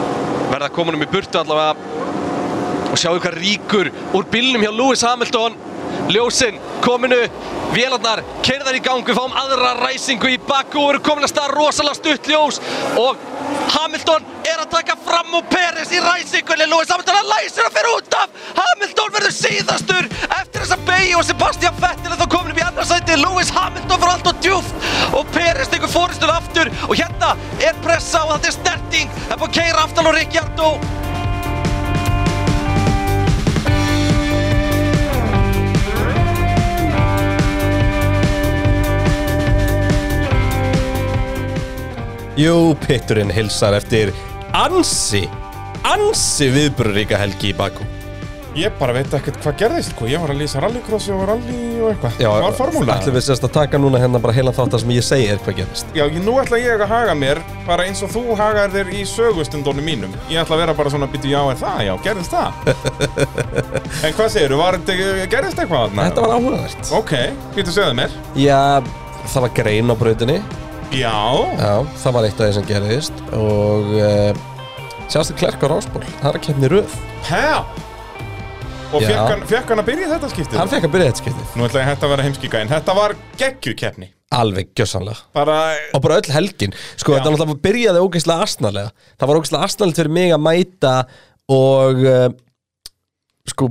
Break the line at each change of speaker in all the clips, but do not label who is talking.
það kom honum um í burtu allavega og sjáu hvað ríkur úr bílnum hjá Lewis Hamilton ljósin kominu vélarnar kerðar í gang við fáum aðra ræsingu í bakku og eru komin að staða rosalega stutt ljós og Hamilton er að taka fram úr Peres í ræsingunni Lewis Hamilton hann læsir að fyrir út af Hamilton verður síðastur eftir þessa beigju og Sebastian Vettel er þá komin upp í annarsæti Lewis Hamilton fyrir allt og djúft og Peres tekur fóristun aftur og hérna er pressa og þetta er snerting það er búin að keira aftan og Ricciardo
Jú, pitturinn hilsar eftir ansi, ansi viðbruríka helgi í Bakú.
Ég bara veit ekkert hvað gerðist, hvað ég var að lýsa rallycrossi og rally og eitthvað. Það var formúla.
Ætlum við sérst að taka núna hérna bara heilan þáttar sem ég segi er hvað gerist.
Já, ég, nú ætla ég að haga mér bara eins og þú hagar þér í sögustundunum mínum. Ég ætla að vera bara svona, býtu, já, er það, já, gerðist það? en hvað segirðu, var, þetta- eh, gerðist eitthvað þarna?
Þetta var áhugavert.
Ok, býtu, segðu mér.
Já, það var grein á brautinni.
Já,
Já, það var eitt af því sem gerðist og uh, sjástu klerk á rásból, það er að kemni röð.
hæ? Og
Já.
fekk hann, fekk hann að byrja í þetta skiptið?
Hann fekk að byrja þetta skiptið.
Nú ætla ég hægt að vera heimskíka, en þetta var geggjukeppni.
Alveg gjössanlega.
Bara,
Og bara öll helgin. Sko,
Já.
þetta náttúrulega byrjaði ógeðslega astnalega. Það var ógeðslega astnalegt fyrir mig að mæta og uh, sko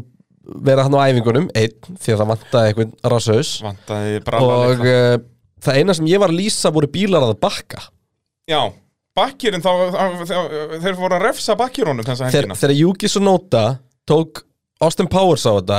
vera hann á æfingunum, einn, því að það vantaði einhvern rasaus.
vantaði brallan
Og uh, það eina sem ég var að lýsa voru bílar að bakka.
Já, bakkirinn þá, þá, þá þeir voru að refsa bakkirunum þessa
þegar,
helgina
þegar Yuki Sonoda tók Austin Powers á þetta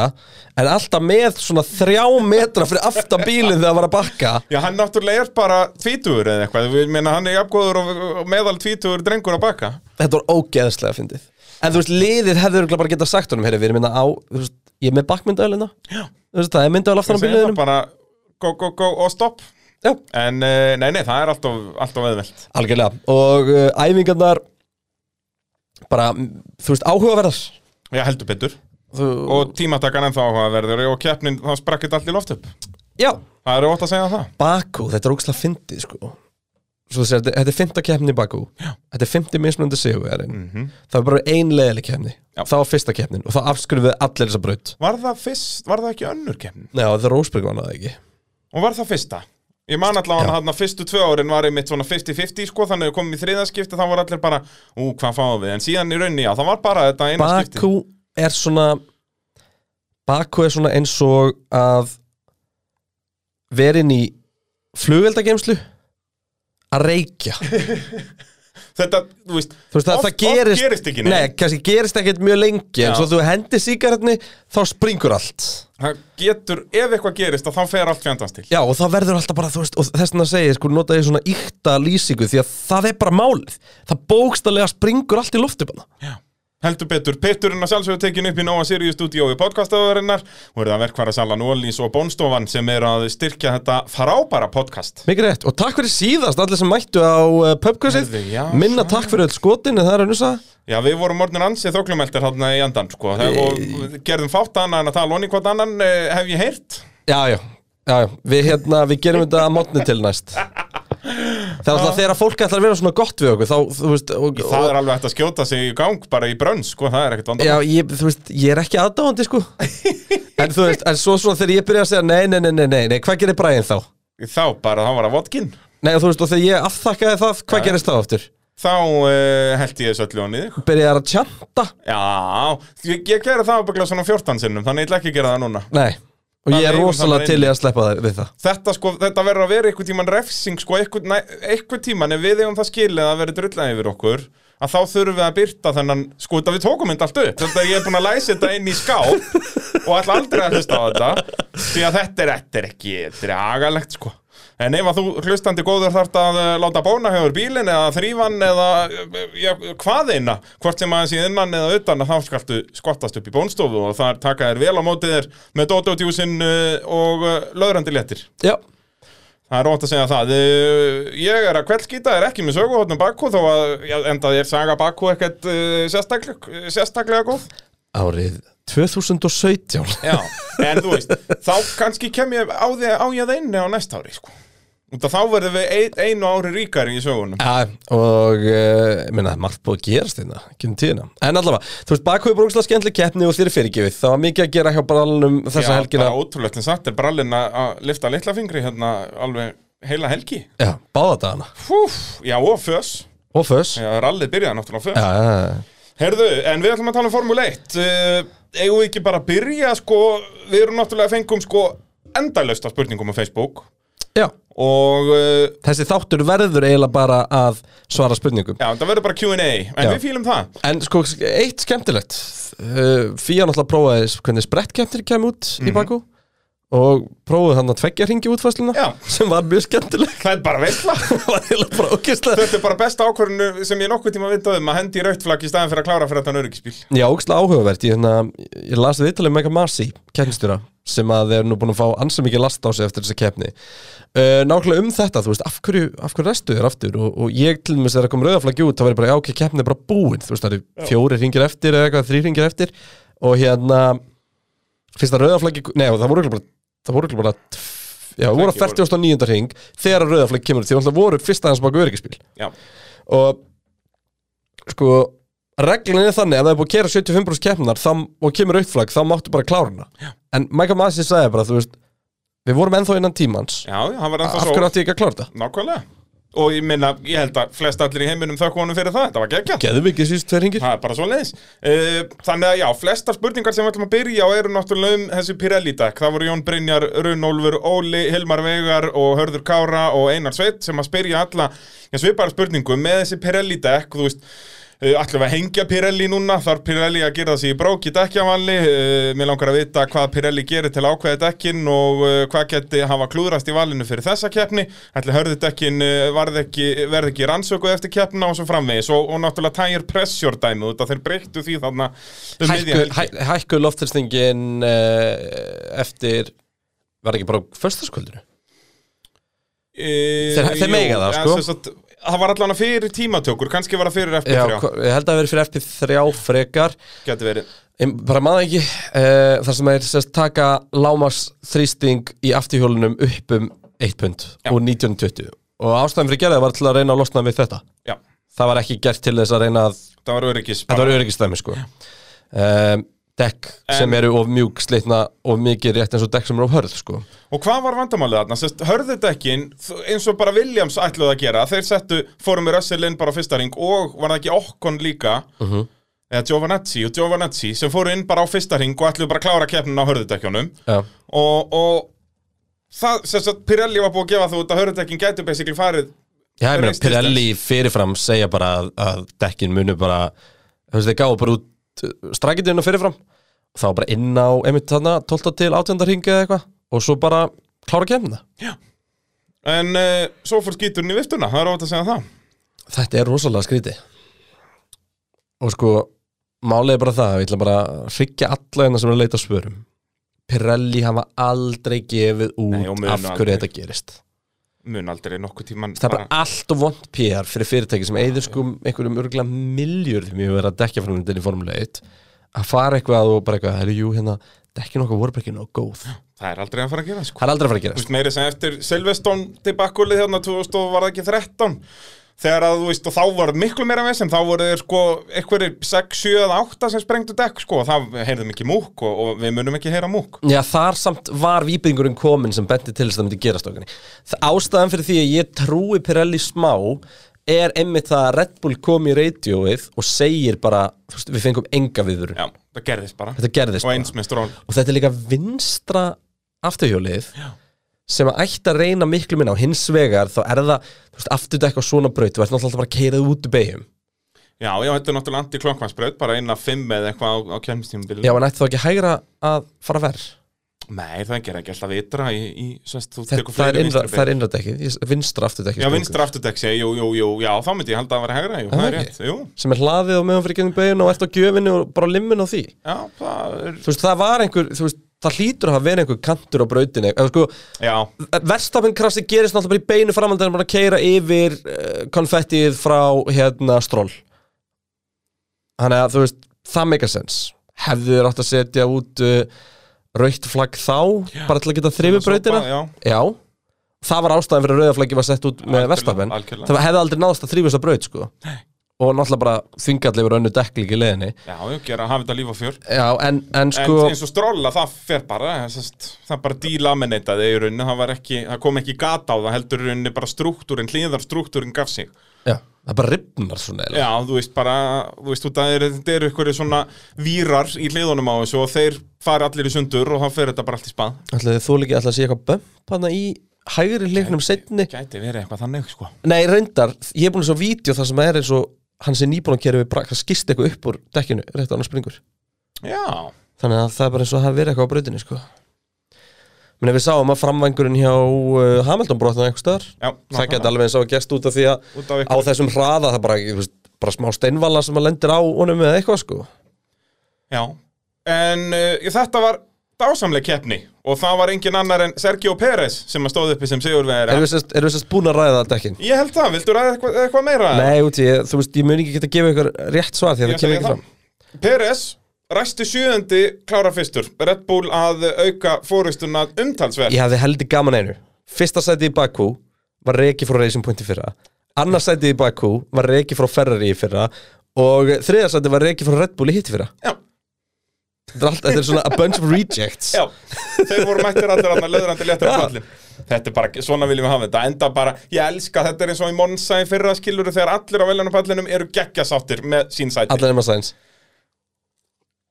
en alltaf með svona þrjá metra fyrir aftan bílinn þegar hann var að bakka
Já, hann náttúrulega er bara tvítugur eða eitthvað, við meina hann er jafngóður og og meðal tvítugur drengur að bakka
þetta var ógeðslega fyndið en þú veist, liðið hefði örugglega bara getað sagt honum heyri, við erum minna á, þú veist, ég er með bakmyndaölina þú veist, það er myndaöl aftan á
Þessi er það
bíliðinum
bara go, go, go og stopp
Já.
En eh, nei, nei, það er alltof, alltof veðvelt
algjörlega, og uh, æfingarnar bara, mm, þú veist, áhugaverðar
Já, heldur betur
þú,
Og tímatakan ennþá áhugaverður og keppnin, þá sprakkið allt í loft upp
já,
Það er ótt að segja það
Bakú, þetta er ógeðslega fyndið sko Svo þú segir, þetta- þetta er fymta keppni í Bakú Þetta er fymti mismunandi sigurverðin
mm
það var bara ein leiðileg kefni
Já.
það var fyrsta kefnin og það afskurfið allir þessa braut
Var það fyrst, var það ekki önnur keppnin?
Nei, það er Rósberg var það ekki
Og var það fyrsta? Ég man allavega
Já.
hann að fyrstu tvö árin var einmitt svona 50-50 sko, þannig að við komum í þriðaskipti þá voru allir bara, ú, hvað fáum við? En síðan í rauninni, já, það var bara þetta eina skipti.
Bakú er svona Bakú er svona eins og að verin í flugeldageimslu að reykja þú
Þetta, þú veist,
veist það,
Oft-
það gerist,
oft gerist ekki
nei,
neitt.
kannski gerist ekkert mjög lengi en
Já.
svo þú hendi sígaretni þá springur allt
það getur, ef eitthvað gerist, að þá fer allt fjandans til.
Já, og það verður alltaf bara, þú veist, og þess vegna segi ég, sko, nota ég svona ykta lýsingu því að það er bara málið. Það bókstallega springur allt í loftu bara.
Heldur Petur, Peturinn að sjálfsögur tekin upp í Nóa Sirius stúdíói podcastaðurinnar og er það verkvara Salan Ólís og Bónstofan sem er að styrkja þetta frábæra podcast.
Mikið rétt, og takk fyrir síðast, allir sem mættu á uh, pubkvössið.
Heyrðu, já,
Minna
svo.
takk fyrir öll skotin, en það er að nusa.
Já, við vorum orðin ansið þóklumeldir þarna í andan, sko, Þegar- og gerðum fátt annað en að tala onni hvort annan, eh, hef ég heyrt.
Já, já, já, já, við hérna, við gerum þetta að mótni til næst. Það er alltaf þegar fólk ætlar að vera svona gott við okkur, þá, þú veist, og,
Það
og,
er alveg hægt að skjóta sig í gang bara í brönn, sko, það er ekkert vandamál.
já, ég, þú veist, ég er ekki aðdáandi, sko. en þú veist, en svo svona þegar ég byrja að segja, nei, nei, nei, nei, nei, nei, hvað gerir Brian þá?
Þá bara, þá var það vodkin.
Nei, og þú veist, og þegar ég afþakkaði það, hvað
Já.
gerist þá aftur?
Þá uh, held ég þessu öllu á niður.
Byrjaði að tjanta?
Já, ég, ég gerði það ábygglega svona 14 sinnum, þannig ég ætla ekki að gera það núna.
Nei, og
Það
ég er
eigum það
rosalega
bara
til í að sleppa það við það.
Þetta sko, þetta verður að vera einhvern tíman refsing, sko, einhvern, næ- einhvern tíman ef við eigum það skilið að vera drullað yfir okkur, að þá þurfum við að byrta þennan, sko, þetta við tókum þetta allt upp, þetta ég er búin að læsa þetta inn í ská og ætla aldrei að hlusta á þetta, því að þetta er, þetta er ekki, þetta er agalegt, sko. En ef að þú hlustandi góður þart að eh, láta bóna hefur bílinn eða þrývan eða eh, já, hvað eina, hvort sem aðeins í innan eða utan að þá skaltu skottast upp í bónstofu og þar taka þér vel á mótið þér með dótótjúsin og eh, löðrandi léttir.
Já,
Það er ótt að segja það. Eh, Ég er að kveldskýta, er ekki með söguhóttnum Bakku þó að já, enda ég saga Bakku ekkert uh, sérstaklega, sérstaklega góð.
árið 2017.
Já, en þú veist, þá kannski kem ég á, því, á ég það inni á næsta ári, sko. Út af þá verðum við ein, einu ári ríkari í sögunum
Já, og uh, minna, margt búið að gerast hérna, kynum tíðina En allavega, þú veist, bakhauði brókslega skemmtileg keppni og þér er fyrirgefið Það var mikið að gera hjá brallunum þessa
Já,
helgina
bara ótrúlegt en satt er brallin að- að lifta litla fingri hérna alveg heila helgi
Já, báða dagana
Húf, já og fös
Og föss Já,
Já, rallið byrjaði náttúrulega á fös
já, já.
Herðu, en við ætlum að tala um Formule 1 uh, Eigum við ekki bara að byrja sko, við erum náttúrulega fengum sko endalausta spurningum á Facebook
já,
og uh,
þessi þáttur verður eiginlega bara að svara spurningum
já, það verður bara Q&A en
Já.
við fýlum það
En sko, eitt skemmtilegt uh, Fía náttúrulega prófaði hvernig sprettkeppnir kemur út
Mhm.
í baku Og prófaði þannig að tveggja hringi útfæsluna
Já.
Sem var mjög skemmtileg
Það er bara veitla
Það var eiginlega bara ógeðslega
Þetta er bara besta ákvörðinu sem ég nokkuð tíma vitað um að hendi í rautflagg í staðan fyrir að klára fyrir þetta nörgisbíl
Já, ógstlega áhugavert, ég, hérna, ég las við ítalið Mega Masi, keppnstjóra sem að þeir eru nú búin að fá ansa mikið last á sig eftir þessa keppni uh, Nákvæmlega um þetta, þú veist, af hverju, af hverju restu þér aftur og, og ég til dæmis þegar kom rauðaflaggi út, þá var ég bara, já, ok, keppni er bara búin þú veist, það eru fjóri ringir eftir eða eitthvað, þrý ringir eftir og hérna fyrsta rauðaflaggi, nei, og það voru örugglega bara, það voru örugglega bara tf- já, það voru að
Ekki voru-
49. ring þegar rauðaflaggi kemur því, þannig voru fyrsta hans bak öryggispil
Já,
og sko reglunni er þannig að ef það er búið að kera 75% keppnar og kemur auktflag þá máttu bara klára hana en Mike Masi sagði bara þú veist við vorum ennþá innan tímans
já, hann var
af
ennþá
hverju
svo
átti ég ekki að klára þetta?
Nákvæmlega Og ég minna, ég held að flest allir í heiminum þökk honum fyrir það, þetta var geggjað
Geðum ekki síðust tveir hringir?
Það er bara svo leiðis Þannig að já, flestar spurningar sem við ætlum að byrja á eru náttúrulega um þessi Pirelli dekk Það voru Jón Brynjar, Runólfur, Óli, Hilmar Veigar og Hörður Kára og Einar Sveit sem að spyrja alla já, svipaðar spurningum með þessi Pirelli dekk Þú veist, eh, ætlum við að hengja Pirelli núna þarf Pirelli að gera sig í brók í dekkjavalli Eh, Mér langar að vita hvað Pirelli gerir til ákveða dekkin og eh, hvað geti hafa klúðrast í valinu fyrir þessa keppni ætli hörðu dekkin eh, varð ekki, verð ekki rannsökuð eftir keppna og svo framvegis og, og náttúrulega tægir pressjór dæmi út að þeir breyttu því þarna um miðja
Hækku,
helgi.
hæ, hækku loftilstingin uh, eftir var ekki bara förstaskvöldinu?
Eh,
Þeir- þeir
jú,
mega það,
ja,
sko.
sem sagt, Það var allan að fyrir tímatökur, kannski var það fyrir
Já,
FB3
hva- ég held að það hafi verið fyrir FP3 frekar
Geti verið
Ég bara maður ekki uh, þar sem er sérst taka lámars þrýsting í afturhjólunum upp um 1 pund
Já.
og 1920 og ástæðan fyrir gerðið var til að reyna að losna við þetta
Já,
það var ekki gert til þess að reyna að
það var öryggis
þetta var öryggistæmi sko um, dekk sem eru of mjúk slitna of mikið rétt eins og dekk sem eru of hörð sko
Og hvað var vandamálið þarna? Sest, hörðudekkin, þ- eins og bara Williams ætluðu að gera, þeir settu, fórum með Russell inn bara á fyrsta ring og var það ekki Okkon líka,
Mhm.
eða Giovanazzi og Giovanazzi sem fóru inn bara á fyrsta ring og ætluðu bara að klára keppnin á hörðudekkjunum.
Já.
Og, og það, sem sagt, Pirelli var búið að gefa þú út að hörðudekkin gætu basically farið
Já, ég meina,
Race distance.
Pirelli fyrirfram segja bara að, að dekkin munu bara þú veist, þeir gáðu bara út strækitinu fyrirfram og þá bara inn á einmitt þarna, 12 til 18 ringi eða eitthvað og svo bara klára að kemna
En uh, svo fór skíturinn í viftuna, það er óvægt að segja það.
Þetta er rosalega skríti og sko málið er bara það, við ætla bara að hryggja alla hérna sem er að leita að svörum Pirelli hafa aldrei gefið út
Nei, og munu
af hverju
aldrei.
þetta gerist
Mun aldrei nokkuð tíman
Það er bara allt og vond PR fyrir fyrirtæki sem eigður sko einhverjum örgla miljörðum í að vera að dekja framlindin í Formule 1 að fara eitthvað og bara eitthvað, herru, jú, hérna dekkin okkar voru bara ekki nóg góð Það
það er aldrei að fara að gera, sko.
er aldrei að fara að
Þú
gerast
veist, meiri sem eftir Silveston tilbakulið hérna 2000 og var það ekki 13 þegar að þú veist og þá var miklu meira vesinn þá voru þeir sko einhverjir 6, 7 eða 8 sem sprengdu dekk sko og það heyrðum ekki múk og, og við munum ekki heyra múk
Já, þar samt var víbringurinn komin sem benti til þess að það myndi gerast okkarni Ástæðan fyrir því að ég trúi Pirelli smá er einmitt það að Red Bull kom í radioið og segir bara, þú veist, við fengum enga viðurinn
Já, það gerðist bara
Þetta gerðist
og
bara.
eins með stról
og þetta er líka vinstra afturhjólið sem að ætti að reyna miklu minna á hins vegar þá er það, þú veist, afturdekk á svona braut þú ert náttúrulega alltaf bara að keirað út í beigum
Mm. Já, já, þetta er náttúrulega anti-klokkvansbraut bara eina 5 eða eitthvað á, á kemstímubilinu
já, en ætti þá ekki hægra að fara verð
Nei, það gerði ekki alltaf vitra í, í sest, þú
þetta,
tekur
það, er
fleiri
innra,
vinstri
það
beygju.
er innradekkið, ég- vinstra afturdekkið
Já,
sprungu.
vinstra afturdekk segi, jú, jú, jú, já, þá myndi ég halda að vera hegra, jú,
Er
það
það
er
ekki?
rétt, jú,
sem er hlaðið og meðan fyrir genið beigum og ert á gjöfinu og bara á limmin á því
já, það er,
þú veist, það var einhver, þú veist, það hlýtur að hafa verið einhver kantur á brautinu eða sko,
já,
verstafinn krassi gerist náttúrulega bara í beinu framhaldinu bara að keira yfir uh, konfettið frá hérna stról þannig að þú veist það make a sense hefðu þér átt að setja út uh, raukt flagg þá bara til að geta þrifið
Svona
brautina
sopað,
já, það var ástæðan fyrir að rauðaflæki var sett út með
Algjörlega,
Verstappen
algjörlega.
það hefði aldrei náðast að þrýfust að braut sko. og náttúrulega bara þvingallegur önnu dekklík í leðinni
Já, ég gera að hafa þetta líf á fjör
já, en, en sko
En eins og stróla, það fer bara sest, það bara dílaminitaði í rauninni það, var ekki, það kom ekki gata á það heldur í rauninni bara struktúrin, hlýðarstruktúrin gaf sig
já, það bara ripnar svona eiginlega.
Já, þú veist bara, þú veist út að þeir- þetta eru einhverju svona vírar í hliðunum á þessu og þeir fari allir í sundur og þá fer þetta bara allt í spað
ætlaði þú líki alltaf að sé eitthvað bömp hana í hægri leiknum setni
Gæti verið eitthvað þannig, sko
nei, reyndar, ég er búin að svo vídeo það sem er eins og hann sé nýbúin að kera við brak það skist eitthvað upp úr dekkinu, rétt á hann springur
Já,
þannig að það er bara eins og það hafi verið eitthvað á brautinni sko. Men við sáum að framvængurinn hjá uh, Hamilton brotnaði einhver staðar
já
það geti alveg eins og að gest út af því að
Út af
á
ykkur,
þessum hraða það bara, ég veist, bara smá steinvala sem að lendir á honum eða eitthvað sko
já En uh, þetta var dásamleg keppni og það var engin annar en Sergio Pérez sem að stóð uppi sem
erum
sigurvegari
við sérst, erum við sérst búin að ræða þetta ekki
Ég held það, viltu ræða eitthvað, eitthvað meira?
nei, út í, þú veist, ég mun ekki geta að gefa ykkur rétt svar því að
Ég
það kemur
segi
ekki fram
það. Peres ræsti sjöðandi klára fyrstur Red Bull að auka fóristuna umtalsverð
ég hafði heldur gaman einu fyrsta sæti í Bakú var reiki frá Racing Point í fyrra annar sæti í Bakú var reiki frá Ferrari í fyrra og þriða sæti var reiki frá Red Bull í hitt í fyrra
Já,
þetta er, allt, þetta er svona a bunch of rejects
já, þeir voru mættir allir að löðrandi léttir
Já.
að fallin Þetta er bara, svona viljum við hafa þetta Enda bara, ég elska þetta er eins og í Monsa í fyrra skiluru Þegar allir á veljarnu pallinum eru geggjasáttir með sín sæti
allar nema sæns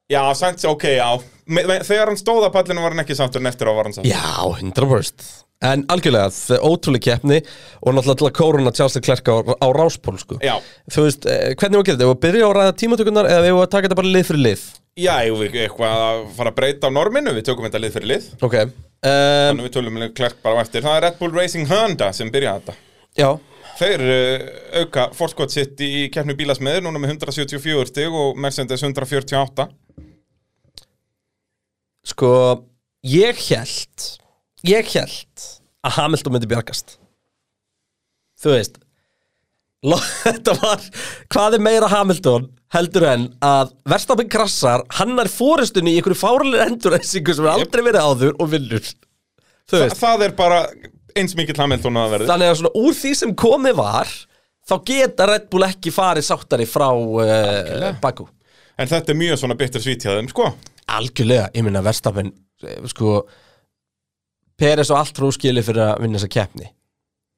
Já, sænt, ok, já me, me, Þegar hann stóð að pallinu var hann ekki sáttur en eftir á var hann sáttur
Já, 100% En algjörlega, það er ótrúlega keppni og náttúrulega til að kóruna Charles Leclerc á, á ráspól sko.
Já,
Þú veist, eh, hvernig var að gera þetta? Ef við að byrja á að ræða tímatökunar eða við að taka þetta bara lið fyrir lið
já, eigum við eitthvað að fara að breyta á norminu Við tökum þetta lið fyrir lið
Ok um,
Þannig við tölum klert bara á eftir Það er Red Bull Racing Honda sem byrja þetta
Já,
Þeir uh, auka fórskot sitt í keppni bílasmiður núna með 174 stig og Mercedes 148
sko Ég held Ég held að Hamilton myndi bjargast Þú veist lo- Þetta var Hvað er meira Hamilton heldur en að Verstapin krassar, hann er fóristunni í einhverju fárlega endurreysingu sem er aldrei verið áður og vinnur Þú veist
Það er bara eins mikill Hamilton að verði
Þannig að svona úr því sem komið var þá geta Red Bull ekki farið sáttari frá uh, Bakú
En þetta er mjög svona bitter svít hjá þeim, sko
Algjörlega, ég minna Verstafinn sko Peres og allt rúskili fyrir að vinna þessa keppni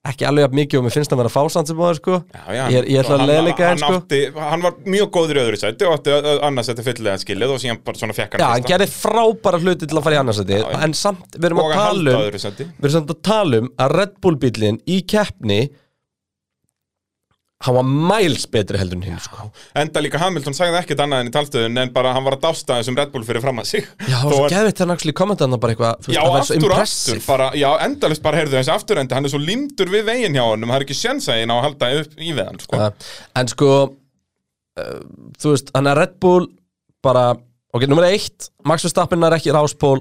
ekki alveg jafn mikið og mér finnst að vera fásand sem bóður sko
já, já,
Ég, ég ætla
Hann-
að leiðleika henn
hann,
sko
átti, hann var mjög góður í öðru sæti og átti ö- ö- annars þetta fyllilega skilið og síðan bara svona fekk hann
Já, hann
fyrsta.
gerði frábæra hluti til að fara í annarsæti
Já, já.
en samt, við erum
og
að
að
tala
halda
um
öðru sæti
við erum samt að tala um að Red Bull bílinn í keppni hann var miles betri heldur en hinn sko
Enda líka Hamilton sagði ekkert annað en í talstöðun en bara hann var að dásta þessum Red Bull fyrir fram að sig
Já,
Þó
og svo
að-
geðvitt hann actually kommentaðan bara eitthvað, þú veist,
Já,
það var svo
aftur og aftur
impressive
bara, Já, endalist bara heyrðu þessi afturendi Hann er svo lindur við veginn hjá honum Það er ekki sjensægin á að halda upp í við hann sko.
Ja, En sko, uh, þú veist, hann er Red Bull bara, ok, nummer eitt, Max Verstappen er ekki ráspól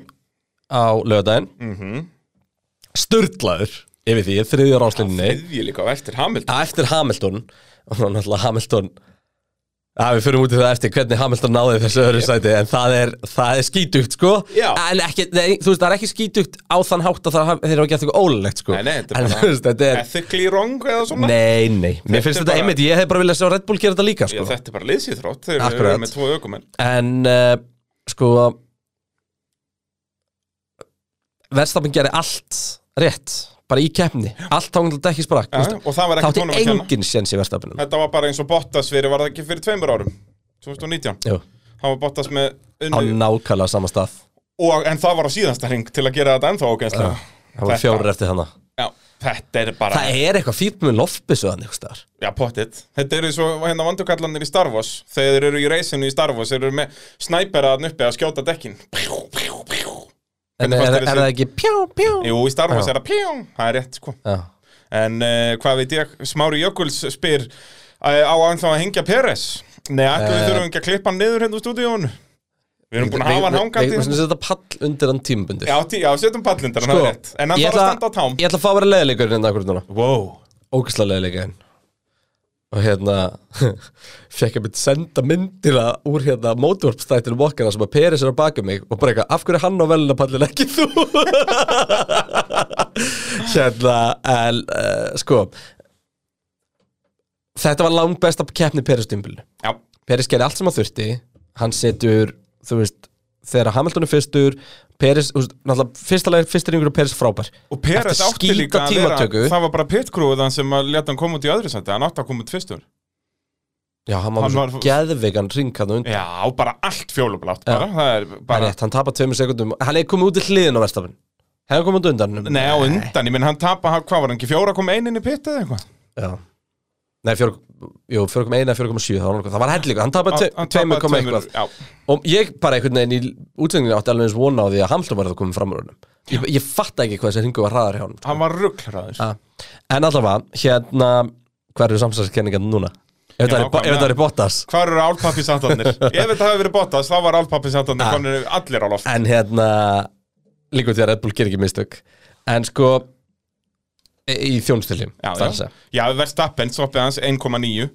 á lögadaginn mm
Mhm.
Sturlaður yfir því, þriðja ráslinni
Þriðji líka á eftir Hamilton
Já, eftir Hamilton og náttúrulega Hamilton Já, við förum út í það eftir hvernig Hamilton náði þessu öðru sæti en það er, það er skítugt sko
Já.
en ekki, nei, þú veist, það er ekki skítugt á þann hátt að það hafi- þeir hafa gert eitthvað ólulegt sko
Nei, nei, þetta er
en,
bara-
þú veist, þetta Ah, er
Ethically wrong eða svona
Nei, nei, mér finnst
er
þetta
bara-
einmitt, ég hef bara viljað sjá Red Bull gera þetta líka
Já,
sko
Þetta er bara liðsýþrótt Þeir
Akkurat.
eru með tvo ökumenn
En uh, sko Verstafn gerði allt rétt Bara í keppni, allt tángum til að dekki sprakk
Já,
Þú veist,
Ah, og það var
Það
ekkert
átti
honum að kenna
engin séns í Verstafnum
Þetta var bara eins og Bottas fyrir Var það ekki fyrir tveimur árum 2019
Jú,
Hann var Bottas með
á
unnu
nákvæmlega sama stað
og, En það var á síðasta hring til að gera þetta ennþá ógænslega
Það var fjórir eftir þannig
Já, þetta er bara
Ah. Það er eitthvað fýrt með loftbissu þannig einhvers staðar.
Já, pottitt. Þetta eru svo hérna vandukallanir í Star Wars. Þegar þeir eru í reysinu í Star Wars, þeir eru með snæperaðan uppi að skjóta dekkin. Pjú, pjú, pjú.
En
Hvernig
er, er,
fannst þér þessi-
það ekki pjá, pjá
Jú, í Star Wars
Já.
er það pjú. Það er rétt, sko.
Já.
En uh, hvað veit ég, Smári Jökuls spyr uh, á að þá að hengja Peres. Nei, ætlum við
Eh.
þurfum ekki að klippa hann niður hérna úr stúdíónu. Við erum búin að hafa hann hangandi.
Við
hérna.
sem setja pall undir hann tímabundið
Já, tí, já, setjum pallundar, hann
Sko,
er rétt. En hann
ég
þarf að
ætla-
standa á tám.
Ég ætla að fá að vera leiðilegur hérna akkur núna
Wow.
ógæslega leðilega henn og hérna fekk ég mynd senda myndina úr hérna mótvarpstættinu okkar þar sem að Peris er á baka mig og bara eitthvað, af hverju er hann á velinapallin ekki þú hérna, el, uh, sko þetta var langt best að keppni Peris tímbilinu
Já,
Peris gerir allt sem hann þurfti hann setur, þú veist þegar Hamilton er fyrstur Peris, þú veist, náttúrulega fyrsta leið, fyrsta ringur og Peris er frábær
og Peres
Eftir
átti líka
skýta
að vera
tímatöku
Það var bara pitkrúðan sem að leta hann koma út í öðru sæti Hann átti að koma út fyrstur
já, hann var
Hann
með
var-
svo geðvegan ring hann undir
Já, bara allt fjólublátt bara. Það er
Það er
bara
rétt, hann tapar tveimur sekundum Hann er komið út í hliðin á verstafinn Hefði hann komið út undan honum?
Nei, á undan, ég minn hann tapa, hann- hvað var hann ekki, fjóra kom einin í pitt eða eitthvað?
Já. Nei, fjór, jú, 4,1 eða 4,7 það var nokkuð- Það var hellingu, hann tapar
Hann- hann
tveimur koma
tapaði tveimur,
eitthvað
Já,
Og ég bara einhvern veginn í útsendinginu átti alveg eins vona á því að Hamilton var það komið fram úr honum Ég, ég fatt ekki hvað þessi hringu var hraðar hjá honum
hann var rugglaður
Ah. En allavega, hérna Hver eru samsæðiskenningarnir núna? Ef
Já,
þetta er,
hvað-
ef þetta er Bottas
Hvar eru álpappisandarnir? Ef þetta hafi verið Bottas, þá var álpappisandarnir
Ah.
komin allir á loft
En hérna Líkur því að Red Bull ger ekki mistök En sko Í þjónstiljum
Já, já. já Verstappen, stoppið hans 1,9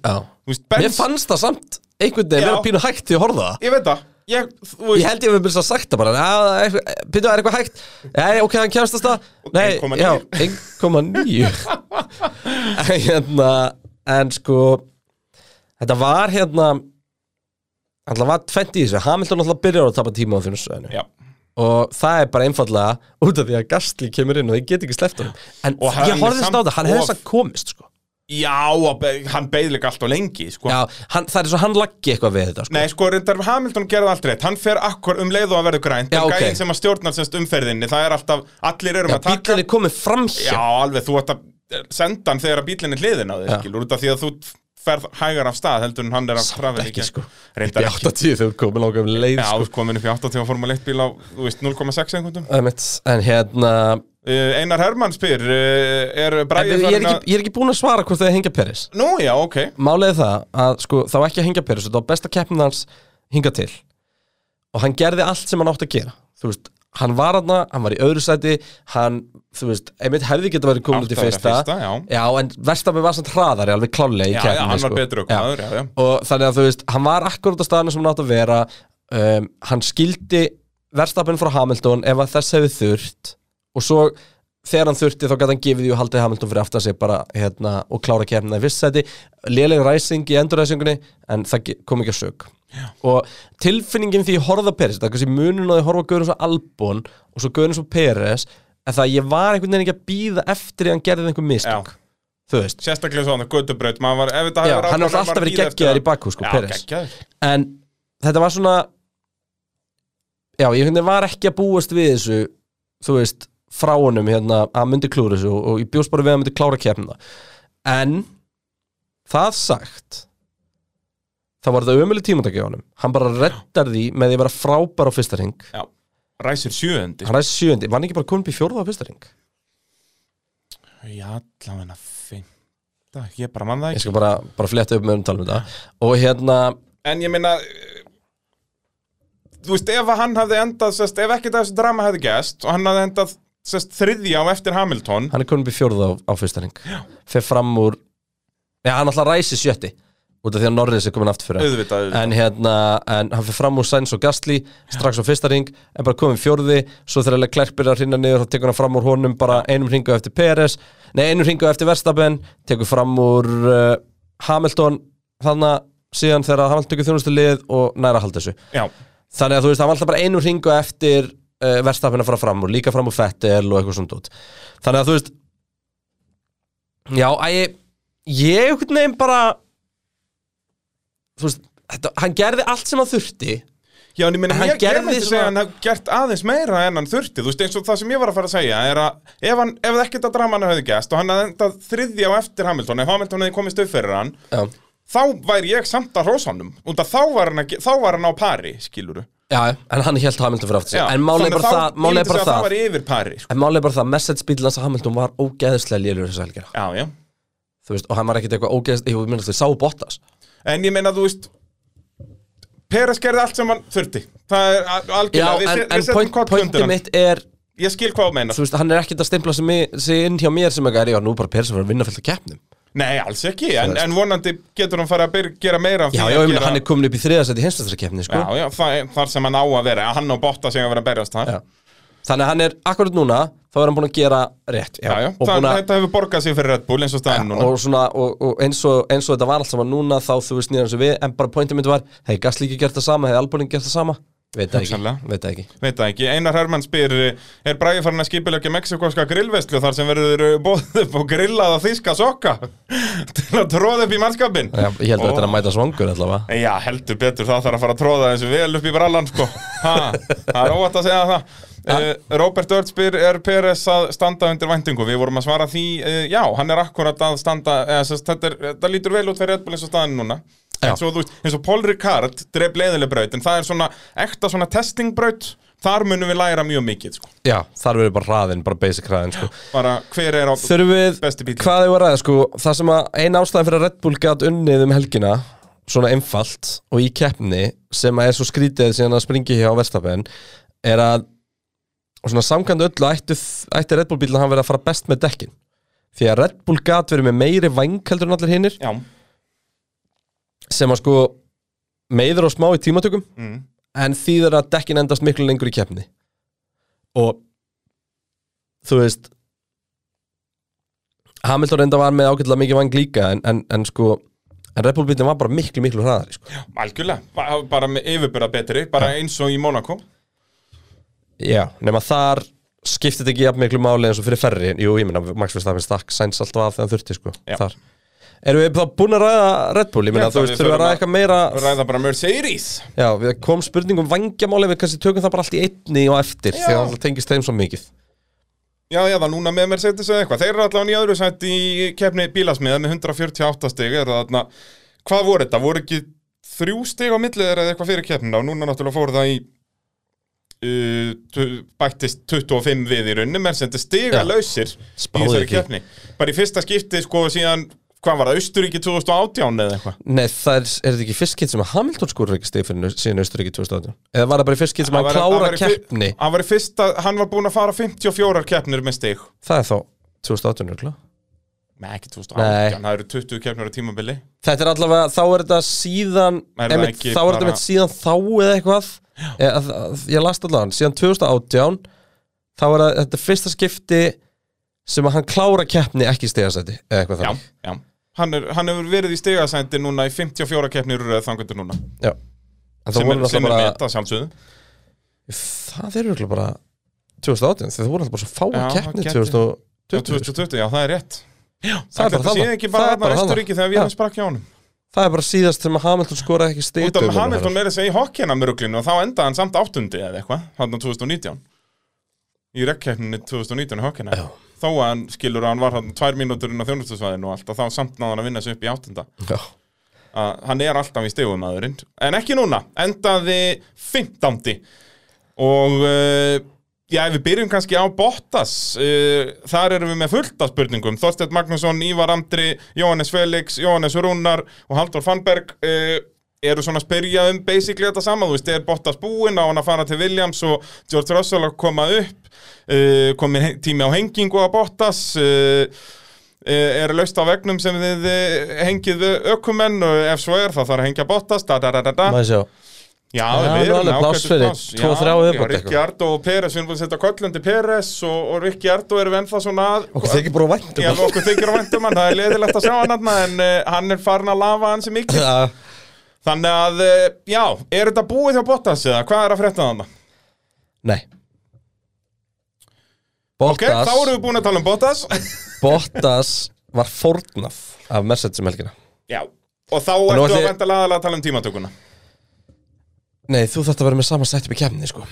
já.
Þú veist,
Mér
Benz,
fannst það samt einhvern veginn
Já.
vera pínu hægt því að horfa á það
ég veit það Ég, þú veist,
Ég held ég að við byrja að sagt það bara "Já, það er eitthvað- Pínu það er eitthvað hægt Nei, ok, hann kemst að stað Nei,
1,9.
já, 1,9 En hérna, En sko Þetta var hérna Alltaf var tvent í þessu Hamilton alltaf byrjar að tapa tíma á þjónusvæðinu
já
Og það er bara einfallega út af því að Gastli kemur inn og þið get ekki sleppt honum En
Og hann
ég
er
horfðist á
samt
það, hann hefði
of-
samt komist sko.
Já, og be- hann beið líka allt og lengi sko.
Já, hann, það er svo hann laggi eitthvað við þetta sko.
Nei, sko, reyndar Hamilton gerði allt rétt Hann fer akkur um leið og að verður grænt
Já,
En
ok.
gæðin sem að stjórnar semst umferðinni Það er alltaf, allir erum
Já,
að taka
bíllinn er komið fram
Já,
hjá
alveg, þú ætti að senda hann þegar að bílinni hliðin á þig
Já.
skilur, út af því að þú ferð hægar af stað heldur en hann er að
Samt
trafa
ekki, sko.
Reyndar ekki
80 þegar komið langum leið
Já,
sko.
sko. komin upp í 80 á Formule 1 bíl á, þú veist, 0,6 einhvern
Einmitt, En hérna
uh, Einar Hermann spyr uh, Er
en
Bræði
við, ég, er ekki, ég er ekki búin að svara hvort það er hengja Peris
Nú, já, ok
Málið er það að sko, það var ekki að hengja Peris Þetta var besta keppnin hans hinga til Og hann gerði allt sem hann átti að gera Þú veist, hann var aðna, hann var í öðru sæti Hann, þú veist, einmitt hefði geta verið komin út
Átti
í
að vera
fyrsta
fyrsta, já.
já, en Verstapen var samt hraðari alveg klálega í
Já,
keppninni
já, hann var
sko.
betur okkur maður, já, já
og þannig að þú veist, hann var akkurat á staðinu sem hann átt að vera um, hann skildi verstapinn frá Hamilton ef að þess hefði þurft og svo þegar hann þurfti þá gæti hann gefið því og haldið Hamilton fyrir aftan sig bara hérna og klára kemna í visssæti léleg ræsing í endurræsingunni en það ge- kom ekki að sög og tilfinningin því ég horfði á Peres það er kannski munun að ég horfa á Görun svo Albon og svo Görun svo Peres en það að ég var einhvern veginn ekki að býða eftir að hann gerði einhver mistök
Já.
þú veist
Sérstaklega svona, gödubraut maður var, ef þetta
Já,
hafði verið
hann
ákvörðun,
hefur alltaf
var
verið
bíða eftir
geggjaður
að-
í bakku, sko,
Já,
Peres.
geggjaður
en þetta var svona já, ég hvernig var ekki að búast við þessu þú veist, frá honum hérna að hann myndi klúra þessu og, og ég bjóst bara við að hann myndi klára kemna en það sagt það var þetta ömuleg tímataki á honum hann bara reddar því með því að vera frábær á fyrsta ring
Já, ræsir sjöundi
hann ræði sjöndi, var hann ekki bara komin upp í fjórða á fyrsta ring
Já, allavega fint Ég bara mann það
ég
ekki
skal bara, bara fletta upp með umtalum þetta og hérna,
En ég meina eh, Þú veist, ef að hann hafði endað sest, Ef ekkert af þessu drama hefði gæst Og hann hafði endað sest, þriðja á eftir Hamilton
hann er komin upp í fjórða á, á fyrsta ring fer fram úr já, hann alltaf ræsi sjötti út af því að Norris er komin aftur fyrir hann.
Auðvitað, auðvitað
en hérna, en hann fyrir fram úr Sainz og Gastli strax á fyrsta ring, en bara komið fjórði svo þegar Leclerc byrjar að hrinna niður þá tekur hann fram úr honum bara einum ringu eftir Peres nei, einum ringu eftir Verstapen tekur fram úr uh, Hamilton þannig að síðan þegar Hamilton tekur þjónustu lið og næra að halda þessu
Já,
þannig að þú veist, hann var alltaf bara einum ringu eftir uh, Verstapen að fara fram úr, líka fram úr Fettel og eitthvað svona út þannig að þú veist já, æ, ég- ég einhvern veginn bara þú veist, þetta, hann gerði allt sem hann þurfti
Já, en ég meina,
Hann
ég, ég
gerði
myndi segja
svona-
að hann hafði gert aðeins meira en hann þurfti, þú veist, eins og það sem ég var að fara að segja er að ef, hann, ef ekkert að draman hefði gæst og hann hafði endað þriðja á eftir Hamilton, ef Hamilton hefði komist upp fyrir hann,
já,
þá væri ég samt að hrósa honum, og þá var hann, að, ge- þá var hann á pari, skiluru.
já, en hann held Hamilton fyrir aftur sig, en málið er bara það málið er bara
Það
það,
var yfir pari, sko.
en málið er bara það message bíl hans að Hamilton var ógeðislega lélur þess að helgina,
Já, já.
þú veist, og hann var ekkert eitthvað ógeðislega, ég myndi að þau sá Bottas
En ég meina, þú veist, Peres gerði allt sem hann þurfti. Það er al-
já,
algjörlega,
en,
við, se-
en
við setjum
point,
kott
pointi
undir hann.
mitt er
Ég skil hvað þú meinar.
þú veist, hann er ekkert að stimpla sig, mig, sig inn hjá mér sem eitthvað er, já, nú er bara Peres að vera að vinna fyllt að keppnum
Nei, alls ekki, en,
veist.
en vonandi getur hann fara að byr, gera meira af
Já,
því
já, ég
að
meina,
gera-
hann er komin upp í þriðasæti hinsvæstara keppni, sko
Já, já, það, er- þar sem hann á að vera, hann og Bottas eiga að vera að berjast þar
Já. Þannig að hann er akkurat núna þá er hann búin að gera rétt já,
Já, já,
og,
það,
búin að,
þetta hefur borgað sér fyrir Red Bull eins og staðan núna
og, svona, og, og eins og eins og þetta var allt saman núna þá þú veist nýðan sem við en bara pointið mitt var hefði Gasly ekki gert það sama, hefði Albon ekki gert það sama veit það ekki,
Hugsanlega.
veit það ekki
Veit það ekki, Einar Hermann spyr Er Bragi farin að skipilegja mexikoska grillveslu þar sem verður bóðið upp og grillað að þýska sokka til að tróða upp í mannskapin
Já, ég held að
Ó.
þetta er að mæta svangur allavega
Já, heldur betur, það þarf að fara að tróða þessu vel upp í brallan sko. ha, Það er óvægt að segja það Uh, Robert Ört spyr, er Peres að standa undir væntingu? Við vorum að svara því, uh, já, hann er akkurat að standa, eða, sest, þetta, er, þetta lítur vel út fyrir Red Bull eins og staðan núna
Já.
En svo þú veist, eins og Paul Ricard dreif leiðileg braut, en það er svona, ekta svona testingbraut, þar munum við læra mjög mikið sko.
já, þar verður bara hraðin, bara basic hraðin sko.
Bara hver er á,
þurfum við,
Besti bíllinn.
hvað þau var að ræða, sko það sem að ein ástæðan fyrir að Red Bull gæt unnið um helgina svona einfalt og í keppni sem að er svo skrítið síðan að springi hjá Verstapen er að og svona samkvæmt öllu ætti, ætti Red Bull bílinn að hann verið að fara best með dekkin því að Red Bull gæt verið með meiri væng heldur en allir hinnir
já,
sem að sko meiður og smá í tímatökum
mm,
en þýðir að dekkin endast miklu lengur í keppni og þú veist Hamilton reynda var með ágætlega mikið vang líka en, en, en sko en Red Bull bílinn var bara miklu miklu hraðari sko.
algjörlega, Ba- bara með yfirbyrða betri, bara eins og í Monaco
já, nema þar skiptið ekki jafn miklu máli eins og fyrir ferri jú, ég meina, Max Verstappen stakk sæns alltaf af þegar hann þurfti sko,
Já.
þar erum við þá búin að ræða Red Bull, ég meina,
Já,
þú
það
veist,
við
þurfum við að
förum
ræða
að-
eitthvað meira
Ræða bara Mercedes
já, við kom spurningum vangjamáli við kannski tökum það bara allt í einni og eftir
Já.
því að það tengist þeim svo mikið
Já, já, það núna með Mercedes eða eitthvað. Þeir eru allavega í öðru sætt í kefni bílasmiða með 148 stig. Er það þarna, hvað voru þetta? Voru ekki þrjú stig á millið eða eitthvað fyrir kefnina og núna náttúrulega fóru það í uh, tu- bættist 25 við í rauninni. Mercedes stiga
Já.
lausir í
Spáðu
þessari
því.
kefni. Bara í fyrsta skipti sko síðan, hvað var það, Austuríki 2018 eða eitthvað?
Nei, það er, er þetta ekki fyrst kitt sem að Hamilton skorur ekki stig fyrir nau- síðan Austuríki 2018? Eða var það bara í fyrst kitt sem að hann
var-
klára
var í fyr-
keppni?
Hann var, í fyrsta, hann var búin að fara 54 keppnir með stig.
Það er þá 2018 örgla.
Nei, ekki 2018,
Nei.
það eru 20 keppnir á tímabili.
Þetta er allavega, þá er þetta síðan,
Er það
einmitt,
ekki
þá er þetta
bara-
einmitt síðan þá eða eitthvað, eða, að- að- ég last allavega, síðan 2018, þá er það- þetta er fyrsta skipti sem að hann klára keppni ekki stegasæti, eða eitthvað
já,
þannig.
já. Hann, er, hann hefur verið í stigasændi núna í 54 keppnir röð þangundur núna
Já. En það
sem er,
voru
sem er
náttúrulega bara,
meta sjálfsögðu
það eru örgla bara 2018, þegar það voru alltaf bara svo fáa
Já,
keppni
gæti-
2020.
2020, já það er rétt já,
það er bara
þetta
þarna.
sé ekki
Það
bara
er bara
þarna
þarna.
Östuríki þegar við
Já.
erum sprakk hjá honum
Það er bara síðast sem að Hamilton skora ekki stig
út af
dömurnar
Hamilton
hennar.
meira að segja í hokkjana með ruglinu og þá endaði hann samt áttundi eða eitthvað hann á 2019 í rekkeppninni 2019 í hokkjana
Já.
þó að hann skilur að hann var hann tvær mínútur inn á þjónustusvæðinu og allt að þá samt náðan að vinna sig upp í áttunda
Já.
að hann er alltaf í stegum aðurinn en ekki núna, endaði 15. og uh, já, ef við byrjum kannski á Bottas uh, þar erum við með fullt af spurningum Þorstedt Magnússon, Ívar Andri, Jóhannes Felix Jóhannes Rúnar og Haldur Fannberg uh, eru svona að spyrja um basically þetta sama, þú veist, er Bottas búinn á hann að fara til Williams og George Russell að koma upp uh, komin he- tími á hengingu á Bottas uh, Eh, er laust á vegnum sem þið eh, hengið ökumenn og ef svo er þá þarf að hengja Bottas da, da, da, da, da.
Maður sjá.
Já,
Já,
við
nú
erum
alveg
með
pláss
ágætis
fyrir
pláss.
tvo,
Já,
þrjá í viðbót
já,
eitthvað.
Rikki Ardó og Peres, við erum búin að setja kollundi Peres og, og Rikki Ardó erum við ennþá svona að-
Okkur þykir bara vænt um
Já, okkur þykir á vendum hann, það er leiðilegt að sjá hann hann en uh, hann er farin að lafa hann sem mikið
hann.
Þannig að, uh, já, er þetta búið hjá Bottas eða? Hvað er að frétta þannig?
Nei.
Ok, þá
Bottas,
erum við búin að tala um Bottas
Bottas var fórnað af Mercedes um helgina.
Já, og þá
nú
ertu að
ætli-
venda laðalega að tala um tímatökuna
Nei, þú þarft að vera með sama setup í kefni, sko.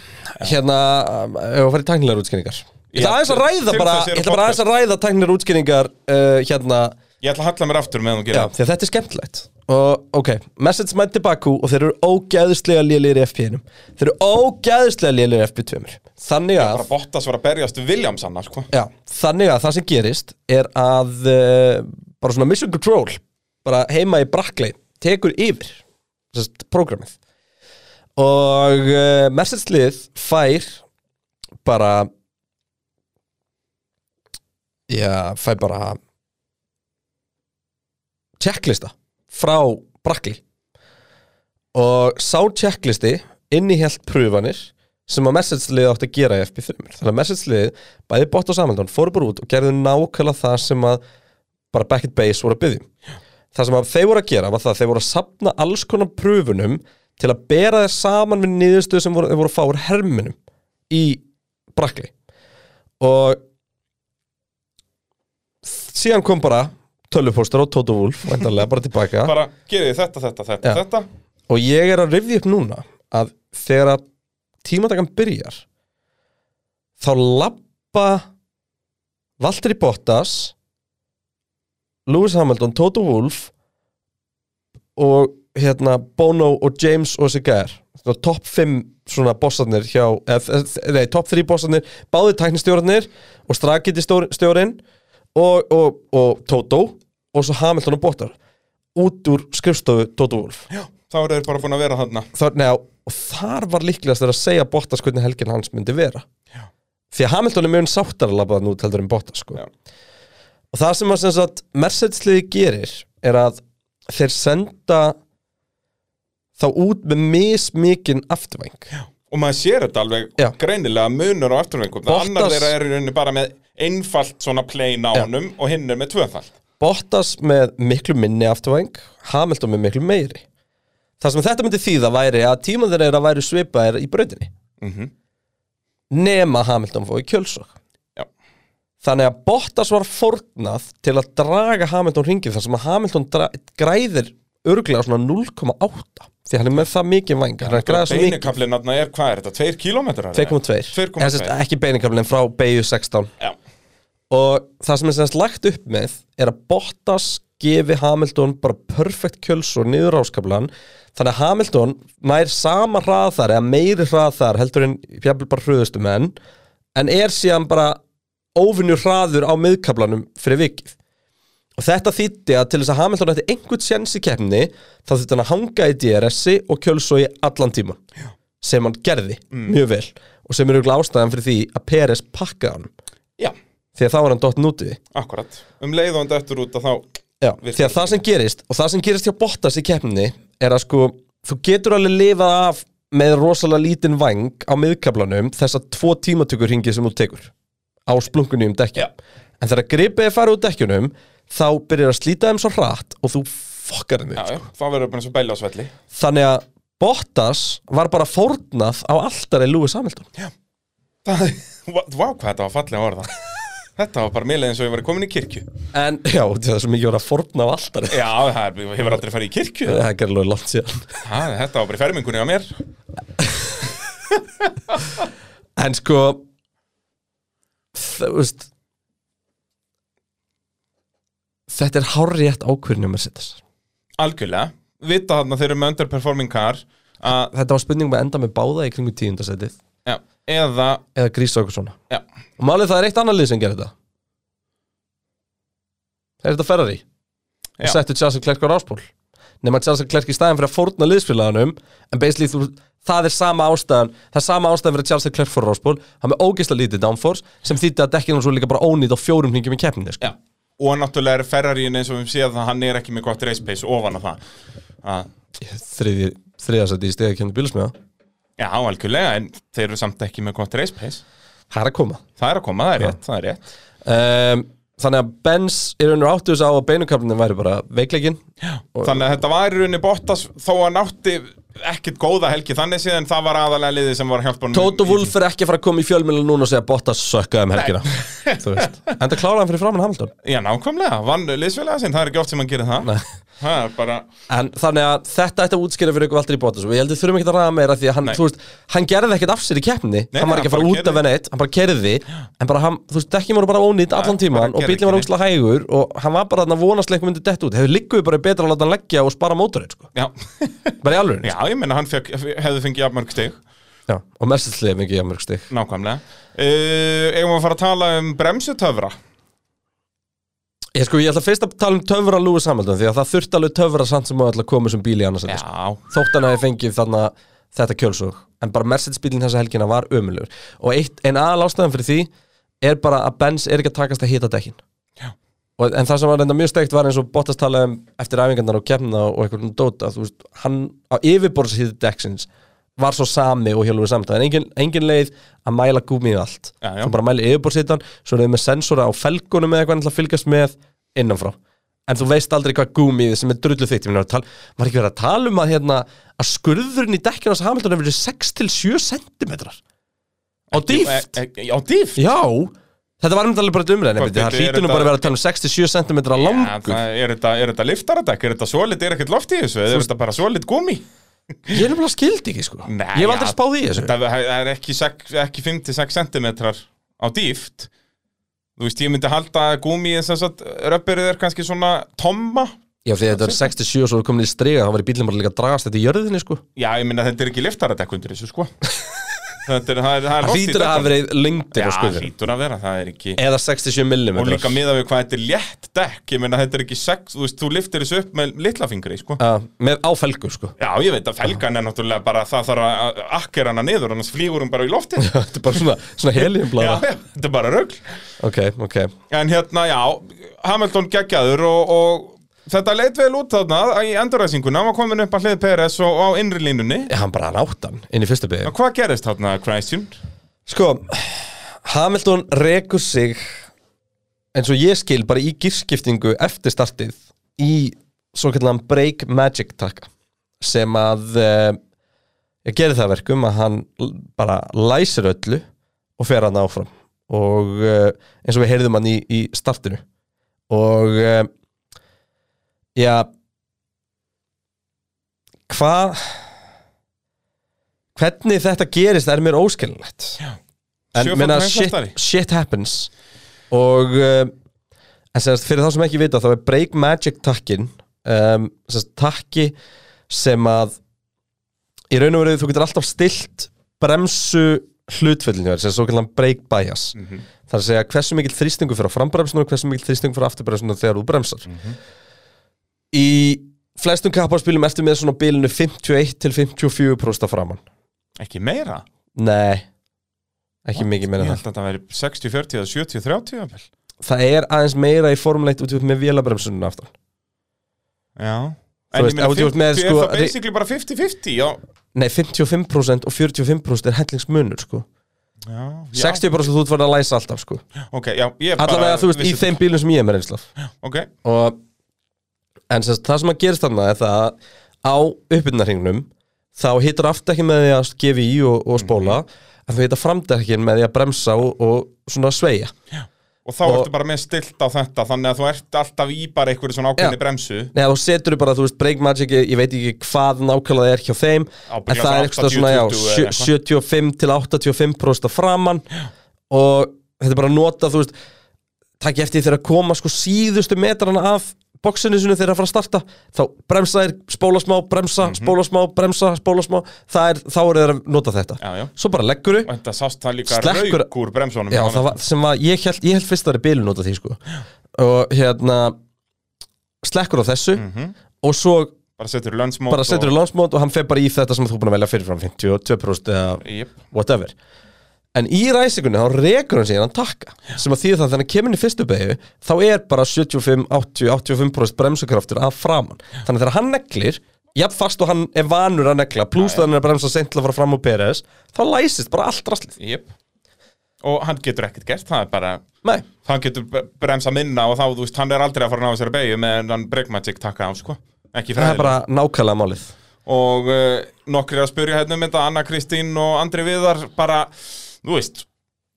Hérna, um, ef að fara í tæknilegar útskýringar. Ég ætla
Já,
aðeins að ræða
til
bara,
þess eru
ég ætla bara aðeins að ræða tæknilegar útskýringar uh, hérna,
Ég ætla að halla mér aftur meðan þú
já,
gerir það.
því að þetta er skemmtilegt. Og, ok, Mercedes mætti Bakú og þeir eru ógæðislega lélir í FP1-um. Þeir eru ógæðislega lélir í FP2-um. Þannig að...
bara Bottas var að berjast við Williams annar sko.
Já, þannig að það sem gerist er að uh, bara svona mission control bara heima í braklei tekur yfir sérst, prógramið og uh, Mercedes lið fær bara já, fær bara checklista frá braklei og sá checklisti innihjalt prufanir sem að message-liðið átti að gera í FP3 þannig að message-liðið, bæði bótt og samhaldun fóru bara út og gerðu nákvæmlega það sem að bara Beckett Base voru að byggja það sem að þeir voru að gera var það að þeir voru að sapna alls konar pröfunum til að bera þeir saman við niðurstöðu sem voru, þeir voru að fá úr herminum í brakli og síðan kom bara tölvupóstur og Toto Wolf væntanlega bara tilbaka
bara gerði þetta, þetta, þetta,
Já.
þetta
og ég er að rifja upp núna að þegar að tímatakan byrjar þá lappa Valtteri Bottas Lewis Hamilton, Toto Wolff og hérna Bono og James og Sigar top 5 svona bossarnir hjá, eð, nei, top 3 bossarnir báði tæknistjórarnir og Strakiti stjórinn og, og, og Toto og svo Hamilton og Bottas út úr skrifstofu Toto Wolff
þá eru þeir bara búin að vera þarna
þar, neða, og þar var líklegast þegar að segja Bottas hvernig helgin hans myndi vera
Já.
því að Hamilton er mjög sáttar að labba það nú heldur en Bottas sko.
Já.
og það sem að sem sagt, Mercedes liði gerir er að þeir senda þá út með mismikinn afturvæng Já.
og maður sér þetta alveg
Já.
greinilega munur á afturvengum það
Bottas-
annar þeirra er í rauninni bara með einfalt svona plain á
Já.
honum og hinn er með tvöfalt
Bottas með miklu minni afturvæng Hamilton með miklu meiri Það sem þetta myndi þýða væri að tíma þeirra er að væri svipaðir í brautinni nema Hamilton fóði kjölsokk
Já.
Þannig að Bottas var fórnað til að draga Hamilton ringið þar sem að Hamilton dra- græðir örglega svona 0,8 því hann er með það mikið vænga hann er að græða svo mikið
beinikaflin þarna er, hvað er þetta, 2 kilometrar?
2,2
2,2.
Eða sem sagt, ekki beinikaflinn frá beigju 16
Já,
og það sem er semst lagt upp með er að Bottas gefi Hamilton bara perfect kjöls og niður áskaplan þannig að Hamilton nær sama hrað þar eða meiri hrað þar heldur en fjafnvel bara hröðustu menn en er síðan bara óvinnur hraður á miðkaplanum fyrir vikið og þetta þýtti að til þess að Hamilton ætti einhvern sjens í keppni þá þýtti hann að hanga í DRS-i og kjölsó í allan tíma Já. sem hann gerði mjög vel og sem er auðvitað ástæðan fyrir því að Peres pakkaði hann
já,
því að þá er hann dottin úti
akkurat Um leið og hann dættur út að þá
Já,
Virkilega.
því að það sem gerist og það sem gerist hjá Bottas í keppninni er að sko, þú getur alveg lifað af með rosalega lítinn vang á miðkablanum þessa tvo tímatökur hingi sem þú tekur á splunkunni um dekkja en þegar gripið er farið úr dekkjunum þá byrjar að slíta þeim svo hratt og þú fokkar þeim upp
Já, já, þá verður bara eins og belja á svelli
þannig að Bottas var bara fórnað á alltari Lewis Hamilton
Það, vá, vá, hvað þetta var fallega orða Þetta var bara mér leið eins og ég var komin í kirkju
en já, það er svo mikið voru að fórna á alltari
Já, það er, ég hefur aldrei farið í kirkju
það er alveg langt síðan
ha, Þetta var bara í fermingunni á mér
En sko Það, veist Þetta er hárrétt ákvörðin um að setja þess
Algjörlega, vita þarna þeir eru með underperforming car að,
Þetta var spurning með enda með báða í kringu tíundasettið
já, Eða,
Eða grísa okkur svona
já,
Og málið það er eitt annað lið sem gerir þetta Það er þetta Ferrari
Já.
Og settu Charles Klerk á ráspól Nefn að Charles Klerk í staðin fyrir að fórna liðsfélaganum En basically þú, það er sama ástæðan Það er sama ástæðan fyrir að Charles Klerk fór á ráspól Hann með ógeisla lítið downforce Sem þýtti að dekkinum svo líka bara ónýtt á fjórum hringjum í keppninni sko.
já Og náttúrulega er Ferrarín eins og við séð að hann er ekki með gott race pace ofan á það að,
þriði, þriðasæti í stegi að kemna bílismiða
Já, algjörlega, en þeir eru samt ekki með gott race pace
það er að koma
Það er að koma, það er rétt, það er rétt
um, þannig að Benz er unnur áttu þess á að beinukaflinin væri bara veikleikin Og-
Þannig að þetta var í rauninni Bottas þó að nátti ekkert góða helgi þannig síðan það var aðalega liðið sem var að hjálpa honum
Tóto
í-
Wolf er ekki að fara að koma í fjölmjölu núna og segja Bottas sökkaði um helgina Þú veist. en það kláraði hann fyrir framann Hamilton
Já, nákvæmlega, vann liðsfélaga sinn, það er ekki oft sem hann gerir það
Nei.
Það er bara,
en þannig að þetta ætti að útskýra fyrir ykkur Valtteri Bottas og ég heldur þurfum ekki að ræða meira því að hann,
Nei.
þú veist, hann gerði ekkert af sér í keppni
Nei,
hann var
nei,
ekki að
hann
fara
bara
út af
keyrði.
henni eitt hann bara kerði en bara hann, þú veist, dekkin voru bara ónýtt allan
Nei, bara
tíman og
gerði
bílinn var
ekki
ógslag hægur og hann var bara að vonast leikum myndi dett út hefur líkuð bara betra að láta hann leggja og spara mótorinn sko.
já
bara í alveg
Já, ég meina hann fekk, hefði fengið jafnmörg stig
Já, og mestallið er mikið jafnmörg stig
Nákvæmlega uh, Eigum við að fara að tala um bremsutöfra
Ég sko, ég ætla fyrst að tala um töfra Lewis Hamilton því að það þurfti alveg töfra samt sem að ætla að koma sem bíl í annars sko.
Já,
þótt hann hafi fengið þarna þetta kjölsug en bara Mercedes bílinn þessa helgina var ömulur og eitt, en aðal ástæðan fyrir því er bara að Benz er ekki að takast að hita dekkin
Já.
og, en það sem var reynda mjög steikt var eins og Bottas talaði um eftir æfingarnar og kemna og eitthvað um dóta þú veist, hann á yfirborðshýði dekksins var svo sami og hjálfur samt en engin, engin leið að mæla gúmið allt
Já, já.
svo bara mæli yfirbórsitan svo er þau með sensora á felgunum eða eitthvað til að fylgjast með innanfrá en þú veist aldrei hvað gúmið sem er drullu þygt var, tal, var ekki verið að tala um að, hérna, að skurðurinn í dekkjun hans Hamilton hefur verið 6-7 cm á dýft
E- e- Á dýft?
Já, þetta var umtalið bara umræðin Það
Hvað, bíddu, er
hlýtur nú
þetta-
bara að vera að tala um 67 cm
Ja,
langur
það- Er þetta, er þetta liftaradekk? Er þetta svolít? Er ekkert loft í þessu? Er þetta bara svolít gumi?
Ég er nefnilega skildi ekki sko
Nei,
Ég hef aldrei
ja,
spáð í þessu
Það það er ekki, sex- ekki 5-6 cm á dýft Þú veist, ég myndi halda að gúmi eins og að röpperið er kannski svona tomma
Já, því þetta er 67 og svo komin í striga þá var í bílum bara líka að dragast þetta í jörðinni sko
Já, ég myndi að þetta er ekki liftaradekk undir þessu, sko Þetta er, það er, það er
Það
loft í
hlýtur að hafa
dekkunum.
verið lengdir á
Já,
skurðurinn
hlýtur að vera, það er ekki
Eða 67 mm
Og líka miða við hvað þetta er létt dekk Ég myndi að þetta er ekki sex, þú veist, þú liftir þessu upp með litlafingri, sko
Með áfelgu sko
Já, ég veit að felgan er náttúrulega bara það þarf að- að akkera hana niður, annars flýgur hún bara í loftið Já,
Þetta er bara svona, svona
já,
heliumbláða
þetta er bara rögl
Ok, ok
En hérna, já, Hamilton geggjaður og, og þetta leit vel út þarna í enduræsinguna, hann var komin upp að hlið PRS og, og á innri línunni.
Ég, Hann bara náttan inn í fyrstu byggði
En hvað gerist þarna, Christian?
Sko, Hamilton rekur sig eins og ég skil bara í gírskiptingu eftir startið í svo kallan break magic takka sem að eh, ég gerir það að verkum að hann l- bara læsir öllu og fer hann áfram og eh, eins og við heyrðum hann í, í startinu og eh, já hvað hvernig þetta gerist er mér óskilinlegt en
Sjöfald
meina shit,
heimsmeistari.
shit happens og uh, en semast, fyrir þá sem ekki vita þá er Break Magic takkin um, semast, takki sem að í raun og veru þú getur alltaf stilt bremsu hlutföllinu sem er svo kallan break bias
Mhm.
það er að segja hversu mikill þrýstingu fyrir á frambremsinu og hversu mikill þrýstingu fyrir afturbremsinu þegar þú bremsar í flestum kapparspilum ertu með svona bilinu 51 til 54% framann
Ekki meira?
nei ekki mikið meina það
Ég held að þetta veri 60-40 eða 70-30 jafnvel.
það er aðeins meira í formuleitt út í- með vélabremsunum aftan
Já. En
veist,
ég meina
ef þú ert
50
með,
er
sko,
það basically bara 50-50, já.
nei 55% og 45% er hellingsmunur sko
Já, já.
60% þú ert verið að læsa alltaf sko
Ok, já, ég bara...
allavega þú veist í
vissi-
þeim bílum sem ég er með reynslaf
Ok,
og en sérst, það sem að gerist þarna er það að á uppbyrnarhingnum þá hittar aftdekkin með því að gefa í og, og spóla en þú hittar framdekkin með því að bremsa og, og svona sveigja
og þá
Og-
ertu bara með stilt á þetta, þannig að þú ert alltaf í bara einhverju svona ákveðni
Já.
bremsu.
Nei, þá setur þú bara, þú veist, Break Magic, ég ég veit ekki hvað nákvæmlega það er hjá þeim
Ábyggilega
En það er
svona
eitthvað svona, já,
80-20 eða eitthvað.
75 til 85% af framann Og þetta er bara að nota, þú veist, takk eftir því þegar að koma sko síðustu metrana af boxinu sinu þegar að fara að starta Þá bremsa þeir, spóla smá, bremsa,
Mhm.
spóla smá, bremsa, spóla smá Það er, þá eru þeir að nota þetta
Já, já.
Svo bara leggur
Og þetta sást það líka
Slekkur-
rauk úr bremsunum.
Já, það var, sem var, ég held, ég held fyrst að það er bilun út af því, sko Og hérna, slekkur á þessu
Mhm.
Og svo
Bara setur lönnsmót
bara setur í landsmót og hann fer bara í þetta sem þú er búin að velja fyrirfram 52% eða
Jep.
whatever en í ræsingunni þá rekur hann sig hann takka sem að því það þannig að kemur hann í fyrstu beigju þá er bara 75, 80, 85% bremsukraftur af framann þannig að þegar hann neglir jafn fast og hann er vanur að negla pluss þannig að hann er að bremsa seint til að fara fram úr PRS þá læsist bara allt rastlið
Jep. Og hann getur ekkert gert, það er bara
Nei,
hann getur b- bremsað minna og þá, þú veist, hann er aldrei að fara að ná þessari beigju meðan hann breakmagic taka á, sko ekki
það er
fræðilega
bara nákvæmlega málið
og uh, nokkri að spyrja hérna um þetta Anna Kristín og Andri Viðar bara, þú veist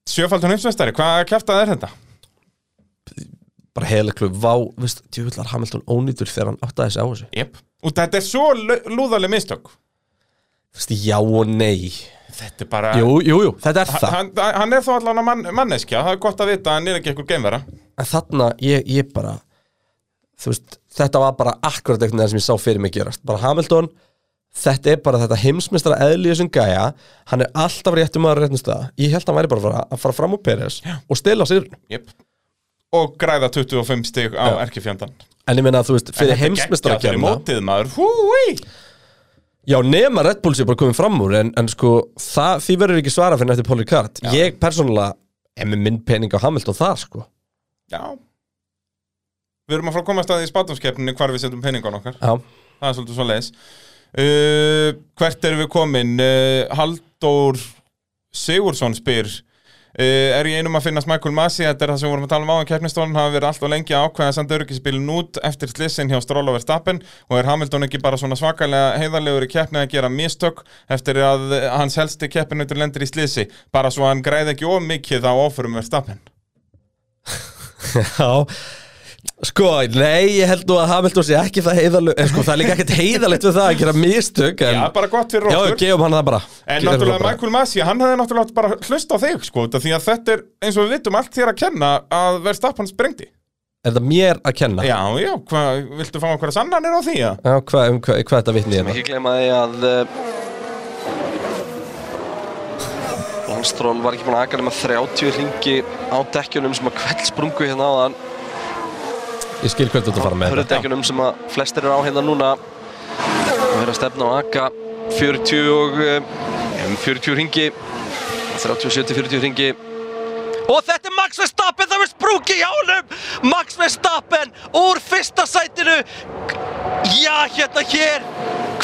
sjöfaldun uppsveistari, hvað kæftað er þetta?
bara heilaklu, vá, veist, djúvillar Hamilton ónýtur þegar hann áttaði sig á þessu
Jep. og þetta er svo lúðaleg mistök
Þú veist, já og nei
þetta er bara
Jú, jú, jú, þetta er það
Hann, hann er þó allan að mann, manneskja, það er gott að vita að hann er ekki eitthvað geimvera
en þarna ég, ég bara þú veist, þetta var bara akkurat einhvern veginn sem ég sá fyrir mig gerast bara Hamilton, þetta er bara þetta heimsmeistra eðli í þessum gæja hann er alltaf réttum maður á réttum stað ég held að hann væri bara að fara, að fara fram úr Peres og stela sér,
yep. og græða 25 stig á erkefjöndan
en ég meina að þú veist fyrir heimsmeistra
fyrir mótið maður húi
já nema Red Bull sér bara komið fram úr en, en sko, það, því verður ekki svara fyrir eftir Póli Kart, ég persónulega er með minn pening á Hamilton það sko
Já Við erum að fara að koma að staði í spátumskeppninu hvar við setjum penningan okkar
já,
Það er svolítið svo leiðis uh, Hvert erum við komin? Uh, Halldór Sigursson spyr uh, Er ég einum að finna Michael Masi Þetta er það sem við vorum að tala um áðan Keppnistólan hafa verið alltaf lengi að ákveða að senda öryggisbílun út eftir slissin hjá Stroll og Verstappen og er Hamilton ekki bara svona svakalega heiðarlegur í keppni að gera mistök eftir að eh, hans helsti keppinutur lendir í slissi bara svo hann græði ekki of mikið á áförum Verstappen
Já Sko, nei, ég held nú að Hamilton sé ekki það heiðalög En sko, það er líka ekkert heiðalegt við það að gera mistök en...
Já, bara gott fyrir
Já,
okkur
gefum hann það bara
En
Gefum
náttúrulega
það bara.
Michael Masi, hann hefði náttúrulega átt bara að hlusta á þig sko, út af því að þetta er eins og við vitum allt þér að kenna að Verstappen sprengdi.
Er það mér að kenna?
Já, já, hvað, viltu fá einhverja sannanir á því að?
Já, hvað um, hva, hva þetta vitni ég
Ekki gleyma því að uh, Lance Stroll eh, var ekki búinn að aka nema 30 ringi á dekkjunum sem að kveldsprungu hérna áðan
Ég skil hvernig þú ert að fara með þetta
Hörðudekkjunum sem að flestir eru á hérna núna og er að stefna á aka 40 og eh, um 40 ringi 37-40 ringi og þetta er Max Verstappen það er sprungi í hálum Max Verstappen úr fyrsta sætinu já hérna hér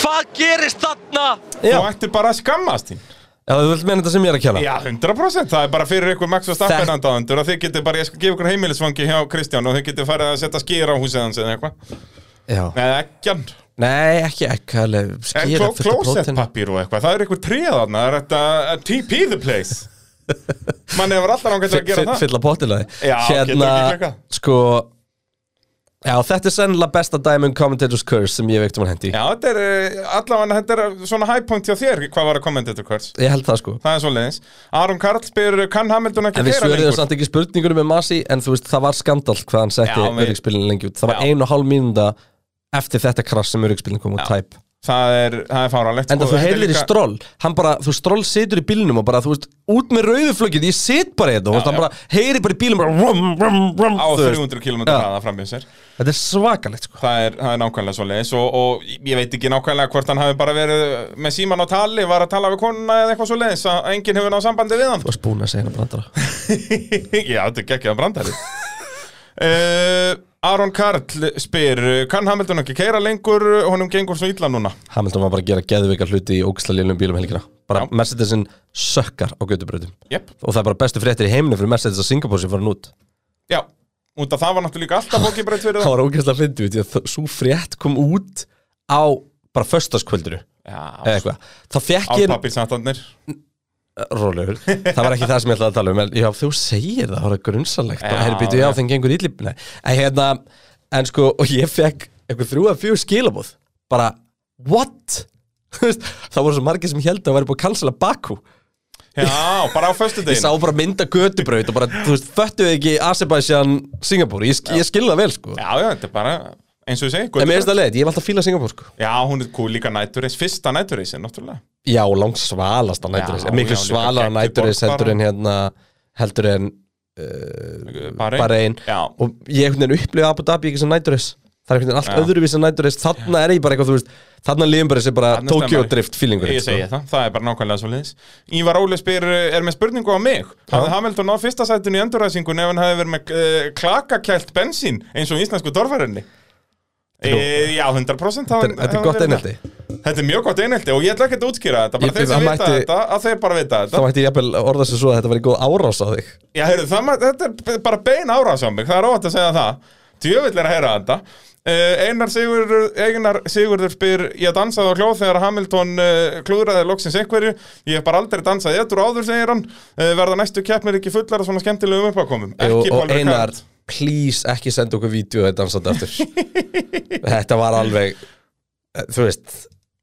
hvað gerist þarna
Já,
Þú ættir bara að skammast þín.
já þú vilt meina þetta sem ég er að kenna
Já, 100%, það er bara fyrir ykkur Max Verstappen andáðundur að þið getur bara, ég skal gefa ykkur heimilisfangi hjá Kristján og þið getur farið að setja skýr á húsið hans eða eitthvað.
Já.
Nei, ekkjan.
Nei, ekki ekki alveg
En
Skýra fullt af prótein
klósettpapír og eitthvað, það er ykkur tríðaðna, það er þetta uh, TP the place. Mann hefur alltaf langar til að gera það.
Fylla pottilaði
Já, getur ekki klikkað.
Sko Já, þetta er sennilega besta dæmi um Commentator's Curse sem ég veiktum hann hendi í.
Já, þetta er eh, allavega þetta er svona high point hjá þér hvað var að kommentator kvörs.
Ég held það sko
Það er svo leiðis. Aron Karl spyr kann Hamilton ekki
En við
keyra
svöruðum samt ekki spurningunum með Masi En þú veist, það var skandal hvað hann setti
Já, við-
öryggspilin lengi út Það var
Já.
ein og hálf mínunda eftir þetta krass sem öryggspilin kom út tæp
Það er, það er fáralegt.
En
sko.
það þú
Þetta er
heyrðir í
líka-
stról Hann bara, þú stról situr í bílnum og bara, þú veist Út með rauðuflöggið, ég sit bara í þetta þú veist,
Já,
Hann
já.
bara heyri bara í bílnum bara, rum, rum, rum,
Á
þú veist.
300 km hraða fram í sér.
Þetta er svakalegt sko
Það er, það er nákvæmlega svo leiðis og, og ég veit ekki nákvæmlega hvort hann hafi bara verið með síman á tali, var að tala við konuna eða eitthvað svo leiðis að enginn hefur náð sambandi við hann.
Þú varst búin að segja hana brandara
Já, þetta er geggjaðan brandari uh, Aron Karl spyr Kann Hamilton ekki keira lengur honum gengur svo illa núna
Hamilton var bara að gera geðveika hluti í ógisla lélum bílum helgina Bara
Já.
Mercedesin sökkar á gödubröðum
Jep
Og það er bara bestu fréttir í heiminu fyrir Mercedes að Singapore sem farin út
Já, út af það var náttúrulega líka alltaf bókibreyt fyrir
það
það
var ógeðslega fyndið út í að svo frétt kom út á bara föstaskvölduru eða
Já,
eitthvað, þá fekk ég
álpapirsatarnir
rólegur, það var ekki það sem ég ætlaði að tala um en já, þú segir það, það var grunnsalegt
Já,
og hér býtu ég á
já.
þeim gengur ílip en hérna, en sko, og ég fekk eitthvað þrjú að fjögur skilabóð bara, what? Þú veist, það voru svo margir sem held að væri búið að cancela Baku
Já, bara á föstudegin
ég sá bara mynda götubraut og bara, þú veist, föttuðu ekki Azerbaijan Singapúri, ég, sk ég skilði það vel sko.
Já, já, þetta er bara eins og ég segi
en mér
göttur-
finnst það leið, ég hef alltaf fílað Singapúr sko.
Já, hún er kúl líka nætturreis, fyrsta nætturreisin náttúrulega
Já, langt svalasta næturis
Já,
Miklu
já, líka
svalara
geggjuð
næturis
borg bara.
heldur en hérna heldur en
Bara
bara einn
Já,
og ég einhvern veginn upplifa Abu Dhabi ekki sem næturis Það er einhvern veginn allt
Já.
öðruvís en næturis Þarna er ég bara eitthvað, þú veist Þarna lífum bara þessi bara
Þarna
Tokyo
stemmari.
drift feelingur sko.
ég segi það, það er bara nákvæmlega svo leiðis Ívar Óli spyr, eh, er með spurningu á mig Hafði Hamilton náð fyrsta sætun í endurræsingun ef hann hefði verið með uh, klakakælt bensín eins og íslensku dorfarinni e, Já, 100%
Þetta er- þetta
hafði-
er
hafði
gott
verið það.
einhelti
Þetta er mjög gott einhelti og ég ætla ekkert að útskýra
Ég-
þetta bara þeir sem
það
vita
mætti-
þetta, að þeir bara vita
Þá
þetta
mætti ég jafnvel orða sér svo að þetta var í góð árás á þig
Já, heyrðu, það, mæ- þetta er bara bein árás á mig, það er óvægt að segja það Djövill er að heyra þetta uh, Einar, Sigurður, Einar Sigurður spyr Ég dansaði á hljóð þegar Hamilton uh, klúðraði loksins einhverju Ég hef bara aldrei dansaði ettur áður, segir hann uh, Verða næstu keppnir ekki fullar af svona skemmtilegum uppákomum
og, og
Ekki Paul
Einar,
Ricard.
please ekki senda okkur vídeo þetta dansandi aftur Þetta var alveg eh, Þú veist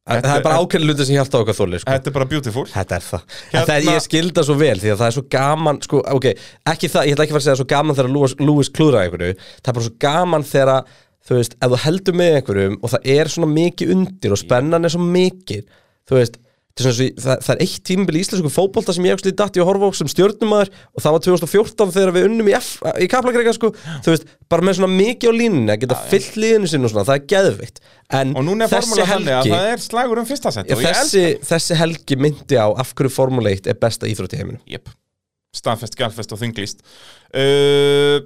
Það er bara ákveðin luti sem hjálta á okkar þóli sko.
Þetta er bara beautiful
Þetta er það. Hérna...
Hérna-
það er, ég skilda svo vel því að það er svo gaman, sko, ok, ekki það, ég ætla ekki að fara að segja svo gaman þegar Lewis, Lewis klúðraði einhverju, það er bara svo gaman þegar, að, þú veist, ef þú heldur með einhverjum og það er svona mikið undir og spennan er svo mikið, þú veist, þetta er svona svo, það, það er eitt tímabil í íslensku fótbolta sem ég ekki datt í að horfa á sem stjórnumæður og það var 2014 þegar við unnum í, F, í kaplagreika, sko, þú veist, bara með svona mikið á línunni að geta fyllt líðinu sinni og svona, það er geðvikt, en
Og núna er
þessi
formúla þannig að
helgi-
það er slagur um fyrsta set
Já, þessi, þessi helgi myndi á af hverju Formule 1 er besta íþrótt í heiminum
Jep. Staðfest, gælfest og þinglist uh,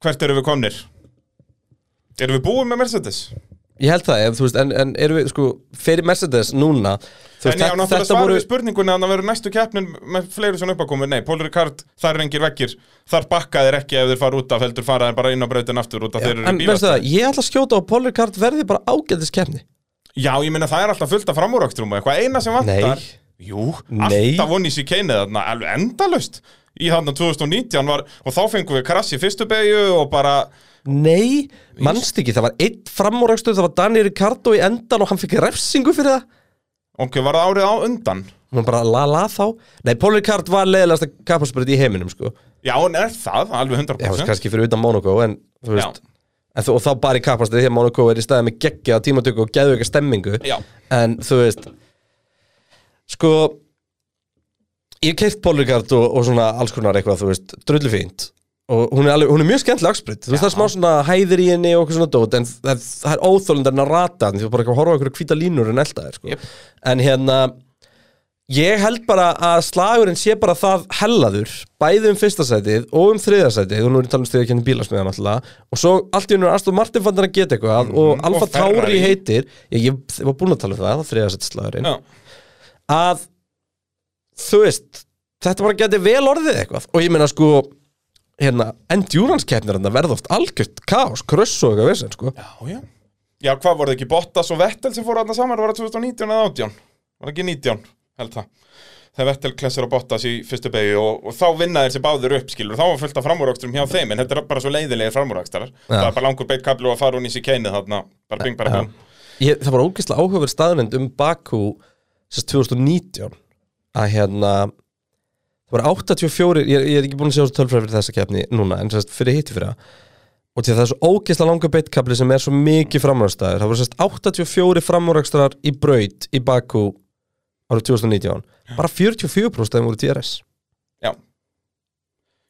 Hvert eru við komnir? Erum við búin með Mercedes?
Ég held það, en, þú veist, en, en erum við, sko, fyrir Mercedes núna þú
En
veist,
já,
þetta,
náttúrulega
þetta
svarið
voru
voru... spurningunni að það verður næstu keppnin með fleiri svona uppakomu Nei, Paul Ricard, þar er engir vekkir Þar bakka þeir ekki ef þeir fara út af heldur fara þeir bara inn á brautin aftur út af þeir
En
eru í
veistu
bílast
það, ég ætla að skjóta á að Paul Ricard verði bara ágætis keppni
Já, ég meina það er alltaf fullt af framúröktrum og eitthvað eina sem vantar
Nei.
Jú,
Nei.
alltaf vonni sér keinið þarna, alveg endalust Í þarna 2019 var, og þá fengum við krass í fyrstu beigju og bara
Nei, mannst ekki, það var einn framúrækstöð, það var Daniel Ricardo í endan og hann fikk refsingu fyrir það
Ok, var það árið á undan?
Hún bara la la þá Nei, Paul Ricard var leiðilegasta kapasbreyt í heiminum, sko
Já, en er það, alveg
Já,
100%
veist, kannski fyrir utan Monaco, en þú veist
Já.
En þú, og þá bara í kapasbreyt því að Monaco er í staði með geggja tímatöku og geðu eitthvað stemmingu
Já.
En þú veist Sko Ég hef keift Paul Ricard og, og svona alls konar eitthvað, þú veist, drullu fínt og hún er, alveg, hún er mjög skemmtileg áksbreyt þú veist það er smá svona hæðir í henni og eitthvað svona dót en það, það er óþólendar en að rata hann því þú bara eitthvað að horfa okkur hvíta línur en elda þér sko.
Jep.
en hérna ég held bara að slagurinn sé bara það hellaður bæði um fyrsta sætið og um þriða sætið og nú er ég talað um stiga kynni bílasmiðan alltaf og svo allt í unur Aston Martin fann hann að geta eitthvað og Alfa
Mhm. og Ferrari.
Tauri heitir ég, ég, ég var búin að tala um það, það þriða sætið slagurinn
Já.
að þú veist, þetta bara geti vel orðið eitthvað og ég meina sko hérna, endurance keppnir hann verða oft algjört kaos, kröss og eitthvað vesen sko.
Já, já. Já, hvað voru það ekki Bottas og Vettel sem fóru aðna saman? Var það 2019 eða 18? Var það ekki 19? Held það. Þegar Vettel klessir á Bottas í fyrstu beigju og, og þá vinna þeir sér báður upp, skilur. Þá var fullt af framúröksturum hjá þeim, en þetta er bara svo leiðilegir framúrökstarar. Það er bara langur beitt kablu að fara hún í sér keinið þarna. Bara bing, bara bing.
ég, það var ógeðslega áhugaverð staðnend um Baku sérst 2019 að hérna það var 84, ég, ég er ekki búin að sjá tölfræð fyrir þessa keppni núna, en sérst fyrir hitti fyrir og til það er svo ógeðslega langa beitkabli sem er svo mikið framúrækstaður það voru sérst 84 framúrækstarar í braut í Baku árið 2019 bara 44% þeim voru DRS
Já.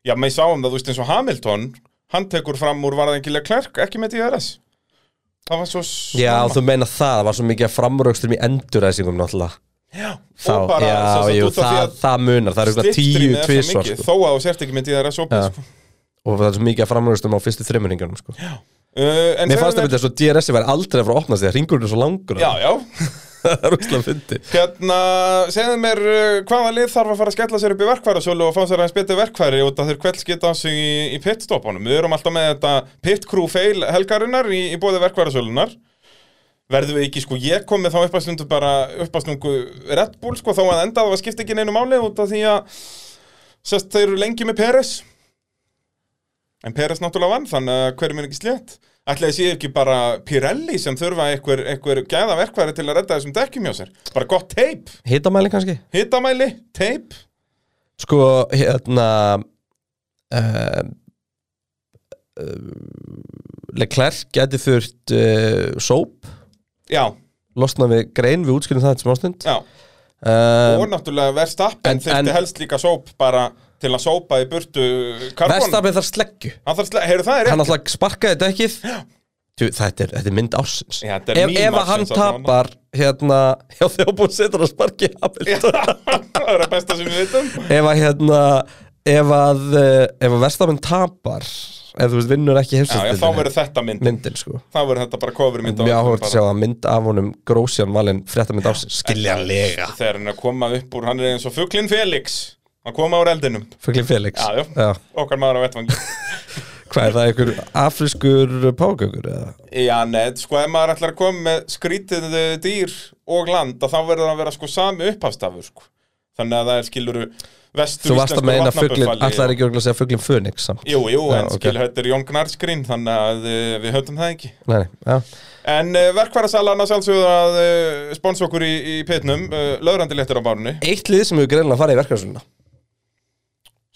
Já, maður sáum það, þú veist, eins og Hamilton, hann tekur fram úr varðengilega klærk, ekki með DRS. Það var svo...
Já,
snemma.
þú meina það, það var svo mikið framröxtum í enduræsingum náttúrulega
Já,
Þá,
og bara,
já,
sem sagt,
jú,
út af því
það,
að-
það munar, það eru eitthvað tíu
Styttrými er svo
tvisvar
mikið,
sko.
Þó að þú sért ekki með DRS opið
Já.
sko.
og það er svo mikið framröxtum á fyrstu þremuringunum sko.
uh, en
Mér
segðu
fannst það að svo DRS-i væri aldrei að fara að opna sig, ringurinn er svo langur
Já, já,
Það er úrslega fyndi
hérna, segðu mér uh, hvaða lið þarf að fara að skella sér upp í verkværasölu og fá sér aðeins betur verkværi út af þeir kvelds geta á sig í, í pitstoppunum Við erum alltaf með þetta pit crew fail helgarinnar í, í bóði verkværasölunar Verðum við ekki, sko, ég kom með þá uppastundu bara uppastungu Red Bull, sko, þá að enda það var skipt ekki neinu máli út af því að sérst, þeir eru lengi með Peres En Peres náttúrulega vann, þannig að hver er mér ekki slétt? Ætlaði sé ekki bara Pirelli sem þurfa einhver, einhver gæða verkværi til að redda þessum dekkjum hjá sér. Bara gott teip,
Hitamæli kannski?
hitamæli, teip.
Sko, hérna uh, eh, Leclerc geti þurft uh, sóp,
Já,
losna við grein, við útskýrum það þetta smástund
já.
um,
og náttúrulega Verstappen
en- en-
þurfti helst líka sóp bara til að sópa í burtu karbon.
Verstafið þarf sleggju
Hann þarf slega, heyrðu það er
hann
rétt.
alltaf sparkaði dekkið Tjú, þetta, er, þetta er mynd ásins
Já, þetta er
ef,
mím
ef að
ársins
hann
þarna,
tapar hérna, já þegar búin að setja hann að sparki Hamilton
það er að besta sem við veitum.
ef að hérna ef að, eh, ef að Verstafinn tapar ef þú veist vinnur ekki
Já, já, þá verður
heimsastildin
þetta mynd.
myndin sko
Þá verður þetta bara kofur mynd
mjög áhugast að sjá að mynd af honum grósjan valinn fréttamynd ásins skiljanlega
Þegar hann er að koma upp úr, hann er eins og fuglinn Felix. Hann koma úr eldinum.
Fuglin Felix
Já, já. Okkar maður á vettvangi.
hvað er það, einhver afriskur pákökur eða?
Já, neð, sko, ef maður ætlar að koma með skrítið eh, dýr og land að þá verður það að vera sko sami upphafstafur sko. þannig að það er skiluru vestur
þú varst að meina fuglin, allar
ekki
ekki örugglega að segja fuglin Fönix samt
Jú, jú,
Já,
en
ok.
skilur þetta er Jón Gnarskrín þannig að uh, við höfum það ekki
nei, nei, já
En uh, verkværasalan að sjálfsögðu að uh, spons okkur í, í pitnum uh, löðrandi léttir á bárunni
eitt lið sem hefur greinlega farið í verkefnsunna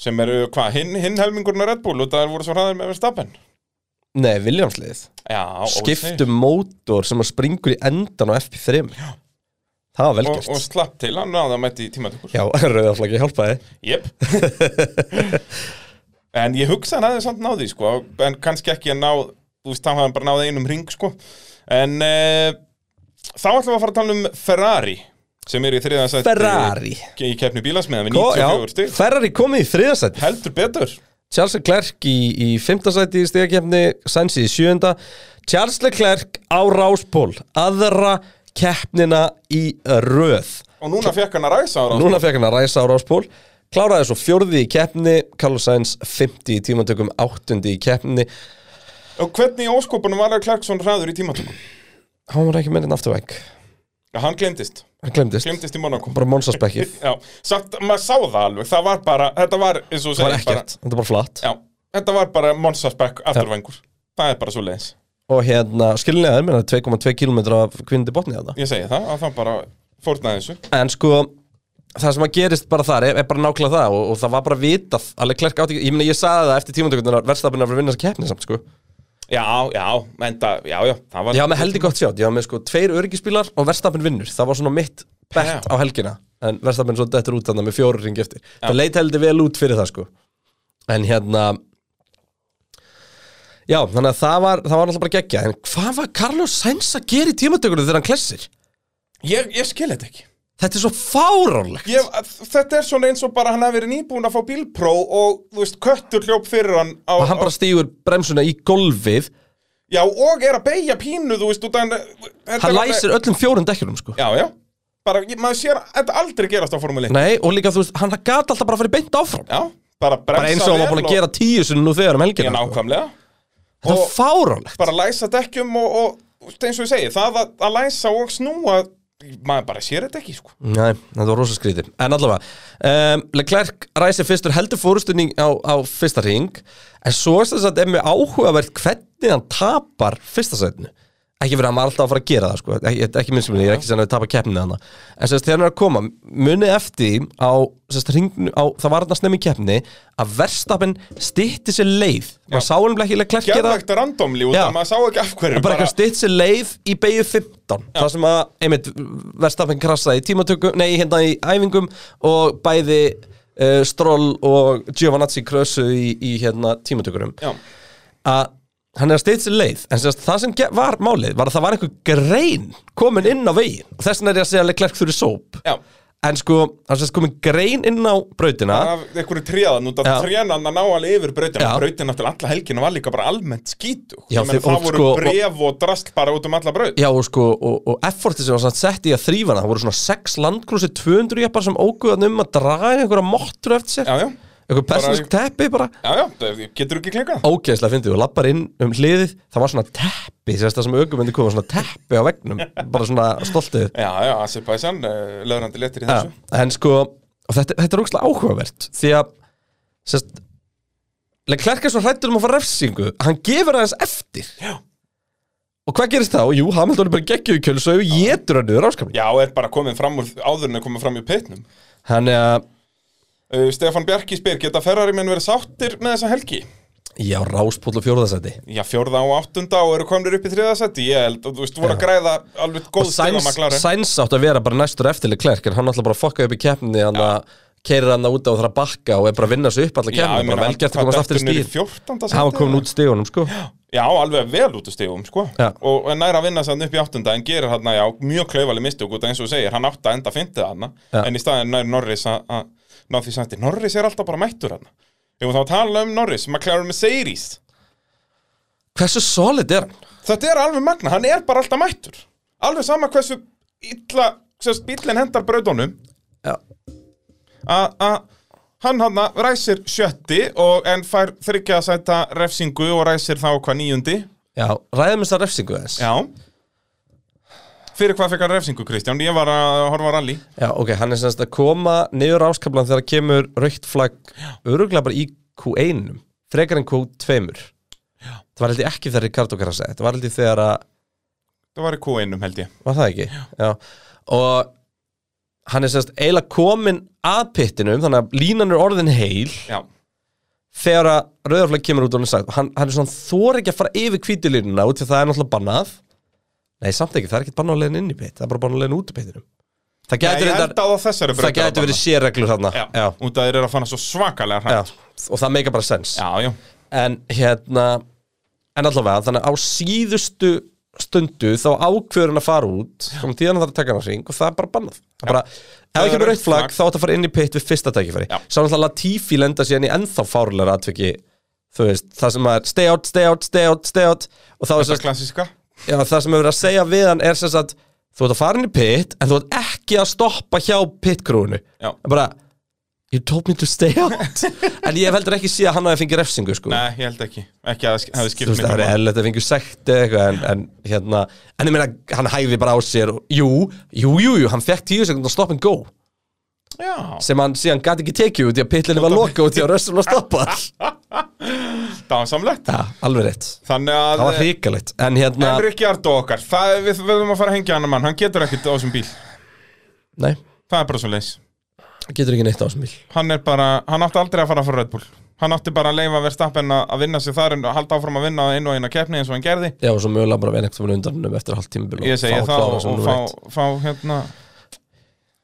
sem eru, hvað, hinn, hinn helmingurinn að Red Bull og það voru svo hraðir með Verstappen
Nei, Viljámsliðið
Já,
Skiptu mótor sem að springur í endan á FP3 Það var
og,
velgjert
og slapp til, hann náði að mæti í tímatökur
Já, rauðaflagi hjálpaði
Jep En ég hugsa hann aðeins samt náði sko En kannski ekki að ná Þú veist, þá hafði hann bara náði einum ring sko En uh, Þá ætlum við að fara að tala um Ferrari Sem er í þriða sætti
Ferrari
Í keppni bílasmiða með
Ko, já,
94 stig
Ferrari komið í þriðasæti
Heldur betur
Charles Leclerc í, í fimmtasæti í stegakefni Sainz í sjöunda Charles Leclerc á ráspól aðra keppnina í röð
Og núna fekk hann að ræsa ára
núna fekk hann að ræsa á ráspól kláraði svo fjórði í keppni Carlos Sainz 50 í tímantökum áttundi í keppni
Og hvernig í óskopunum var að Clarkson hraður í tímatökum?
hann var ekki með enn afturvæk
Já, hann glemdist
hann glemdist,
Glemdist í Monaco
bara monsaspekkið
Já, samt, maður sá það alveg Það var bara, þetta var, eins og þú
það var
segir, bara-
ekkert, þetta er bara flatt
Já, þetta var bara Monsa spekk afturvængur Það er bara svo leiðis
og hérna skilinlega er minna 2,2 km af kvindi botni að það
Ég segi það, að það bara fórnaði þessu
en sko það sem að gerist bara þar er, er bara nákvæmlega það og, og það var bara vitað alveg klerk átt ekki, ég meina ég saði það eftir tímantökundunar verðstafinu að vinna þessa keppni samt sko
Já, já, enda, já, já Það var
ég hafa með heldig gott sjátt, ég hafa með sko tveir öryggispílar og verðstafinu vinnur, það var svona mitt bett
Já.
á helgina, en verðstafinu svo dettur út þannig með fjóru ringi eftir, það leit heldig vel út fyrir það sko en hérna já, þannig að það var, það var náttúrulega bara geggja en hvað var Carlos Sainz að gera í tímatökunum þegar hann klessir?
ég, ég skil þetta ekki
Þetta er svo fáránlegt
ég, Þetta er svona eins og bara hann hafi verið nýbúin að fá bílpró og, þú veist, köttur hljóp fyrir hann á,
og hann bara stígur bremsuna í golfið
Já, og er að beigja pínu, þú veist, út að hann
hann læsir öllum fjórum dekkjunum sko
Já, já, bara, ég, maður sér þetta aldrei gerast á formúli
Nei, og líka þú veist, hann gata alltaf bara að fara beint áfram
Já, bara bremsa
bara eins og hann var
vel
búin að gera tíu sinni nú þegar um
Já,
helgina sko.
nákvæmlega
Þetta er
Og-
fáránlegt
bara læsa dekkjum og, og þú veist, eins og ég segi, það að, að læsa og snúa maður bara sér þetta ekki sko.
Nei, þetta var rosa skrítið En allavega um, Leclerc ræsir fyrstur heldur fórustunning á, á fyrsta ring En svo er þess að er mjög áhugavert hvernig hann tapar fyrsta setinu Ekki verið að maður alltaf að fara að gera það sko Ekki, ekki minnst minni, ég er ekki sem að tapa keppnið hana En sérst þegar hann er að koma Munið eftir því á, sérst, hringnu, á Það var hann að snemmi í keppni Að verstapin stytti sér leið Maður sá hann ekki Leclerc gera
Gerðvægt randomli út
Já.
að maður sá ekki af hverju
bara eitthvað stitt sér leið í beigju 15 það sem að, einmitt, verðstafinn krassaði í tímatökum, nei, hérna í æfingum og bæði uh, Stroll og Giovanazzi krössu í, í hérna tímatökurum
Já,
að hann er að stitt sér leið en sérst, það sem ge- var málið var að það var einhver grein komin inn á vegin og þess vegna er ég að segja að Leclerc þurfi sóp
já,
en sko, það er sérst komin grein inn á brautina
af einhverju tríðan út að
Já.
tríðan að ná alveg yfir brautina
Já.
Brautin eftir alla helgina var líka bara almennt skítu
Já, þið-
Það
og
voru
sko-
bref og drasl bara út um alla braut
Já og sko, og, og efforti sem var samt sett í að þrýfa hana, það voru svona 6 landkrúsi 200 jeppar sem óguðan um að draga einhverja mottur eftir sér,
Já, já,
einhver persónsk teppi bara,
já, já, það- getur ekki klinkað
ógeðslega fyndið og lappar inn um hliðið, það var svona teppi, sérst það sem aukumöndi koma, svona teppi á vegnum, bara svona stoltið.
Já, já, Azerbaijan, uh, löðrandi letir í
Ja,
þessu
en sko, og þetta, þetta er ógeðslega áhugavert, því að, sérst, Leclerc er svo hrættur um að fara refsingu, hann gefur aðeins eftir.
Já.
Og hvað gerist þá? Jú, Hamilton er bara geggjöð í kjölu, svo getur hann niður áskamli.
Já, er bara komin fram úr, áður en er komin fram í pitnum
Þannig að,
uh, Stefan Bjarki spyr, geta Ferrari menn verið sáttir með þessa helgi?
já, ráspól og fjórðasæti.
Já, fjórða og áttunda og eru komnir upp í þriðasetti Ég held, og þú veist, voru að græða alveg góð stegum að klára
Sæns átt að vera bara næstur eftirlega klerk en hann alltaf bara fokkaði upp í keppni hann að keira hann út á þar að bakka og er bara að vinna svo upp allar keppni, bara velgjart að komast aftur í stíð
stíð
hann var komin út stígunum sko
Já, alveg vel út úr stíðum, sko
Já.
Og en nær að vinna sann upp í áttunda En gerir hann, já, mjög klaufali mistök út af eins og þú segir, hann átt að enda fyndið hann
Já.
En í staðin nær Norris að að ná því sætti Norris er alltaf bara mættur hann Ég var þá að tala um Norris, McLaren Mercedes
hversu solid er hann?
Þetta er alveg magna, hann er bara alltaf mættur Alveg sama hversu illa, hversu bíllinn hendar brautunum
Já.
að að hann hann ræsir sjötti og en fær þryggja að sæta refsingu og ræsir þá hvað nýjundi
Já, ræðum þess að refsingu þess
já fyrir hvað fekk hann refsingu Kristján ég var að horfa á rally
Já, ok, hann er semst að koma niður áskablan þegar kemur raukt flagg öruglega bara í Q1 frekar en Q2 það var heldur ekki þegar Ricardo Garza þetta var heldur þegar að
það var í Q1 um held ég
Var það ekki? Já. Og hann er sérst eiginlega kominn að pittinum, þannig að línan er orðin heil
já
þegar að rauðarflag kemur út og hann er sagt. Hann, hann er svona þor ekki að fara yfir kvítulínuna út því að það er náttúrulega bannað. Nei, samt ekki, það er ekki bannað að leiðin inn í pitt, það er bara bannað að leiðin út í pittinum. Það
Já,
gæti
ég held
reyndar-
að á þessari
það
braut er að
gæti verið
banna.
sérreglur þarna.
já.
Já.
út að þeir eru að fanna svo svakalega
Já.
hrætt
Og það meika bara sens.
já, já,
En hérna, en allavega, þannig að á síðustu stundu þá ákveður hann að fara út og tíðan þarf að taka hann á hring og það er bara bannað það er bara, ef
Það
ekki
er
með
rautt
rautt flagg
flagg.
þá átt að fara inn í pitt við fyrsta tækifæri
Já.
sá náttúrulega Latifi lenda síðan í ennþá fárlega atviki þú veist, það sem er stay out, stay out, stay out, stay out og þá er
Þetta
sérst,
klassíska
já, það sem er verið að segja við hann er sérst að þú ert að fara inn í pit en þú ert ekki að stoppa hjá pitkrúinu
Já.
bara, you told me to stay out en ég hef heldur ekki síðan að hann hafi fengið refsingu sko.
Nei, ég held ekki Ekki að það hefði
þú
skipt
veist, það
miklu
er
máli.
eðlilegt að fengið sekt eða eitthvað en, en hérna, en ég meina hann hæfi bara á sér, og, jú, jú, jú, jú hann fekk tíu sekundar stop and go
Já,
sem hann síðan gæti ekki tekið út í að pitlinni var loka út í að rössum og stoppa
dásamlegt
Já, alveg rétt,
Þannig að
það var hrikalegt en hérna,
En Rikki Ardó okkar, það, er- við verðum að fara að hengja hann mann, hann getur ekkert á þessum bíl
nei,
Það er bara svo leis
getur ekki neitt á þessum bíl
Hann er bara, hann átti aldrei að fara að fara Red Bull Hann átti bara að leifa Verstappen að að vinna sér þar en að halda áfram að vinna einu og eina keppni eins og hann gerði
Já, og svo mögulega bara verið einhvern veginn undanum eftir hálft tímabil og
Ég segi
fá
það
klára
og,
sem
og
númer eitt.
fá, fá hérna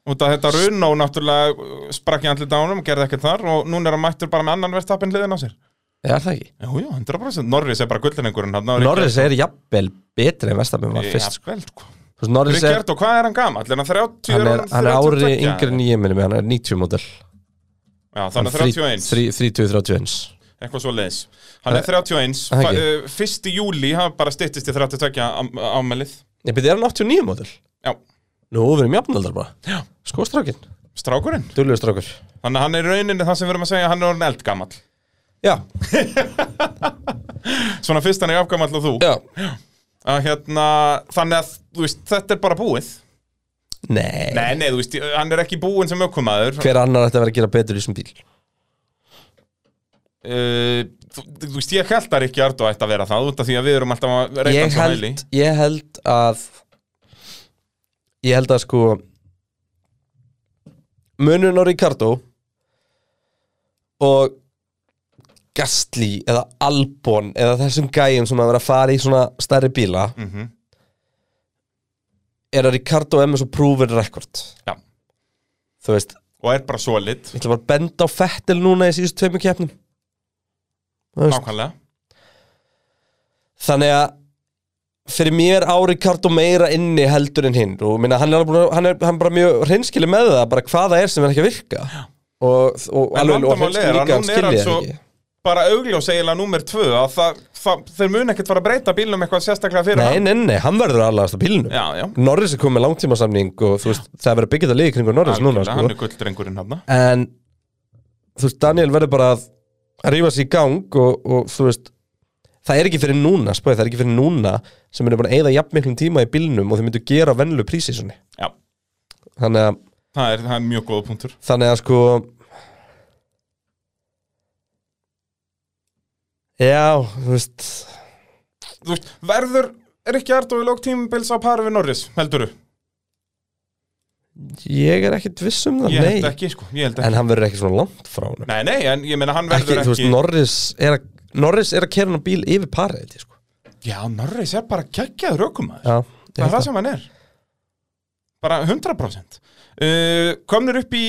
Út af þetta runn og náttúrulega uh, sprakk í andlið dánum og gerði ekkert þar og núna er hann mættur bara með annan Verstappen hliðin á sér
Já, er það ekki?
Jú, jú, 100% Norris er bara gullinengurinn hann
Norris er jafnvel betri en Vestafinn var fyrst
Jafnvel, sko
Þú veist, Norris
Rikki
er,
Ardó, hvað er hann gamall? Er hann 30?
hann er, hann er ári
32?
yngri en ég minni mig, hann er 90 model
Já, þannig 31
30-31
eitthvað svo leiðis hann er 31,
það ekki?
fa- uh, fyrsti júli hann bara styttist í 32 am- ámælið
Ég byrði, er hann 89 model?
já,
Nú, við erum jafnaldar bara Sko strákin,
strákurinn
duðlegu strákur
þannig að hann er í rauninni það sem við erum að segja hann er orðin eldgamall
Já,
svona fyrst hann er afgamall og þú
já
að, hérna, þannig að þú veist, þetta er bara búið
Nei,
nei, nei, þú veist, hann er ekki búinn sem ökumæður
hver annar ætti að vera að gera betur í þessum bíl?
uh, þú, þú veist, ég held að Rikki Ardó ætti að vera það út af því að við erum alltaf að reyta
ég
hans á hæli
held, ég held að ég held að sko munun á Ricardo og Gastli eða Albon eða þessum gæjum sem að vera að fara í svona stærri bíla
Mhm.
er að Ricardo er með svo proven record
Já.
þú veist,
og er bara svo lit,
ég ætla bara að benda á Fettel núna í síðustu tveimur keppnum Þú veist,
nákvæmlega
Þannig að fyrir mér á Ricardo meira inni heldur en hinn og minna, hann, er alveg búinn að- hann er hann er bara mjög hreinskili með það bara hvað það er sem er ekki að virka og, og
En
alveg og
vandamálið er
hreinskili líka
að
hann
núna er hann
skilja
svo-
það ekki
bara augljós eiginlega númer tvö að það, það, þeir mun ekkert fara að breyta bílnum eitthvað sérstaklega fyrir
Nei,
hann
nei, nei, hann verður aðlagast á bílunum
Já, já,
Norris er komið með langtímasamning og þú veist, það er verið að byggja það liði kringu Norris núna
Algjörlega, hann
sko.
er gulldrengurinn hann
en þú veist, Daniel verður bara að að rífa sig í gang og, og þú veist það er ekki fyrir núna, spöði, það er ekki fyrir núna sem er bara að eyða jafn miklum tíma í bílnum og þau myndu gera á venlu prísísunni
Já,
þannig að
það er, það er mjög góða punktur
Þannig að sko Já, þú veist
Þú veist, verður Rikki Ardó í lók tímubils á pari við Norris, heldurðu?
Ég er ekkit viss um það,
Ég held
nei
ekki, sko, ég held ekki
En hann verður ekki svona langt frá hann
Nei, nei, en ég meina hann
ekki,
verður
Þú
ekki,
veist, Norris er að Norris er að kera hann á bíl yfir parið held ég, sko.
Já, Norris er bara geggjaður aukumæður
Já, ég held
Það er það
það
sem hann er Bara 100% uh, Komnir upp í,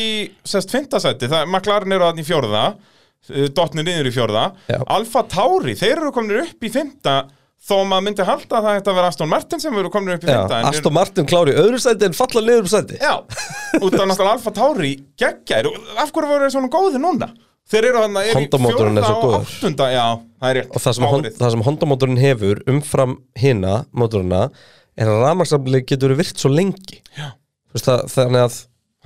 sérst, fintasætti Það er maklarinn eru þannig í fjórða uh, Dottnir niður í fjórða
Já.
Alfa Tauri, þeir eru komnir upp í fymta Þó maður myndi halda að það ætti að vera Aston Martin sem eru komnir upp í
Já,
fymta
Aston Martin klári í öðru sæti en falla niður um sæti
Já, út af náttúrulega Alfa Tauri geggjær, af hverju voru þeir svona góði núna? Þeir eru hann að er í
Honda-mótorinn er
fjórða
svo
og
góður.
áttunda Já, það er rétt
Og það sem, hon,
Árið.
það sem Honda-mótorinn hefur umfram hina mótoruna er að rafmagnsamlega getur verið virt svo lengi
Já.
Þú veist, það, Þannig að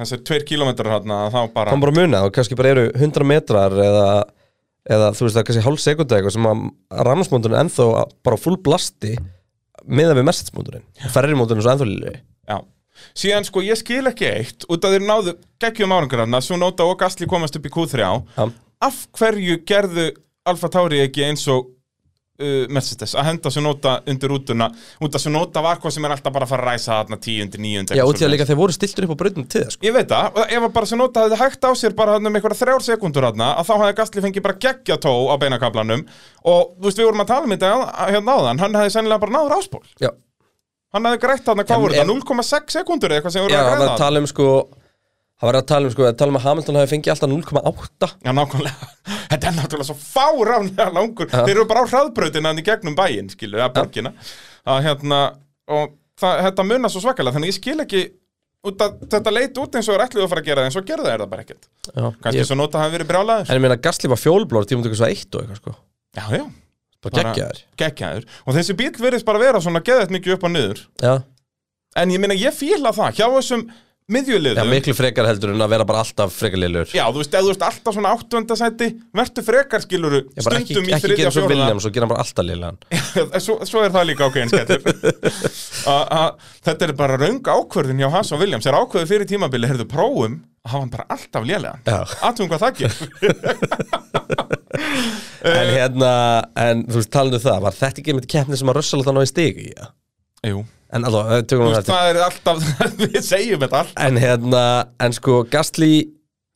Þessir tveir kilometrar hann að þá bara
hann bara muna og kannski bara eru 100 metrar eða, eða þú veist það er kannski hálf sekunda eitthvað sem að rannasmóndurinn ennþá bara á full blasti miðan við message-móndurinn og ferri-móndurinn svo ennþá lili
Já, síðan sko ég skil ekki eitt út að þeir náðu geggjum árangur hann að Sunota og Gasly komast upp í Q3
Já.
Af hverju gerðu Alfa Tauri ekki eins og uh, Mercedes að henda Sunota undir útuna út að Sunota var hvað sem er alltaf bara að fara að ræsa þarna 10 undir 9
Já, út í að líka þeir voru stiltur upp á brautinu til það sko.
Ég veit það, og ef að bara sem nota hefði hægt á sér bara þarna um einhverja þrjár sekundur hann að þá hefði Gastli fengið bara geggja tó á beinakablanum og þú veist við vorum að tala um þetta á- hérna áðan, hann hefði sennilega bara náður áspól
Já,
hann hefði greitt þarna,
En-
hvað voru
en-
þetta, 0,6 sekundur eða eitthvað sem voru
Já
að
hann var
greiða
að
hann
tala um sko hann var að tala um sko, að tala um að Hamilton hafi fengið alltaf 0,8
Já, nákvæmlega, þetta er náttúrulega svo fáránlega langur, þeir eru bara á hraðbrautina hann í gegnum bæinn, skilur, eða borgina að hérna, og það, þetta munna svo svakalega, þannig ég skil ekki út að þetta leit út eins og er ætluð að fara að gera það, eins og gerða er það bara ekkert
Já,
kannski
ég,
svo nota hafi verið brjálaður
En ég meina Gasly var fjólblór tíma tökur svo eitt og eitthvað sko
já, já
Bara
Bara-
geggjaður
geggjaður og þessi bíl verðist bara vera svona geðið mikið upp og niður
Já,
en ég meina ég fíla það hjá þessum
já
miðjuliðum
miklu frekar heldur en að vera bara alltaf frekarleilur
Já, þú veist, ef þú veist alltaf svona áttundasæti verður frekar skiluru
Ég bara ekki,
stundum í
ekki
þriðja
gera svo
fjórða
William, svo gera hann bara alltaf leilan
svo, svo er það líka ákveðin skellur A- a- Þetta er bara raung ákvörðin hjá Hans og Williams er ákvörðu fyrir tímabili, heyrðu prófum að hafa hann bara alltaf lélegan
Já.
Atum hvað það gerir Eh.
En hérna, en þú veist, talandi um það Var þetta ekki með keppni sem að rössala þannig á í stig í ja?
Jú,
En alveg, eh, tökum
þú
við
veist,
þetta
það er alltaf við segjum þetta alltaf
En hérna, en sko, Gastli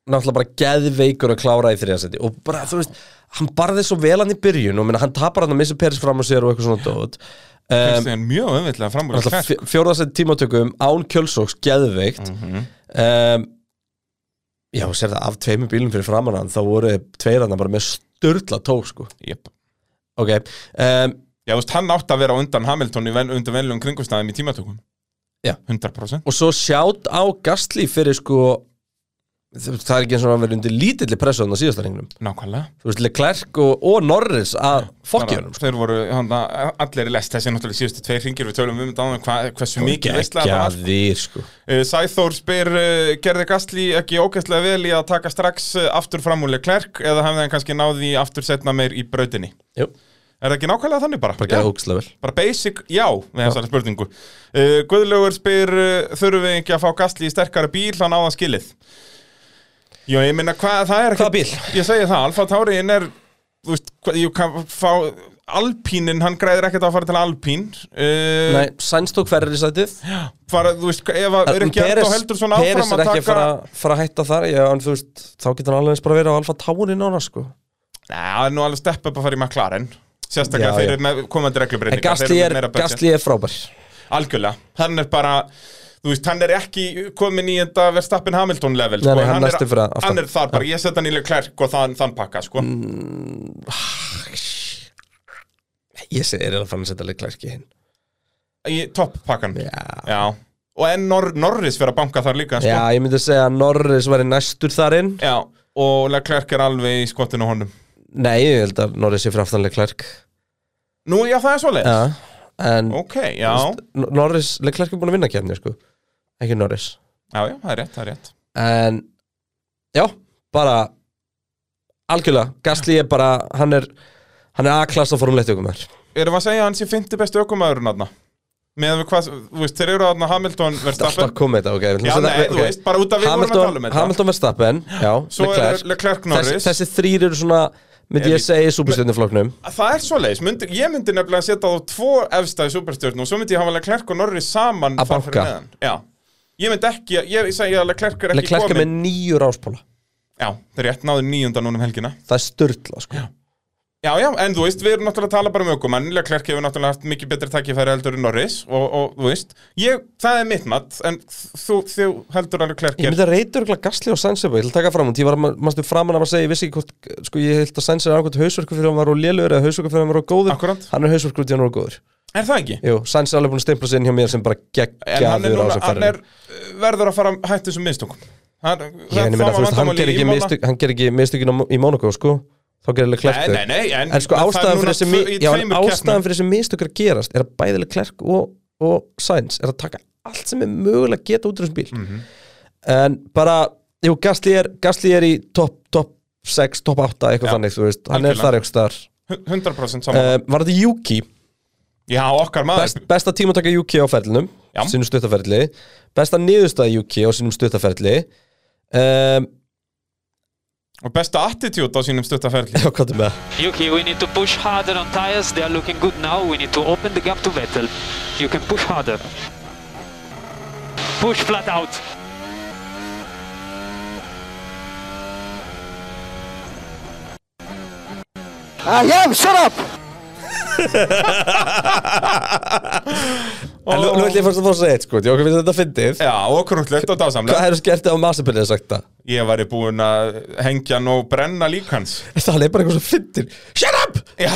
Náttúrulega bara geðveikur að klára í þriðasendi Og bara, þú veist, hann barði svo vel hann í byrjun Og minna, hann tapar hann að missa Peris fram á sér og eitthvað svona dót um,
Það er mjög öðvitlega framúr
Alltaf fjórðasett tímatökum án kjölsóks, geðveikt
Mhm.
um, Já, sér það af tveimur bílum fyrir framan hann þá voru tveirarna bara með störla tók sko.
Jep
Ok um,
Já, þú veist, hann átti að vera á undan Hamilton í ven, undir venlum kringumstæðum í tímatökum
Já.
100%
Og svo sjátt á Gastli fyrir sko þ- það er ekki eins og hann verið undir lítilli pressu hann á síðasta ringnum
Nákvæmlega
Þú veist, Leclerc og, og Norris að fokkja
Bara,
hann sko.
Þeir voru, hann, allir í lest þessi náttúrulega síðustu tveir ringir við tölum um þetta áðan, hva, hversu mikið veistlega þetta var
Geggjaðir sko
Eh, Sæþór spyr, eh, gerði Gastli ekki ógæstlega vel í að taka strax eh, aftur fram úr Leclerc eða hafði hann kannski náði aftur setna meir í brautinni
Jú,
Er það ekki nákvæmlega þannig bara?
bara
Já.
geða húkslega vel
Bara basic, já, með þessari spurningu uh, Guðlaugur spyr uh, Þurfum við ekki að fá Gastli í sterkara bíl Hann á það skilið Jó, ég minna, hvað það er ekki
Hvaða bíl?
Ég segi það, Alfa Tauriin er Þú veist, hvað, ég kann fá Alpínin, hann græðir ekkert að fara til Alpín uh,
Nei, Sainz tók ferri í sætið
fara, Þú veist, ef að er ekki
Peres-
enda heldur svona
Peres
áfram
er
að
ekki að
taka
fara, fara að hætta þar já, en, þú veist, þá getur hann alveg eins bara verið á Alfa Tauri nána sko.
Nei, það er nú alveg stepp upp að fara í McLaren
Já,
Sérstaklega
já.
þeir eru með komandi
en
reglubreitingar þeir
Gastli
eru með
er,
meira budget.
Gastli er frábær
Algjörlega, hann er bara þú veist, hann er ekki komin í þetta Verstappen Hamilton level
Nei, nei,
en
hann
hann,
næstur
er,
fyrir aftan. Mm.
hann er þar bara, ég setja hann í Leclerc og þann, þann pakka sko.
ég segi er að fara að setja leiklæk í hinn
í topp pakkan
já.
Já. og en Nor Norris fyrir að banka þar líka sko.
já, ég myndi að segja að Norris væri næstur þar inn
Já, og Leclerc er alveg í skottinu á honum
nei, ég held að Norris sé fyrir aftan leiklæk
Nú, já, það er svoleið
já, en
Ok, já,
N- Norris, leiklæk er búin að vinna kefni sko. ekki Norris
já, já, það er rétt, það er rétt
en já, bara algjörlega, Gastli er bara hann er, hann er A-klassa formulegt ykkur maður
Erum við að segja að hann sé fyndi bestu ökumæðurinn aðna? Meðan við hvað, þú veist, þeir eru aðna Hamilton
alltaf
Verstappen
komið þetta, ok við ætlum
Já,
að
nei,
setja-
þú veist, bara út af við vorum að tala um
Hamilton,
þetta
Hamilton Verstappen, já,
Svo er
Leclerc
Leclerc
þessi,
Norris
þessi þrýr eru svona, myndi ég
Elite.
segja, í súbustjörnuflokknum
Það er svoleiðis, myndi, ég myndi nefnilega að setja þá tvo efstæði superstjörn og svo myndi ég hafa Leclerc og Norris saman
Að
þar fyrir
banka.
neðan. Já, ég myndi ekki, ég segja að Leclerc er ekki
Leclerc er
komin
með nýju ráspóla
Já, þeir eru rétt náðu nýjunda núna um helgina
það er störtla, sko
Já, já, en þú veist, við erum náttúrulega að tala bara um ökumann Leclerc hefur náttúrulega haft mikið betri takkifæri heldur en Norris og, og þú veist, ég, það er mitt mat en þú, þú heldur að Leclerc
ég
er
myndi að reytur eitthvað Gasly og Sainz upp, ég ætla að taka fram hún, ég var, mannstu framan af að segja, ég vissi ekki hvort, sko, ég held að Sainz er annað hausverku fyrir hann var og lélur eða hausverku fyrir hann var og góður
Akkúrat.
hann er hausverku fyrir hann var og góður
Er það ekki?
Jú, Sainz er alveg búin að stempla sér inn hjá mér sem bara
En hann er
geggjaður á
núna,
þessum
hann
ferðinni
er verður að fara um að hætta þessum miðstökum Hann,
Ég en ég meina, þú
það var
veist, hann
vandamálið
gerir
í
ekki
Imola.
mistök- hann gerir ekki mistökin á- í Monaco, sko þá gerir Leclerc
Nei,
þau.
nei, nei, en,
en sko
það er
ástæðan fyrir
núna
þessi,
tvö-
mi-
í
já, en
tveimur
ástæðan
keppnum.
fyrir þessi mistök er að gerast er að bæðileg Klerk og, og Sainz er að taka allt sem er mögulega að geta út úr þessum bíl
Mhm.
en bara, jú, Gasly er, Gasly er í topp top 6, topp 8 eitthvað
Já,
þannig, þú veist, hann er
algjörlega.
þar eitthvað þar uh,
100% saman
var þetta Yuki,
Já, okkar maður
best, besta tímataka Yuki á ferlinum
Já.
sínum stuttaferli besta niðurstaða Yuki á sínum stuttaferli um,
og besta attitút á sínum stuttaferli
já, hvað er með það?
Yuki, we need to push harder on tires. They are looking good now. We need to open the gap to Vettel. You can push harder. Push flat out.
Nú nú ætlum ég fyrst að fá að segja eitt sko, ég okkur finnst þetta fyndið
Já, og krútlegt og dásamlega
Hvað er skertið á Masipinni að sagt það?
Ég væri búinn að hengja hann og brenna lík hans
Það er bara eitthvað svo fyndin Shut up!
Já,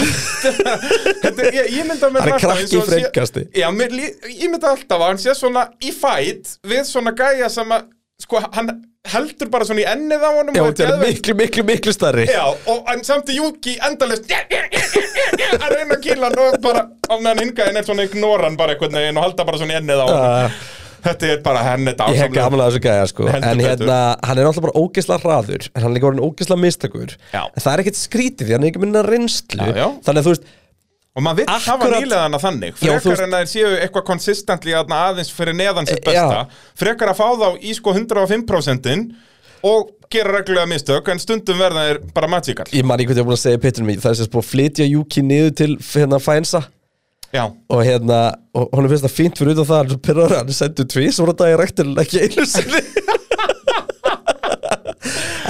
þetta, er- ég, ég mynda með
Hann er krakki í freinkasti.
Já, mér, lí- ég mynda alltaf að hann sé svona í fætt við svona gæja sem að sko, hann heldur bara svona í ennið á honum
Já,
og er
þetta er
geðveikt.
miklu, miklu, miklu starri
Já, og en samt er Júki endalist að reyna að kýla hann og bara á meðan hingaðin er svona ignoran bara einhvern veginn og halda bara svona í ennið á hann Þetta er bara henni þetta
Ah. Ég hef
ásamlega
gaman að þessu gæja sko
Heldur
En
betur.
hérna, hann er náttúrulega bara ógisla hraður En hann er líka orðin ógisla mistakur
Já.
En það er ekkert skrítið því hann er ekki minna reynslu
Já, já.
Þannig að þú veist,
Og maður vill hafa
Akkurat-
nýleðana þannig
Já, þú
Frekar
veist-
en að þeir séu eitthvað konsistentli aðna aðeins fyrir neðan sitt
E, já.
besta Frekar að fá þá í sko 105%-in og gera reglulega mistök en stundum verða þeir bara magikal
ég man ekki hvað ég er búin að segja í pittunum Það er sem sagt búin að flytja Juki niður til hérna Fænsa
Já,
Og hérna, og hún finnst það fínt fyrir utan það Hann er svo pyrrar, hann sendur tvís og þetta er rektur ekki einu sinni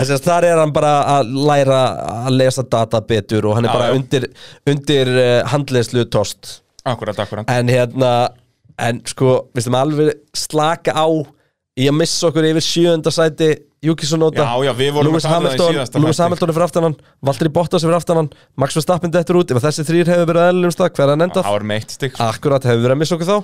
En sérst, þar er hann bara að læra að lesa data betur og hann er
Já,
bara
já.
undir, undir uh, handleyslu tost
akkurat, akkurat
En hérna En sko, við stum alveg slaka á Í að missa okkur yfir sjöunda sæti Júkisson Nóta
Já, já, við vorum
Lewis
að tala um það í
Hamilton,
síðasta
Lewis
þætti.
Hamilton er fyrir aftan hann Valtteri Bottas er fyrir aftan hann Max Verstappen dettur út Ef að þessi þrýr hefur verið aðeinlega um stað Hver er hann endað?
Árum eitt stygg
Akkurat, hefur verið að missa okkur þá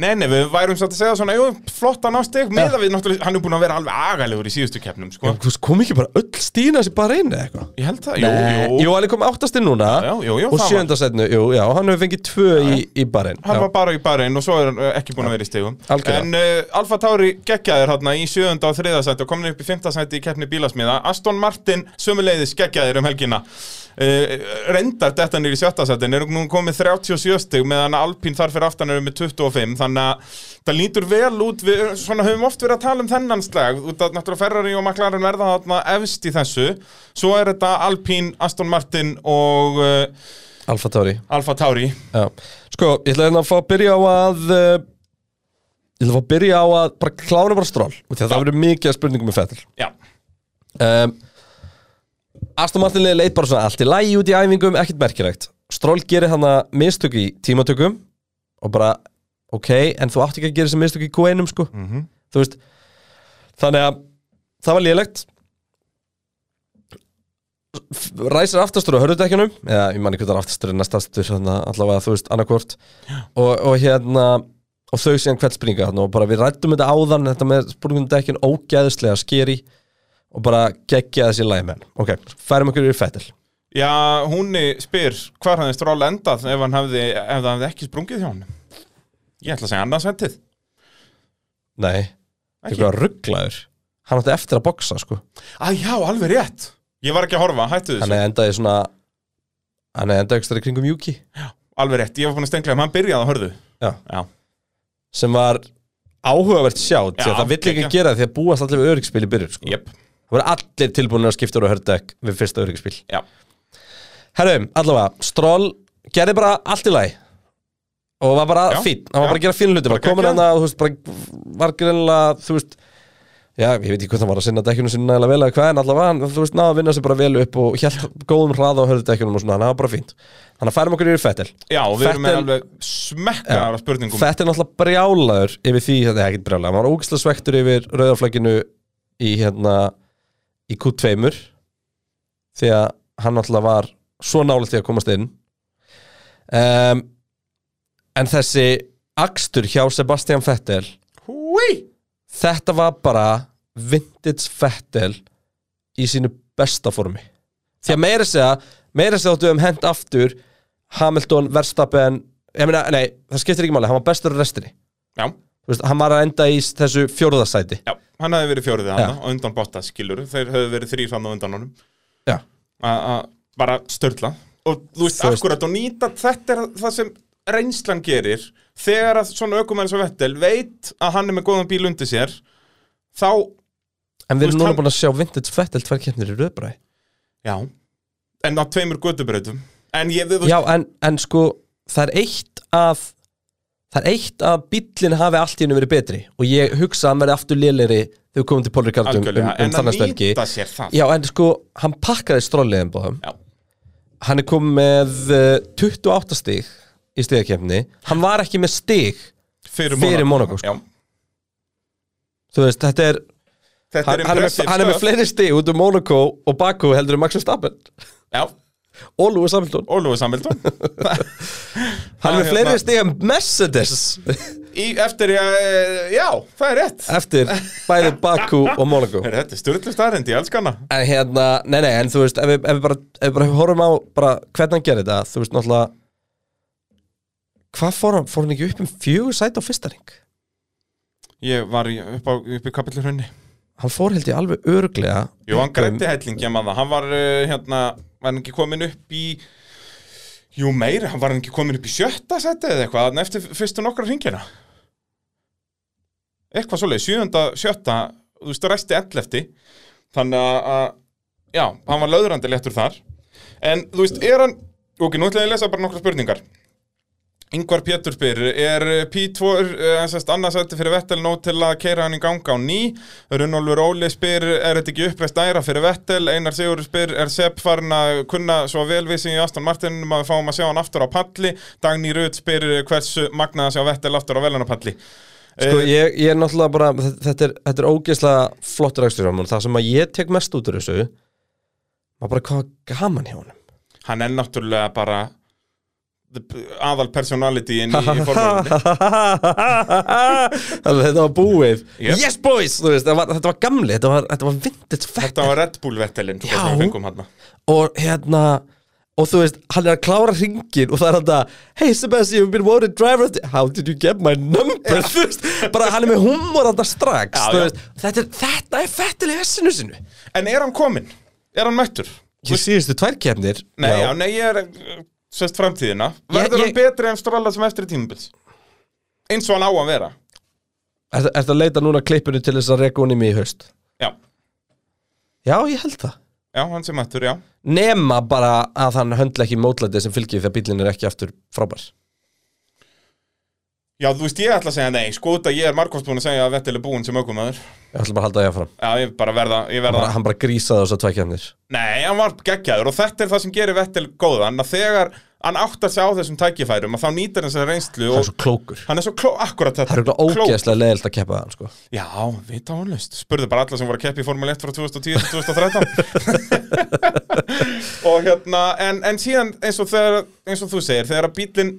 Nei, nei, við værum satt að segja svona, jú, flott að ná stygg Meða við náttúrulega, hann er búin að vera alveg agalegur í síðustu keppnum, sko
Þú veist, Kom ekki bara öll stína sér bara inn eða eitthvað
Ég held það, jú, jú
Jú, hann er komið áttastinn núna
Já, já, jú, jú,
Og
það var-
sjönda setnu, jú, já, hann hefur fengið tvö í, í barinn
Hann var bara í barinn og svo er hann uh, ekki búin að vera í stegum
Algjörlega.
En uh, Alfa Tauri geggjaðir hérna í 7. og 3. sæti og komin upp í 5. sæti í keppni bílasmiða Aston Martin sömuleiðis geggjaðir um helgina uh, Rendar þetta niður í 7. sæti en er nú komið 37 steg meðan Alpín þar fyrir aftan eru með 25 þannig að það lítur vel út við eh, svona höfum oft verið að tala um þennan slag út að náttúrulega Ferrari og McLaren verða þarna efst í þessu svo er þetta Alpín, Aston Martin og uh,
Alfa Tauri
Alfa Tauri
Já, sko, ég ætla hérna að fá að byrja á að uh, Ég ætla að fá að byrja á að bara klára bara stról Þegar það verður mikið af spurningum með fettil
Já,
um, Aston Martin liði leit bara svona allt í lagi út í æfingum, ekkert merkilegt Stról gerir hann að mistök í tímatökum Og bara, ok, en þú átt ekki að gera þessi mistök í Q1-um sko Þú veist, þannig að það var lélegt ræsir aftastur á hörðutekjunum eða ég man ekki hvað aftastur er næstastur þannig að allavega þú veist annarkvort og, og hérna og þau síðan hvert springa þarna og bara við rættum þetta áðan þetta með spurningum dekkin ógeðslega skeri og bara geggja þessi lægi með hann ok, færum ykkur yfir fettil
Já, húnni spyr hvar hann er stról endað ef hann hefði, ef það hefði ekki sprungið hjá hann Ég ætla að segja annarsventið
nei,
Ekki.
ykkur að rugglaður hann átti eftir að boxa sko
Æ, já, alveg rétt Ég var ekki að horfa, hættu þessu
hann hefði endaði svona hann hefði endaði ykkur í kringum Juki
Alveg rétt, ég var búin að stengla um hann byrjaði að hörðu
Já.
já,
sem var áhugavert sjátt því
Já,
að það vill ekki
geggja.
gera því að búast allir við öryggspil í byrjun sko.
Jep.
það voru allir tilbúinir að skipta úr að hördekk við fyrsta öryggspil
já.
herrum, allavega, Stroll gerði bara allt í lagi og var bara
Já,
fín, hann var bara að gera fín hluti bara
Bara
komin
geggjað.
hann að, þú veist, bara var greinlega, þú veist já, ég veit ekki hvað það var að sinna dekkjunum sinna nægilega vel eða hvað, en allavega, hann, þú veist, náða að vinna sér bara vel upp og hjælt góðum hraða á hörðdekjunum og svona, hann var bara fínt þannig að færum okkur yfir Fettel
já, og við erum með
Vettel-
alveg smekkaðar af spurningum
Þetta er náttúrulega brjálaður yfir því, þetta er ekkert brjálaður, hann var ógislega svektur yfir rauðarflækinu í hérna í Q2 því að hann náttúrulega var svo nálega til að komast inn um, en þessi akstur hjá Sebastian Vettel
Húi
þetta var bara vintage Vettel í sínu besta formi því að meira að segja meira að segja áttu um hent aftur Hamilton, Verstappen ég meina, nei, það skiptir ekki máli, hann var bestur á restinni
Já,
Þú veist, hann var að enda í þessu fjórðasæti
já, hann hefði verið fjórið
Já.
hann og undan Bottas, skilur Þeir hefði verið þrýr hann og undan honum
já,
að að bara störla og þú veist,
Þú veist-
akkurat og nýta þetta er það sem reynslan gerir þegar að svona ökumenn svo Vettel veit að hann er með góðan bíl undir sér þá,
en við
Þú veist,
erum núna
hann-
búin að sjá vintage Vettel tvær keppnir í röðbræði
já en á tveimur gödubrautum en ég, þú,
já, en, en sko, það er eitt að það er eitt að bíllinn hafi allt í hennu verið betri og ég hugsa að hann verði aftur lélegri þegar við komum til Paul Ricardum um,
algjörlega,
um
en að
þannig stelgi
nýta sér það
já, en sko, hann pakkaði stróliðin bóðum
já,
hann er komið með eh, 28 stig í stigakefni hann var ekki með stig
fyrir,
Fyrir Monaco, sko.
já.
þú veist, þetta er,
þetta
hann,
er
hann, er, með,
impressive
hann er með
stuff.
fleiri stig út um Monaco og Baku heldur um Max Verstappen
já,
og Lewis Hamilton
Ólúi Samveldón
hann er með
hérna-
fleiri stig en Mercedes
í, eftir, eh, já, það er rétt
Eftir bæði Baku og Monaco
Heyrðu, Þetta er styrlu starrend, ég elska hana
En hérna, nei nei, en þú veist Ef við, ef við, bara, ef við bara horfum á bara, hvernig hann gerir þetta Þú veist náttúrulega Hvað fór hann? Fór hann ekki upp um fjögur sæti á fyrsta ring?
Ég var í- upp, á, upp í kapillurhunni
Hann fór held ég alveg örglega
Jú, hann grætti helling, ég maður Hann var, eh, hérna, var hann ekki komin upp í Jú, meira, hann var hann ekki komin upp í sjötta seti eða eitthvað þarna Eftir fyrstu nokkra ringina Eitthvað svoleið, sjöunda, sjötta Þú veist, resti ellefti Þannig að, að já, hann var löðrandi léttur þar En, þú veist, er hann Ok, nú ætla ég að lesa bara nokkra spurningar Ingvar Pétur spyr, er P2 eh, sem sagt, annars þetta fyrir Vettel nóg til að keira hann í ganga á ný? Runnólfur Óli spyr, er þetta ekki uppreist æra fyrir Vettel? Einar Sigur spyr, er Sepp farin að kunna svo velvísi í Aston Martinum að við fáum að sjá hann aftur á palli? Dagný Rut spyr eh, hversu magnað að sjá Vettel aftur á velunarpalli?
Sko ég, ég er náttúrulega bara Þetta er, þetta er ógeðslega flottur akstur hjá honum. Það sem að ég tek mest út úr þessu Var bara hvað gaman hjá honum
Hann er náttúrulega bara the- aðal personality inn í formúlunni.
Þannig að þetta var búið
Yep.
Yes boys, þú veist, það var, þetta var gamli Þetta var, þetta var vintage fett
Þetta var Red Bull Vettelin, sko,
Já.
sem við fengum hann.
Og hérna Og þú veist, hann er að klára ringin Og það er hann að Hey Sebastian, you've been wanted driver of the- How did you get my number? Þú veist, bara hann er með humor hann strax
Já,
þú
já.
veist. Þetta er, þetta er fettileg essinu sinu
En er hann kominn? Er hann mættur?
Ég síðustu tvær kefnir
Nei, já, nei, ég er uh, sérst framtíðina
Ég-
Verður hann betri en strála sem eftir tímubils? Eins og hann á að vera
Ertu ertu að leita núna klippinu til þess að reka honum í haust?
Já,
Já, ég held það
já, hann sem mættur, já
Nema bara að hann höndla ekki mótlætið sem fylgir þegar bílinn er ekki aftur frábær
Já, þú veist, ég ætla að segja nei, sko út að ég er margótt búin að segja að Vettel er búinn sem aukumæður
Ég ætla bara að halda því áfram
Já, ég bara verða, ég
bara,
verða
Hann bara grísaði þess að tveikjarnir
Nei, hann var geggjaður og þetta er það sem gerir Vettel góðan að þegar hann áttar sig á þessum tækifærum að þá nýtir hann sér reynslu
Hann er
og
svo klókur
hann er svo kló, akkurat þetta
Það er eitthvað
klókur.
ógeðslega leðilt að keppa hann sko.
Já, vita honlust Spurðu bara alla sem voru að keppi í Formule 1 frá 2010 til 2013 Og hérna, en, en síðan eins og, þegar, eins og þú segir Þegar að bílinn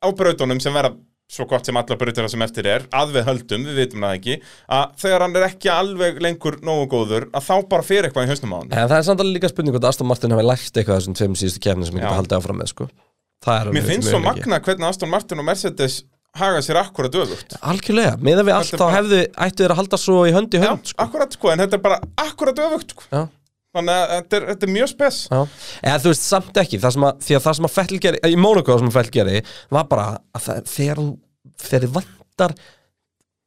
á brautunum sem verða svo gott sem alla brautina sem eftir er að við höldum, við vitum það ekki að þegar hann er ekki alveg lengur nógu góður að þá bara fyrir eitthvað í hausnum á hann
En það er samt alveg líka spurning hvort Aston Martin hafi lært eitthvað af þessum tveim síðustu kefnir sem ég
Já.
geta haldið áfram með sko. Það er
Mér
alveg
finnst
mjög
svo
mikið.
magna hvernig Aston Martin og Mercedes haga sér akkurat öfugt
Algjörlega, meðan við allt
Þetta er
þá
bara-
hefðu ættu þeir að halda svo í hönd í
Já,
hönd sko.
akkurat sko, en þetta er bara akkurat öfugt sko.
Já.
Þannig að þetta er, þetta er mjög spes
Já. eða þú veist samt ekki það sem að, því að það sem að Fettel geri, í Mónaco sem að Fettel geri var bara að það, þegar hún þegar þið vantar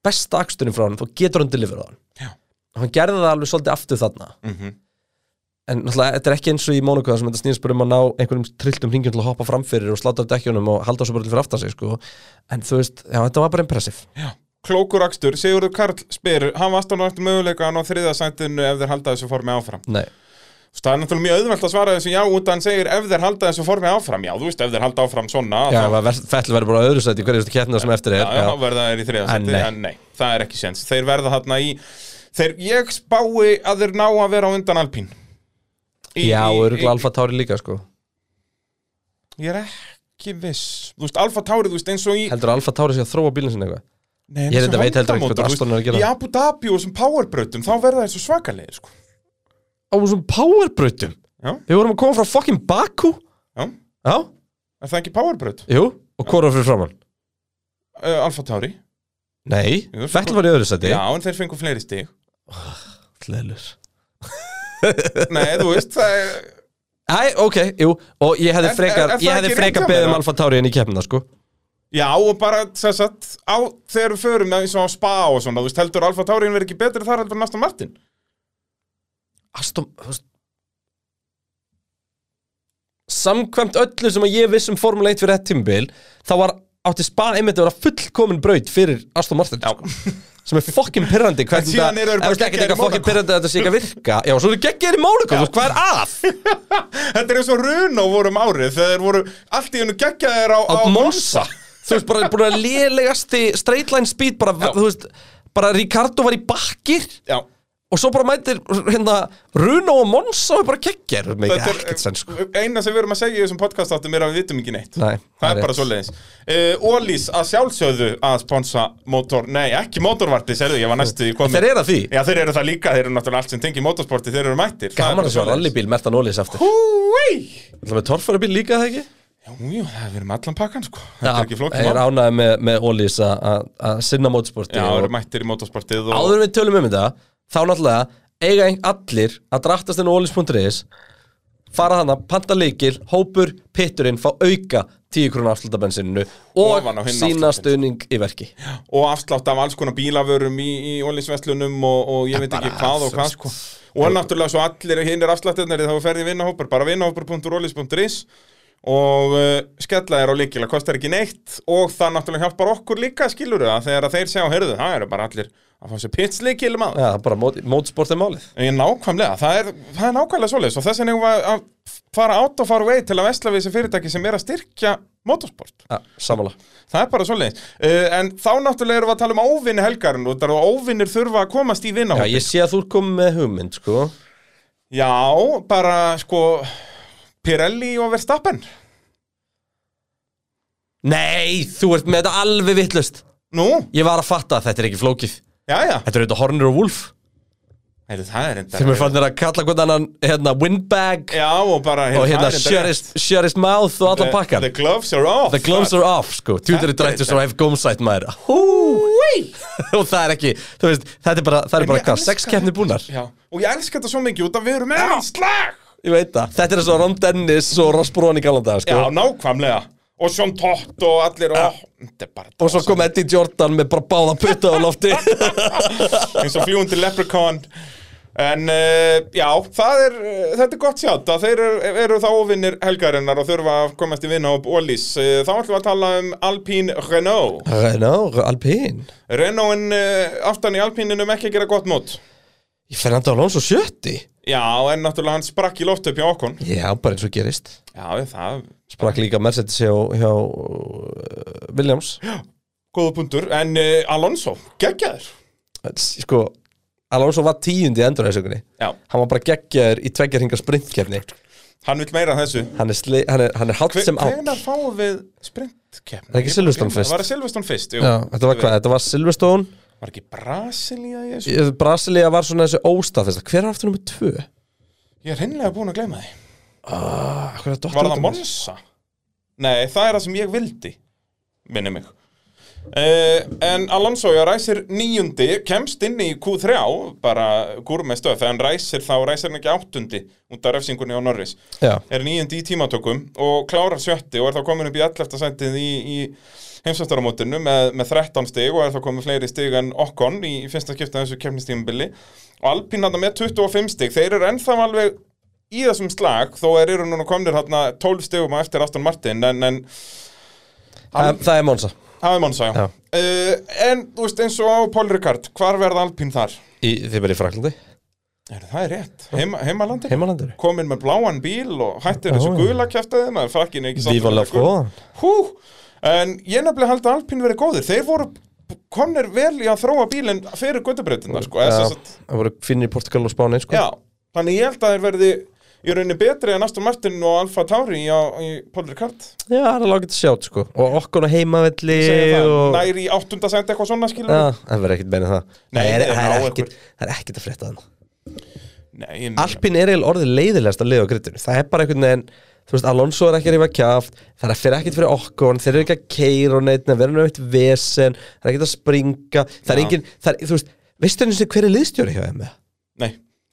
besta aksturinn frá hann þá getur hann deliverað hann
Já.
hann gerði það alveg svolítið aftur þarna
mm -hmm.
en náttúrulega þetta er ekki eins og í Mónaco þar sem þetta snýðist bara um að ná einhverjum trilltum hringjum til að hoppa framfyrir og sláta af dekkjunum og halda svo bara til fyrir aftar sig sko. en þú veist, já þetta var bara impressiv
klókur akstur, Sigurður Karl spyr hafa Aston Martin möguleika að ná þriða sætinu ef þeir halda þessu formi áfram
nei,
Þú veist, það er náttúrulega mjög auðvelt að svara þessu já út að hann segir ef þeir halda þessu formi áfram já, þú veist, ef þeir halda áfram svona
já,
þá-
Fettel verður bara á öðru sæti í hverju keppna sem eftir
já,
er
já, þá verða þeir í þriða
En
sæti
nei.
en nei, það er ekki séns þeir verða þarna í þeir, ég spái að þeir ná að vera á undan Alpín Í-
já
í- í-
öruglega Alfa Tauri líka sko.
ég er ekki viss þú veist, Alfa Tauri, þú veist, eins og í
heldur að Alfa Tauri sé að þróa bílinn sinni eitthvað
Nei,
Ég reyndar veit heldur ekki hvað
Honda-mótor,
Aston er að
þú veist,
gera.
í Abu Dhabi og þessum powerbrautum þá verða þeir svo svakalegir sko.
á þessum powerbrautum
Já.
Við vorum að koma frá fucking Baku
já,
Já,
er það ekki powerbraut?
jú Og hvað var fyrir framann?
Uh, Alfa Tauri
Nei,
Jú, sko-
Vettel var í öðru seti
Já, en þeir fengu fleiri stig
Hleilur
Nei, þú veist, það er
Æ, ok, jú Og ég hefði
En-
frekar,
en- en það
ég hefði
ekki
frekar
rétt hjá
beðið um
mér,
Alfa Tauri inn í keppnina, sko
Já, og bara, sem sagt, á, þegar við förum eins og á spa og svona, þú veist, heldur Alfa Taurin verið ekki betri þar heldur en Aston Martin
Aston, þú veist Samkvæmt öllu sem að ég viss um Formule 1 fyrir ett tímabil Þá var átti spa einmitt að vera fullkomin braut fyrir Aston Martin sko. sem er fokkin pirrandi
En
hvernig
síðan eru þeir
ef
bara
þú veist ekki
geggjaðir í
eitthvað fokkin
Monaco.
pirrandi að þetta sé ekki að virka já, svo eru geggjaðir í Mónaco, þú veist hvað er að?
Þetta er eins og Runo vorum árið, þegar þeir voru allt í hennu geggjaðir á,
á Monza þú veist bara búin að lélegasti straight line speed bara, þú veist, bara Ricardo var í bakkir
Já,
og svo bara mætir hérna Runo og Monsa og bara kekkjar það með
Þetta er-
ekkert senn sko
eina sem við erum að segja í þessum podcastáttum er að við vitum ekki neitt
Nei,
það
það er
er bara
rétt.
svoleiðis uh, Ólís að sjálfsögðu að sponsa mótor, nei ekki mótorvartis er ég var næstu í komin
Þeir eru að því.
já þeir eru það líka, þeir eru náttúrulega allt sem tengi mótorsporti þeir eru mættir Það er
Gaman
bara
að sjá
svoleiðis.
rallybíl Mertan Ólís aftur
Húi!
Það með torfarabíl líka er það ekki?
Jú, jú, það er við erum allan pakkan sko Þetta er ekki
Ég
flókið
er
mál
ánægð með, með Ólís að- að að sinna mótsporti
Já, það
og
eru mættir í mótorsportið og
áður en við tölum um þetta þá náttúrulega eiga ein- allir að drattast inn á olis.is fara hana, panta leikil, hópur, pitturinn, fá auka 10 krónu afslutabensininu og
Ofan á hinn
sína
afsláttinn.
stuðning í verki
og afslátt af alls konar bílavörum í, í ólísveslunum og, og ég veit ekki
bara
hvað og
svo-
hvað sko. og náttúrulega svo allir hinn er afsláttirnari þá ferði vinnahópur, bara vinnahópur.ólís.is og uh, skella þér á líkilega, kostar ekki neitt og það náttúrulega hjálpar okkur líka skilur það þegar að þeir sjá, heyrðu, það eru bara allir að fá sér pitslíkil maður
Já, bara mót, mótsport er málið
Ég, nákvæmlega, það er, það er nákvæmlega svoleiðis og þess vegna eigum við að fara out of our way til að vesla við þessi fyrirtæki sem er að styrkja motorsport
ja, Samanlega
Það er bara svoleiðis uh, En þá náttúrulega erum við að tala um óvinni helgarinn og það er að óvinnir þurfa að komast í
Já,
vinnahóp
ég sé að þú er komið með hugmynd, sko
Já, bara sko Pirelli og Verstappen
Nei, þú ert með þetta alveg vittlust
Nú,
Ég var að fatta að þetta er ekki flókið
já, já
Þetta eru þetta Horner og Wolf
Heyrðu, það er enda
Þeim er fannir að kalla hvernig annan hérna, windbag
Já, og bara heyrðu,
og hérna
það er enda
shut
rétt.
his, shut his mouth og allan
The-
pakkan
The gloves are off
The gloves are off, sko Tjútur er
Þetta er
drættur svo ef gómsætt maður Húi Og það er ekki, þú veist, þetta er bara, það er
En
bara
ég
hvað,
elska
sex keppni búnar
Já, og ég elska þetta svo mikið út að við erum með hans slag
Ég veit það, þetta er eins og Ron Dennis og Ross Brón í galanda,
Já,
sko
nákvæmlega Og Sean Tott og allir og, Þetta er bara
Og svo kom Eddie Jordan með bara báða putta á lofti
eins og fljúandi leprechaun en uh, já, það er uh, þetta er gott sjátt að þeir eru, eru þá ofinnir helgarinnar og þurfa að komast í vinnahóp Ólís, uh, þá ætlum við að tala um Alpine Renault
Renault, Alpine
Renaultin uh, aftan í Alpineinum ekki að gera gott mót
Ég fer hann til Alonso sjötti
já, en náttúrulega hann sprakk í loft upp hjá okkur
Já, bara eins og gerist
já, það,
Sprakk líka Mercedes hjá, hjá uh, Williams
góða punktur en uh, Alonso, geggjaður
Sko, Alonso var tíundi endur þessu okkurni
já,
Hann var bara geggjaður í tveggjar hingar sprintkefni
hann vil meira af þessu
Hann er, sli- hann er, hann er hátt sem átt
hvenar fáum við sprintkeppni?
Er ekki Silverstone fyrst?
Var það Silverstone fyrst? Jú.
Já, þetta var hvað, þetta var Silverstone
Var ekki Brasilia í þessu?
Ég- Brasilia var svona þessi óstaðfesta Hver er aftur nummer tvö?
Ég er hreinlega búin að gleyma því.
Ah, hver er dottir
Var
út
það
um þessu?
Monsa? Nei, það er það sem ég vildi, minni mig. Uh, en Alonso, já, ræsir níundi, kemst inn í Q3, bara gúr með stöð, þegar hann ræsir þá ræsir hann ekki áttundi út af refsingunni á Norris.
Já,
Er níundi í tímatökum og klárar sjötti og er þá komin upp í 11. sætið í, í heimsvæmstaramótinu með, með 13 stig og er þá komin fleiri stig en Okkon í, í fyrsta skipta þessu kemnistímabili. Og Alpín hann með 25 stig, þeir eru ennþá alveg í þessum slag þó er eru núna komnir hérna 12 stegum á eftir Aston Martin en, en
það, það er Monsa
hafi mann sá
Já.
uh, en þú veist eins og á Paul Ricard hvar verða Alpín þar?
í, Þið verið í Fraklandi,
Er, það er rétt, Heima, heimalandir
heimalandur
komin með bláan bíl og hættir þessu
Já, já.
gula kjæftaði maður frakkin ekki sáttur sko.
Viva
með
la
þetta gula.
Fróðan
Hú, en ég nefnilega held að Alpín verið góðir þeir voru komnir vel í að þróa bílinn fyrir göttubreytina sko, eða sem sagt-
Það voru finnir í Portugal og Spáni sko.
Já, þannig ég held að þeir verði í rauninni betri en Aston Martin og Alfa Tauri á, í Paul Ricard
Já, það er alveg að sjátt sko. Og okkur á heimavelli
segja það,
og...
nær í áttunda sendi eitthvað svona skilur
Já, það verður ekkert meina það
Nei,
það, er,
þeir
það,
ná
er ekkert, það er ekkert að frétta þann
Nei, ég meina-
Alpin er eiginlega orðið leiðilegast að liða á grittinu Það er bara einhvern veginn Þú veist, Alonso er ekki að rífa kjaft Það er að fyrir ekkert fyrir okkur Þeir eru ekki að keira og neitt Það verður neitt vesen Það er ekkert að springa Það er
Já.
engin það er, Þú veist, veistu henni sem hver er liðstjóri hjá E? þeim? eða?
Nei,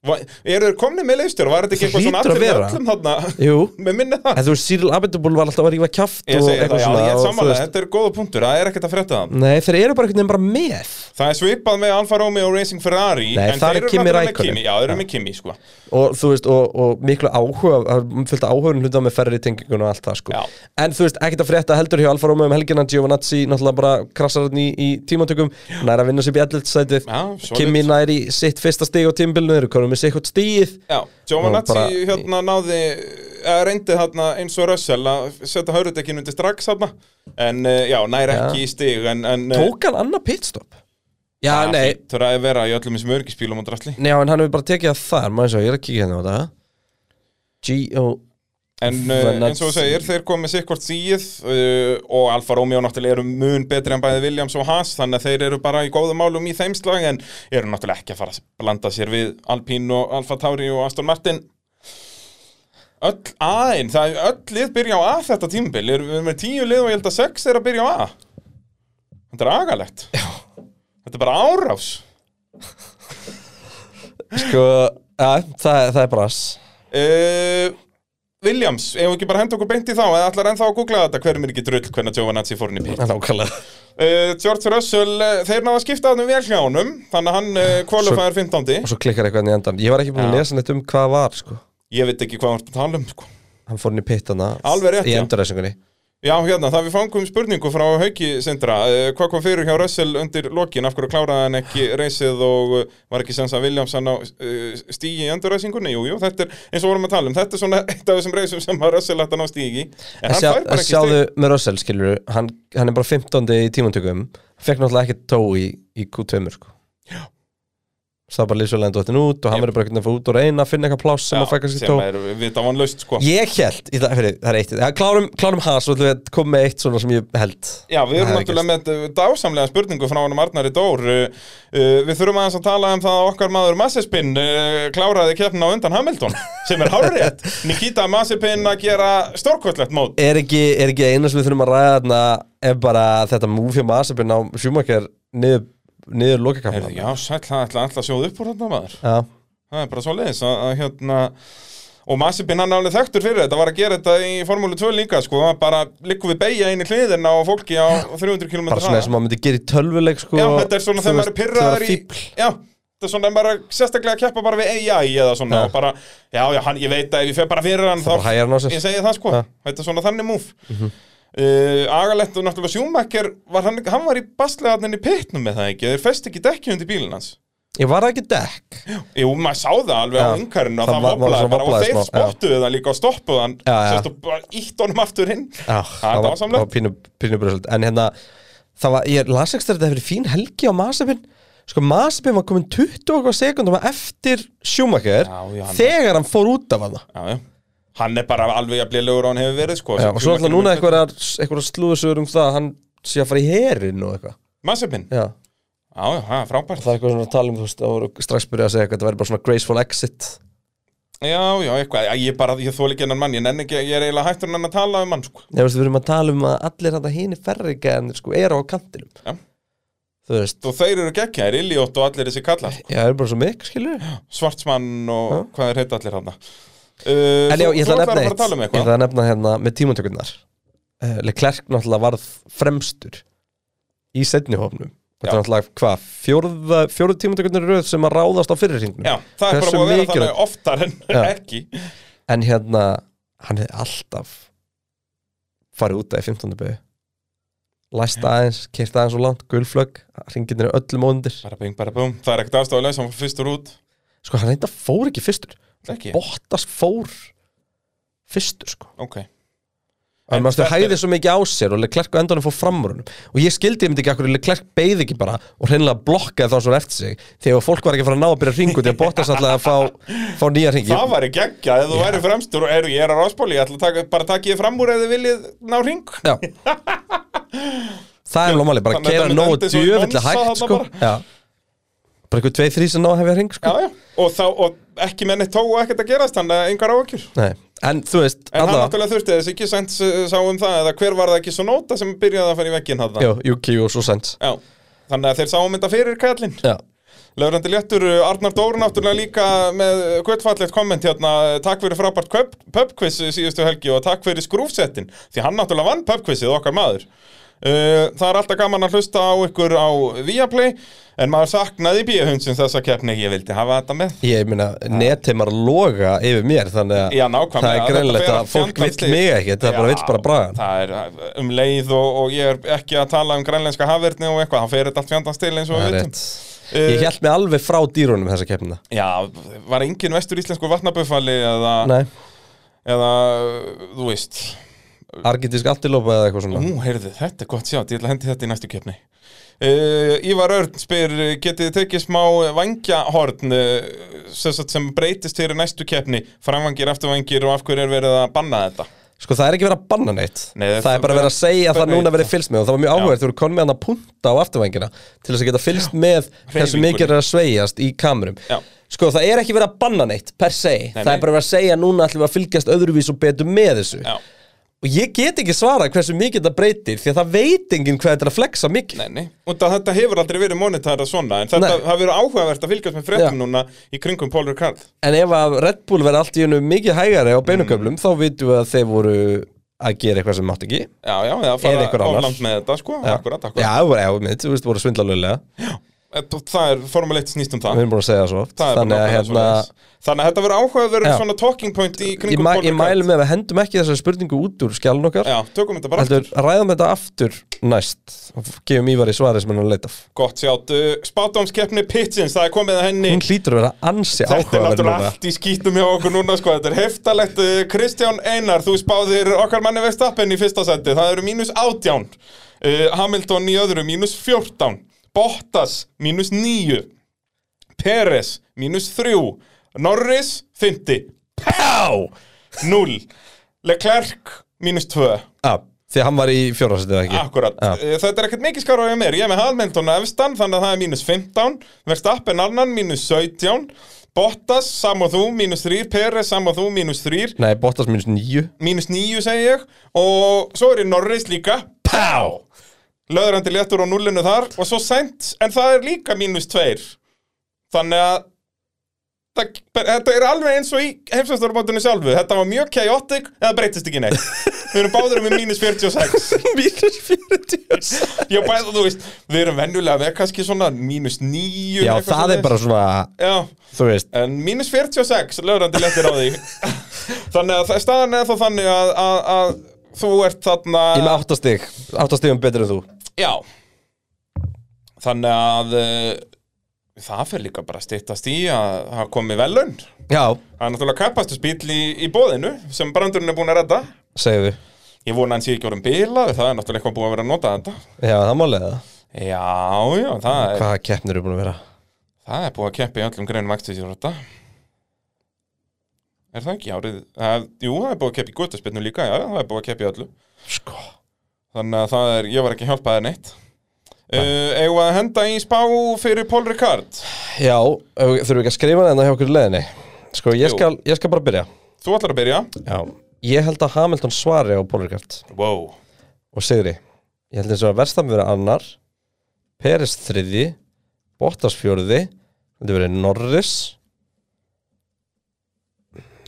Va- eru þeir komni með leifstjóra? Var þetta ekki
Það
eitthvað svona
hlýtur að
allir með
vera.
öllum þarna?
Jú
með minni það
En þú veist, Cyril Abedubul var alltaf að rífa kjaft
Ég
og
segi það,
eitthvað
já,
svona
ég er
og þú
samanlega,
veist-
þetta er góða punktur, það er ekkert að frétta það
Nei, þeir eru bara einhvern veginn bara með
Það er svipað með Alfa Romeo og Racing Ferrari
Nei,
en
þar er
þeir eru
Kimi
náttúrulega með
Räikkönen.
Kimi, Já, þeir eru með Kimi, sko
og þú veist, og, og miklu áhuga það er fullt af áhugun hluta með ferri tengingun og allt það sko.
Já.
en þú veist, ekkert að frétta heldur hjá Alfa Romeo um helgina, Giovanazzi náttúrulega bara krassar hann í, í tímantökum nær að vinna sér upp í 11. sætið
Já, solid.
Kimi nær í sitt fyrsta stig á tímbilinu þeir eru konum með sikkert stíð
Já,
Og
Giovanazzi
bara-
hérna náði eða reyndi þarna eins og Russell að setja hörðutekkin undir strax þarna en eh, já, nær ekki í stig en, en eh,
tók hann annað pitstop Já, nei,
Það er að vera í öllum þessum örgispílum og drastli
Nei, já, en hann hefur bara tekið það þar, maður eins og ég er að kíkja hérna á þetta G.O.
En uh, eins og þú segir, þeir komið með sikkvort síð uh, og Alfa Romeo náttúrulega eru mun betri en bæði Williams og Haas þannig að þeir eru bara í góðum málum í þeim slag en eru náttúrulega ekki að fara að blanda sér við Alpine og Alfa Tauri og Aston Martin Öll aðein, það er öll lið byrja á A þetta tímabil, Eru- við erum með tíu lið og ég held að sex er að byrja á A Þetta er agalegt Já. Þetta er bara árás
Sko, ja, það, er- það er brass
uh, Williams, ef við ekki bara henda okkur beint í þá eða ætlar ennþá að googla þetta, hver er mér ekki drull hvernig Giovanazzi fór inn í pít
Það er Nákvæmlega
Uh, George Russell, uh, þeir náðu að skipta hann um vélhjánum, þannig að hann uh, kvalifæðar 15.
Og svo klikkar eitthvað inn í endan Ég var ekki búin að
Já.
lesa neitt um hvað var, sko
Ég veit ekki hvað hann er að tala um, sko.
Hann fór inn í pittana
Alveg rétt,
Í
já.
endurræsingunni
Já, hérna, það við fangum spurningu frá Hauki Sindra. Uh, hvað kom fyrir hjá Russell undir lokin? Af hverju kláraði hann ekki reysið og uh, var ekki sens að Williams hann á uh, stígi í endurræsingunni? Jú, jú, þetta er, eins og vorum að tala um, þetta er svona eitt af þessum reysum sem að Russell hætti að ná stígi. í. En hann
sjá,
fær bara ekki
Sjáðu
stígi.
með Russell, skilur hann, hann er bara 15. í tímantökum Fekk náttúrulega ekki tó í, í Q2 sko. Það var bara lýsvölega en dóttin út Og hann
Yep.
verður bara ekki að fá út og reyna að finna eitthvað pláss sem að fækka sér tó
sem er vitavanlaust, sko.
Ég held, í það, fyrir, það er eitt ja, Klárum, klárum hans og við komum með eitt svona sem ég held
Já, við
Það
erum
er
náttúrulega með uh, dásamlega spurningu frá hann Arnari Dór Uh, uh, Við þurfum aðeins að tala um það að okkar maður Mazepin uh, kláraði keppna á undan Hamilton sem er hárrétt Nikita Mazepin að gera stórkvöldlegt mót
er ekki, er ekki eina sem við þurfum að ræða þarna er bara þetta move hjá Masabin á Schumacher niður, niður
Er,
lokakampan
Já, sæll, það ætla alltaf að sjóða upp úr þarna maður
Já,
Það er bara svo leiðis að, að hérna Og Mazepin hann er alveg þekktur fyrir þetta, var að gera þetta í Formúlu 2 líka, sko, hann bara liggur við beigja inn í hliðina á fólki á 300 km
bara svona sem maður myndi gera í tölvuleik sko,
Já, þetta er svona
þú
þegar
veist,
maður er pyrraðar í
þegar fífl.
Já, þetta er svona þegar maður er sérstaklega að keppa bara við AI eða svona
Já.
og bara, já, já, hann, ég veit að ef ég fer bara fyrir hann
bara hægir hann á sér.
ég segi það sko,
Já. Mhm.
þetta er svona þannig múf uh, Agalett og náttúrulega Sjúmakker var hann, hann var í baslegaðninni pittnum með það ekki, þeir fest ekki dekki undir bílinn hans
Ég var ekki dekk
Jú, maður sá það alveg á
Já.
yngarinn og
Það
það
var- var
voblaði
svona
bara og
voblaði
þeir
smá, já.
spottuðu það líka og stoppuðu hann
Já, já.
sérst og bara ítt honum aftur inn
Já, það var,
það er
það var
dásamlegt
pínu, pínu bröðsöld En hérna, það var, ég las ekki þetta hefur verið fín helgi á Masabin Sko, Masabin var komin 20 og sekundum eftir Schumacher
Já, já, hann-
þegar hann fór út af hana
Já, já Hann er bara alveg að bliðlegur og hann hefur verið sko
Já, og svo alltaf núna eitthvað eitthvað slúðisugur um það að hann sé að fara í herin og eitthvað
Massipin, já,
Já,
já, það er frábært
það er eitthvað svona að tala um þú veist, það voru strax byrjað að segja eitthvað, þetta væri bara svona graceful exit
Já, já, eitthvað, Já, ég bara, ég þóli ekki hennan mann, ég nenni ekki, ég er eiginlega hættur en hann að tala um hann, sko
Ég veist, við erum að tala um að allir hann að hini ferrika en sko eru á kantinum
Já.
Þú veist,
Og þeir eru geggjaðir, Iliot og allir þessi kallar sko.
já, það er bara svo mikk, skilur
Svartsmann og
Já.
hvað er heitt allir Uh, hann uh, En
En já, ég ætla að nefna
eitt
eitt
tala um
Ég
eitthvað
ætla að nefna hérna með tímantökurnar uh, Leclerc náttúrulega varð fremstur í setni hófnum Þetta
Já.
er náttúrulega hvað, fjórða, fjórðu tímantökurnar í röð sem að ráðast á fyrirringnum
Já, það er bara
Hversu
búið að vera
mikilvægt-
þannig oftar en
Já.
ekki
En hérna, hann hefði alltaf farið út af í 15. byggu
Mm.
Læst aðeins, kert aðeins og langt, gulflögg, hringinir er öllum óndir
Bara bing, bara búm, það er ekkert aðstofulegs, hann var fyrstur út
Sko, hann reynda fór ekki fyrstur
Ekki,
Bottas fór fyrstur, sko
ok En
En maður stu
þetta er-
hæðið svo mikið á sér og Leclerc á endanum fór framur honum og ég skildi ég myndi ekki akkur Leclerc beigði ekki bara og hreinlega blokkaði þá svo eftir sig þegar fólk var ekki að fara að ná að byrja að ringu þegar Bottas alltaf að fá, fá nýja ringi
Það væri geggjað, ef þú væri fremstur og er, ég er að ráspáli, ég ætla að taka, bara takið þið fram úr ef þið viljið ná ring
Já Það er alveg máli, bara
Þannig að
gera
þetta
nógu
myndi svo í
djöfillig
Monza þarna
hægt sko.
bara.
Já. Bara eitthvað tveið þrý sem ná að hefja hring sko.
Já, já, og, þá, og ekki menni tó og ekkert að gerast, þannig að engar áökjur
Nei. En þú veist,
En hann
alla
náttúrulega þurfti þess ekki sent sá um það eða hver var það ekki svo nota sem byrjaði að fara í vegginn hann
Jú, Juki og svo sent
Já, þannig að þeir sáum þetta fyrir kallinn
Já,
Laurandi Léttur, eh, Arnar Dór náttúrulega líka með eh, gullfallegt komment hérna Takk fyrir frábært pub- pubquiz síðustu helgi og takk fyrir skrúfsettin Því hann náttúrulega vann pubquizið okkar maður Uh, það er alltaf gaman að hlusta á ykkur á Viaplay En maður saknaði bíahundsins þessa keppni Ég vildi hafa þetta með
ég meina, netheimar loga yfir mér þannig að
Já, nákvæmlega.
það er
Þetta
greinlegt
fer
að
allt
fólk
fjandans
vill
leið.
mig ekki, það
Já,
bara vill bara braga
Það er um leið og, og ég er ekki að tala um grænlenska hafverðni og eitthvað, það fer þetta allt fjandans til eins og
Það
við
er
vitum.
rétt Ég held mig alveg frá dýrunum þessa keppnina
Já, var engin vestur íslensku vatnaböfali eða,
Nei,
eða, þú veist,
Argentísk alltilópa eða eitthvað svona
Nú, heyrðu, þetta er gott sjátt, ég ætla að hendi þetta í næstu keppni uh, Ívar Örn spyr uh, Getið þið tekið smá vangjahorn uh, sem, sagt sem breytist fyrir næstu keppni Framvangir, afturvangir og af hverju er verið að banna þetta?
Sko það er ekki verið að banna neitt
Nei,
það,
það
er bara verið að segja að það
Hvernig
núna
veit
verið fylgst með og það var mjög áhverð þú eru konn með hann að punta á afturvængina til þess að geta fylgst með hversu
hreyfingunni.
mikið er að sveigjast í kamerum
Já.
Sko það er ekki verið að banna neitt per se það
nei.
er bara verið að segja að núna ætlum við að fylgjast öðruvís og betur með þessu
Já,
og ég get ekki svarað hversu mikið það breytir því að það veit enginn hvað þetta er að flexa mikið
nei, nei Og það, þetta hefur aldrei verið monitara svona En þetta,
Nei.
það verið áhugavert að fylgjast með
Já.
fréttum núna í kringum Pólur Karl
En ef að Red Bull verið allt í hennu mikið hægari á beinuköflum
Mm.
þá vitum við að þeir voru að gera eitthvað sem mátt ekki
Já, já, eða
Eða einhver
fara
annar.
ofland með þetta, sko Akkurat, akkurat
Já, það voru, já, mitt, þú veist, voru svindlalöglega
Eh, Það er formuleitt snýst um það
Við erum búin að segja það svo oft
Það er bara
Þannig að
nákvæmlega
hérna
svoleiðis. Þannig að þetta verður áhugaverður
Já.
svona talking point í
Ég,
kringum
mæ,
Paul
ég
Ricard.
mælu með að við hendum ekki þessari spurningu út úr skjálun okkar
Já, tökum þetta bara
Heldur, ræðum þetta aftur næst og gefum Ívar í svarið sem hann er að leita af.
Gott sjátt, uh, spátumskeppni Pitchins, það er komið að henni
Hún hlýtur að vera ansi
Þetta
áhugaverð
er náttúrulega
núna
allt í skítum hjá okkur núna sko, þetta er heftalegt Uh, Kristján Einar, þú spáðir okkar manni Vestappen í fyrsta seti, það eru mínus átján uh, Hamilton í öðru mínus fjórtán, Bottas mínus níu Peres mínus þrjú Norris, fymti Pá, null Leclerc, mínus tvö
ja, Því að hann var í fjórðarsætið ekki
Akkurat,
Já.
ja. þetta er ekkert mikið skar á ég mér Ég er með Hamilton efstan, þannig að það er mínus 15 Verstappen annan, mínus 17 Bottas, sam og þú, mínus 3 Peres, sam og þú, mínus 3
Nei, Bottas minus nýju
Mínus 9, segi ég Og svo er ég Norris líka Pá! Löðrandi léttur á nullinu þar Og svo sent, en það er líka mínus 2 Þannig að það- Þetta er alveg eins og í heimsvæmstofnbóttinu sjálfu Þetta var mjög chaotic, eða breytist ekki neitt Við erum báður með mínus 46
Mínus fjörutíu
Já, bæða, þú veist, við erum venjulega með kannski svona mínus níu
Já,
eitthvað
það er
svoleiðis.
bara svona,
Já,
þú veist
en mínus 46, lögrandi lettir á því Þannig að það- staðan er þá þannig að, að, að þú ert þarna
Ég er með áttastig, áttastigum betur en þú
Já Þannig að uh, það fyrir líka bara að styttast í að það komi velun Það
Já,
er náttúrulega kapastusbíl í, í bóðinu sem brandurinn er búin að redda
segðu
Ég vona að hann sé ekki orðin bílaður, það er náttúrulega eitthvað búið að vera að nota þetta
Já, það málega það
Já, já, það er,
Hvaða keppnir eru búin að vera?
það er búið að keppa í öllum greinum akstuðsjóta Er það ekki árið? Það, jú, það er búið að keppa í gutaspinnu líka, já, það er búið að keppa í öllu
Sko
Þannig að það er, ég var ekki að hjálpa það neitt uh, Eigum við að henda í spá fyrir Paul Ricard
Já, ef við- þurfum við ekki að skrifa hana hjá okkur í leðinni Sko, ég
Jú.
skal, ég skal bara byrja
Þú ætlar að byrja
Já, ég held að Hamilton svari á Polregard
Wow
og Sigri Ég held eins og að Verstappen verið annar Peres þriði Bottas fjörði Þetta verið Norris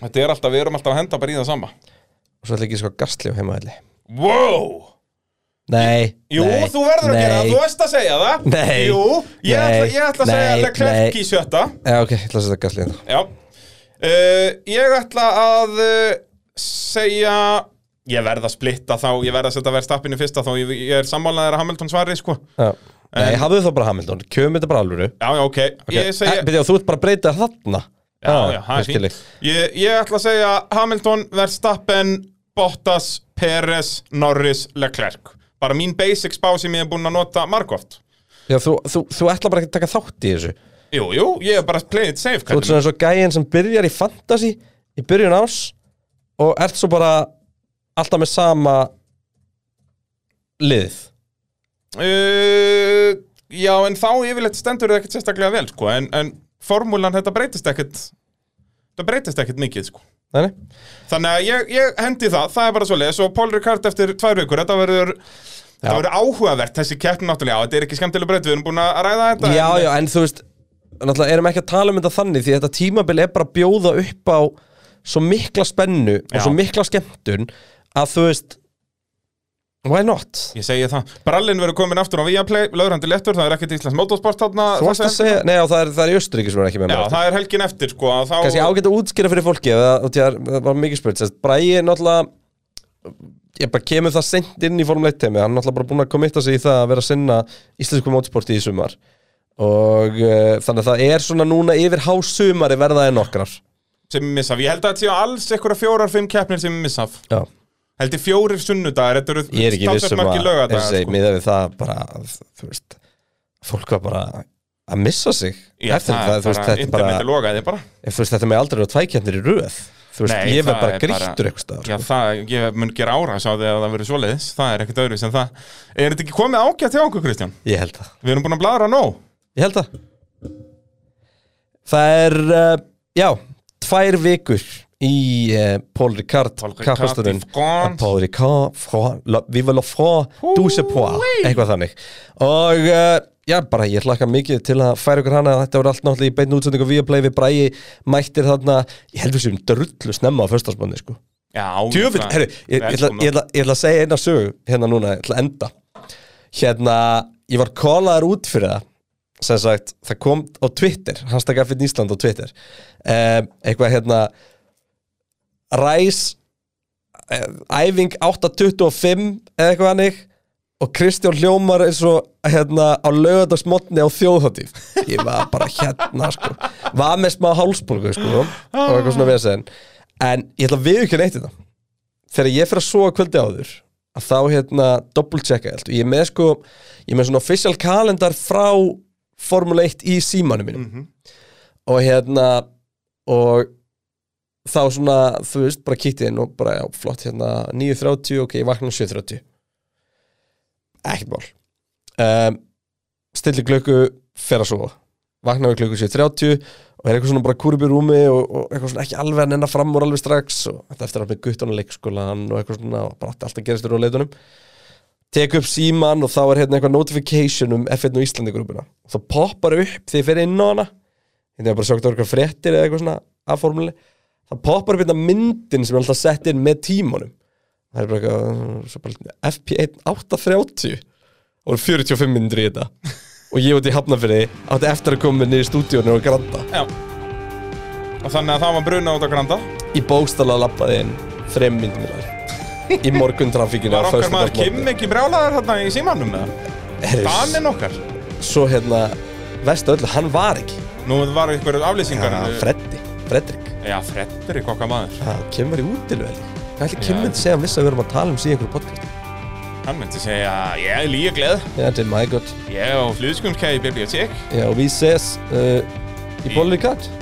Þetta er alltaf, við erum alltaf að henda bara í það sama
og svo ætla ekki sko Gastli á heimaðli
Wow
Nei,
Jú,
nei,
þú verður að
nei.
gera það, þú veist að segja það
Nei.
Jú, ég,
Nei.
ætla, ég ætla að segja
Nei.
að Leclerc í sjötta
Já, ok, ég ætla að setja Gastli hérna
Já uh, Ég ætla að uh, segja Ég verð að splitta þá Ég verð að setja verðstappinu fyrsta þá Ég, ég er sammálaðir að Hamilton svari sko
Já. Nei, hafðu þá bara Hamilton, kjöfum þetta bara alvöru
Já, já, ok, Ég,
Eh,
segja,
byrja, Þú ert bara að breyta þarna
já, já, það er
ég skil
fínt. ég, ég ætla að segja Hamilton, Verstappen, Bottas, Peres, Norris, Leclerc Bara mín basic spá sem ég er búinn að nota margóft
Já, þú, þú, þú ætla bara ekki að taka þátt í þessu
Jú, jú, ég er bara að play it
Þú
safe
ert
kallinn.
svona eins og gæinn sem byrjar í fantasy í byrjun ás og ert svo bara alltaf með sama lið
uh, Já, en þá yfirleitt stendur það ekkert sérstaklega vel sko En, en formúlan þetta breytist ekkert Þetta breytist ekkert mikið sko
Þannig?
Þannig að ég, ég hendi það, það er bara svo leiðis og Paul Ricard eftir tvær vikur, þetta verður þetta verður áhugavert, þessi keppn náttúrulega, Já, þetta er ekki skemmtileg breytt, við erum búin að ræða þetta
Já,
en,
já, en þú veist náttúrulega erum ekki að tala um þetta þannig því þetta tímabil er bara að bjóða upp á svo mikla spennu og
Já.
svo mikla skemmtun að þú veist why not?
Ég segi það, brallin verður komin aftur á Viaplay, löðrandi léttur, það er ekkert Íslands motorsport þarna
Þú varst að
þessa-
segja, nei, já, það er, það er í Östuríki sem er ekki með
Já,
mér
það er helgin eftir sko að þá,
kannski ágætt að útskýra fyrir fólki eða, og tjá, það var mikið spurt sérst, Bræi er náttúrulega ég bara kemur það sent inn í Formule 1 teimi hann er náttúrulega bara búin að komitta sig í það að vera að sinna íslensku mótsporti í sumar og uh, þannig að það er svona núna yfir hásumari verða en okkar
sem ég missa af, ég held að þetta séu alls einhverja fjórar, fimm keppnir sem ég missa af
já,
held ég fjórir sunnudagar þetta eru
ég er ekki
talsvert
vissum að,
margir
eins og
laugardagar
segi,
sko.
miðað við það bara, að, þú veist, fólk var bara að missa sig
Já,
eftir það, þú veist, þetta er bara,
internetið logaði bara
ef, þú veist, þetta með aldrei að tvækjarnir í röð, þú veist,
Nei,
ég verð
það
bara
er
grýttur
bara-
eitthvað staðar, sko.
Já, það, ég mun gera árás á því að það verður svoleiðis Það er ekkert öðru sem það Er þetta ekki komið ágætt hjá okkur, Kristján?
sko. ég held það,
Við erum búin að bladra nóg
ég held það, það er, uh, já, tvær vikur í uh, Paul Ricard
Paul Ricard
kappasturinn
í France.
Paul Ricard, fra, la, Viva la Fra, Douce Poix, eitthvað þannig og uh, já, bara ég hlakka mikið til að færa ykkur hana þetta voru allt náttúrulega í beinu útsendingu via play við bræði mættir þarna, ég held við sem drullu snemma á föstarsmanni sko
Já,
Djöfull,
það-
herri, ég, ég, ætla, ég, ætla, ég ætla að segja eina sögu hérna núna, ég ætla að enda hérna, ég var kólaður út fyrir það sem sagt, það kom á Twitter hashtag F1 Ísland á Twitter um, eitthvað hérna ræs eh, æfing 8.25 eða eitthvað hannig og Kristján hljómar eins og hérna á laugardagsmotni á þjóðhóttíf ég var bara hérna sko var með smá hálsbólgu sko og eitthvað svona vesen en ég ætla að hérna. við ekki neitt þetta þegar ég fyrir að soga kvöldi áður að þá hérna double checka allt. ég er með sko ég er með svona official kalendar frá Formule 1 í símanum mínum og hérna og þá svona, þú veist, bara kíkti inn og bara, já, flott, hérna, 9.30 ok, ég vakna um 7.30 ekkert mál um, stilli klukku, fer að svo vakna við klukku 7.30 og er eitthvað svona bara kúrib í rúmi og, og eitthvað svona ekki alveg að nenna fram úr alveg strax og þetta eftir að með guttana leikskólan og eitthvað svona og bara átti allt að gerast þér á leitunum tek upp síman og þá er hérna eitthvað notification um F1 og Íslandi grúpuna þá poppar upp þegar ég fer inn á hana hérna ég bara sjókt á eitthvað fréttir eða eitthvað svona af formule það poppar upp hérna myndin sem er alltaf sett inn með tímanum það er bara eitthvað svo bara, FP1 830 og eru 45 minnir í þetta og ég út í hafnafyrði átti eftir að koma niður í stúdíónu og granta
Já. Og þannig að það var bruna út á granda
í bókstala lappaði inn þrem myndum þar í morgun trafíkinu
Var okkar maður Kim ekki brjálaður þarna í símanum með það? Danin okkar
svo hérna vestu öllu, hann var ekki
Nú var ykkur aflýsingar
hann Freddi, Fredrik
Já, Fredrik okkar maður
hann kemur í útilu held ég. hvað ætli
Já.
Kim myndi segja um viss að við erum að tala um síðan einhverju podcast
Hann myndi segja, ég er líka gleð
já, þetta er my god
Ég er á flýðskumskæði í bibliotek
já, og við ses uh, í bólur í katt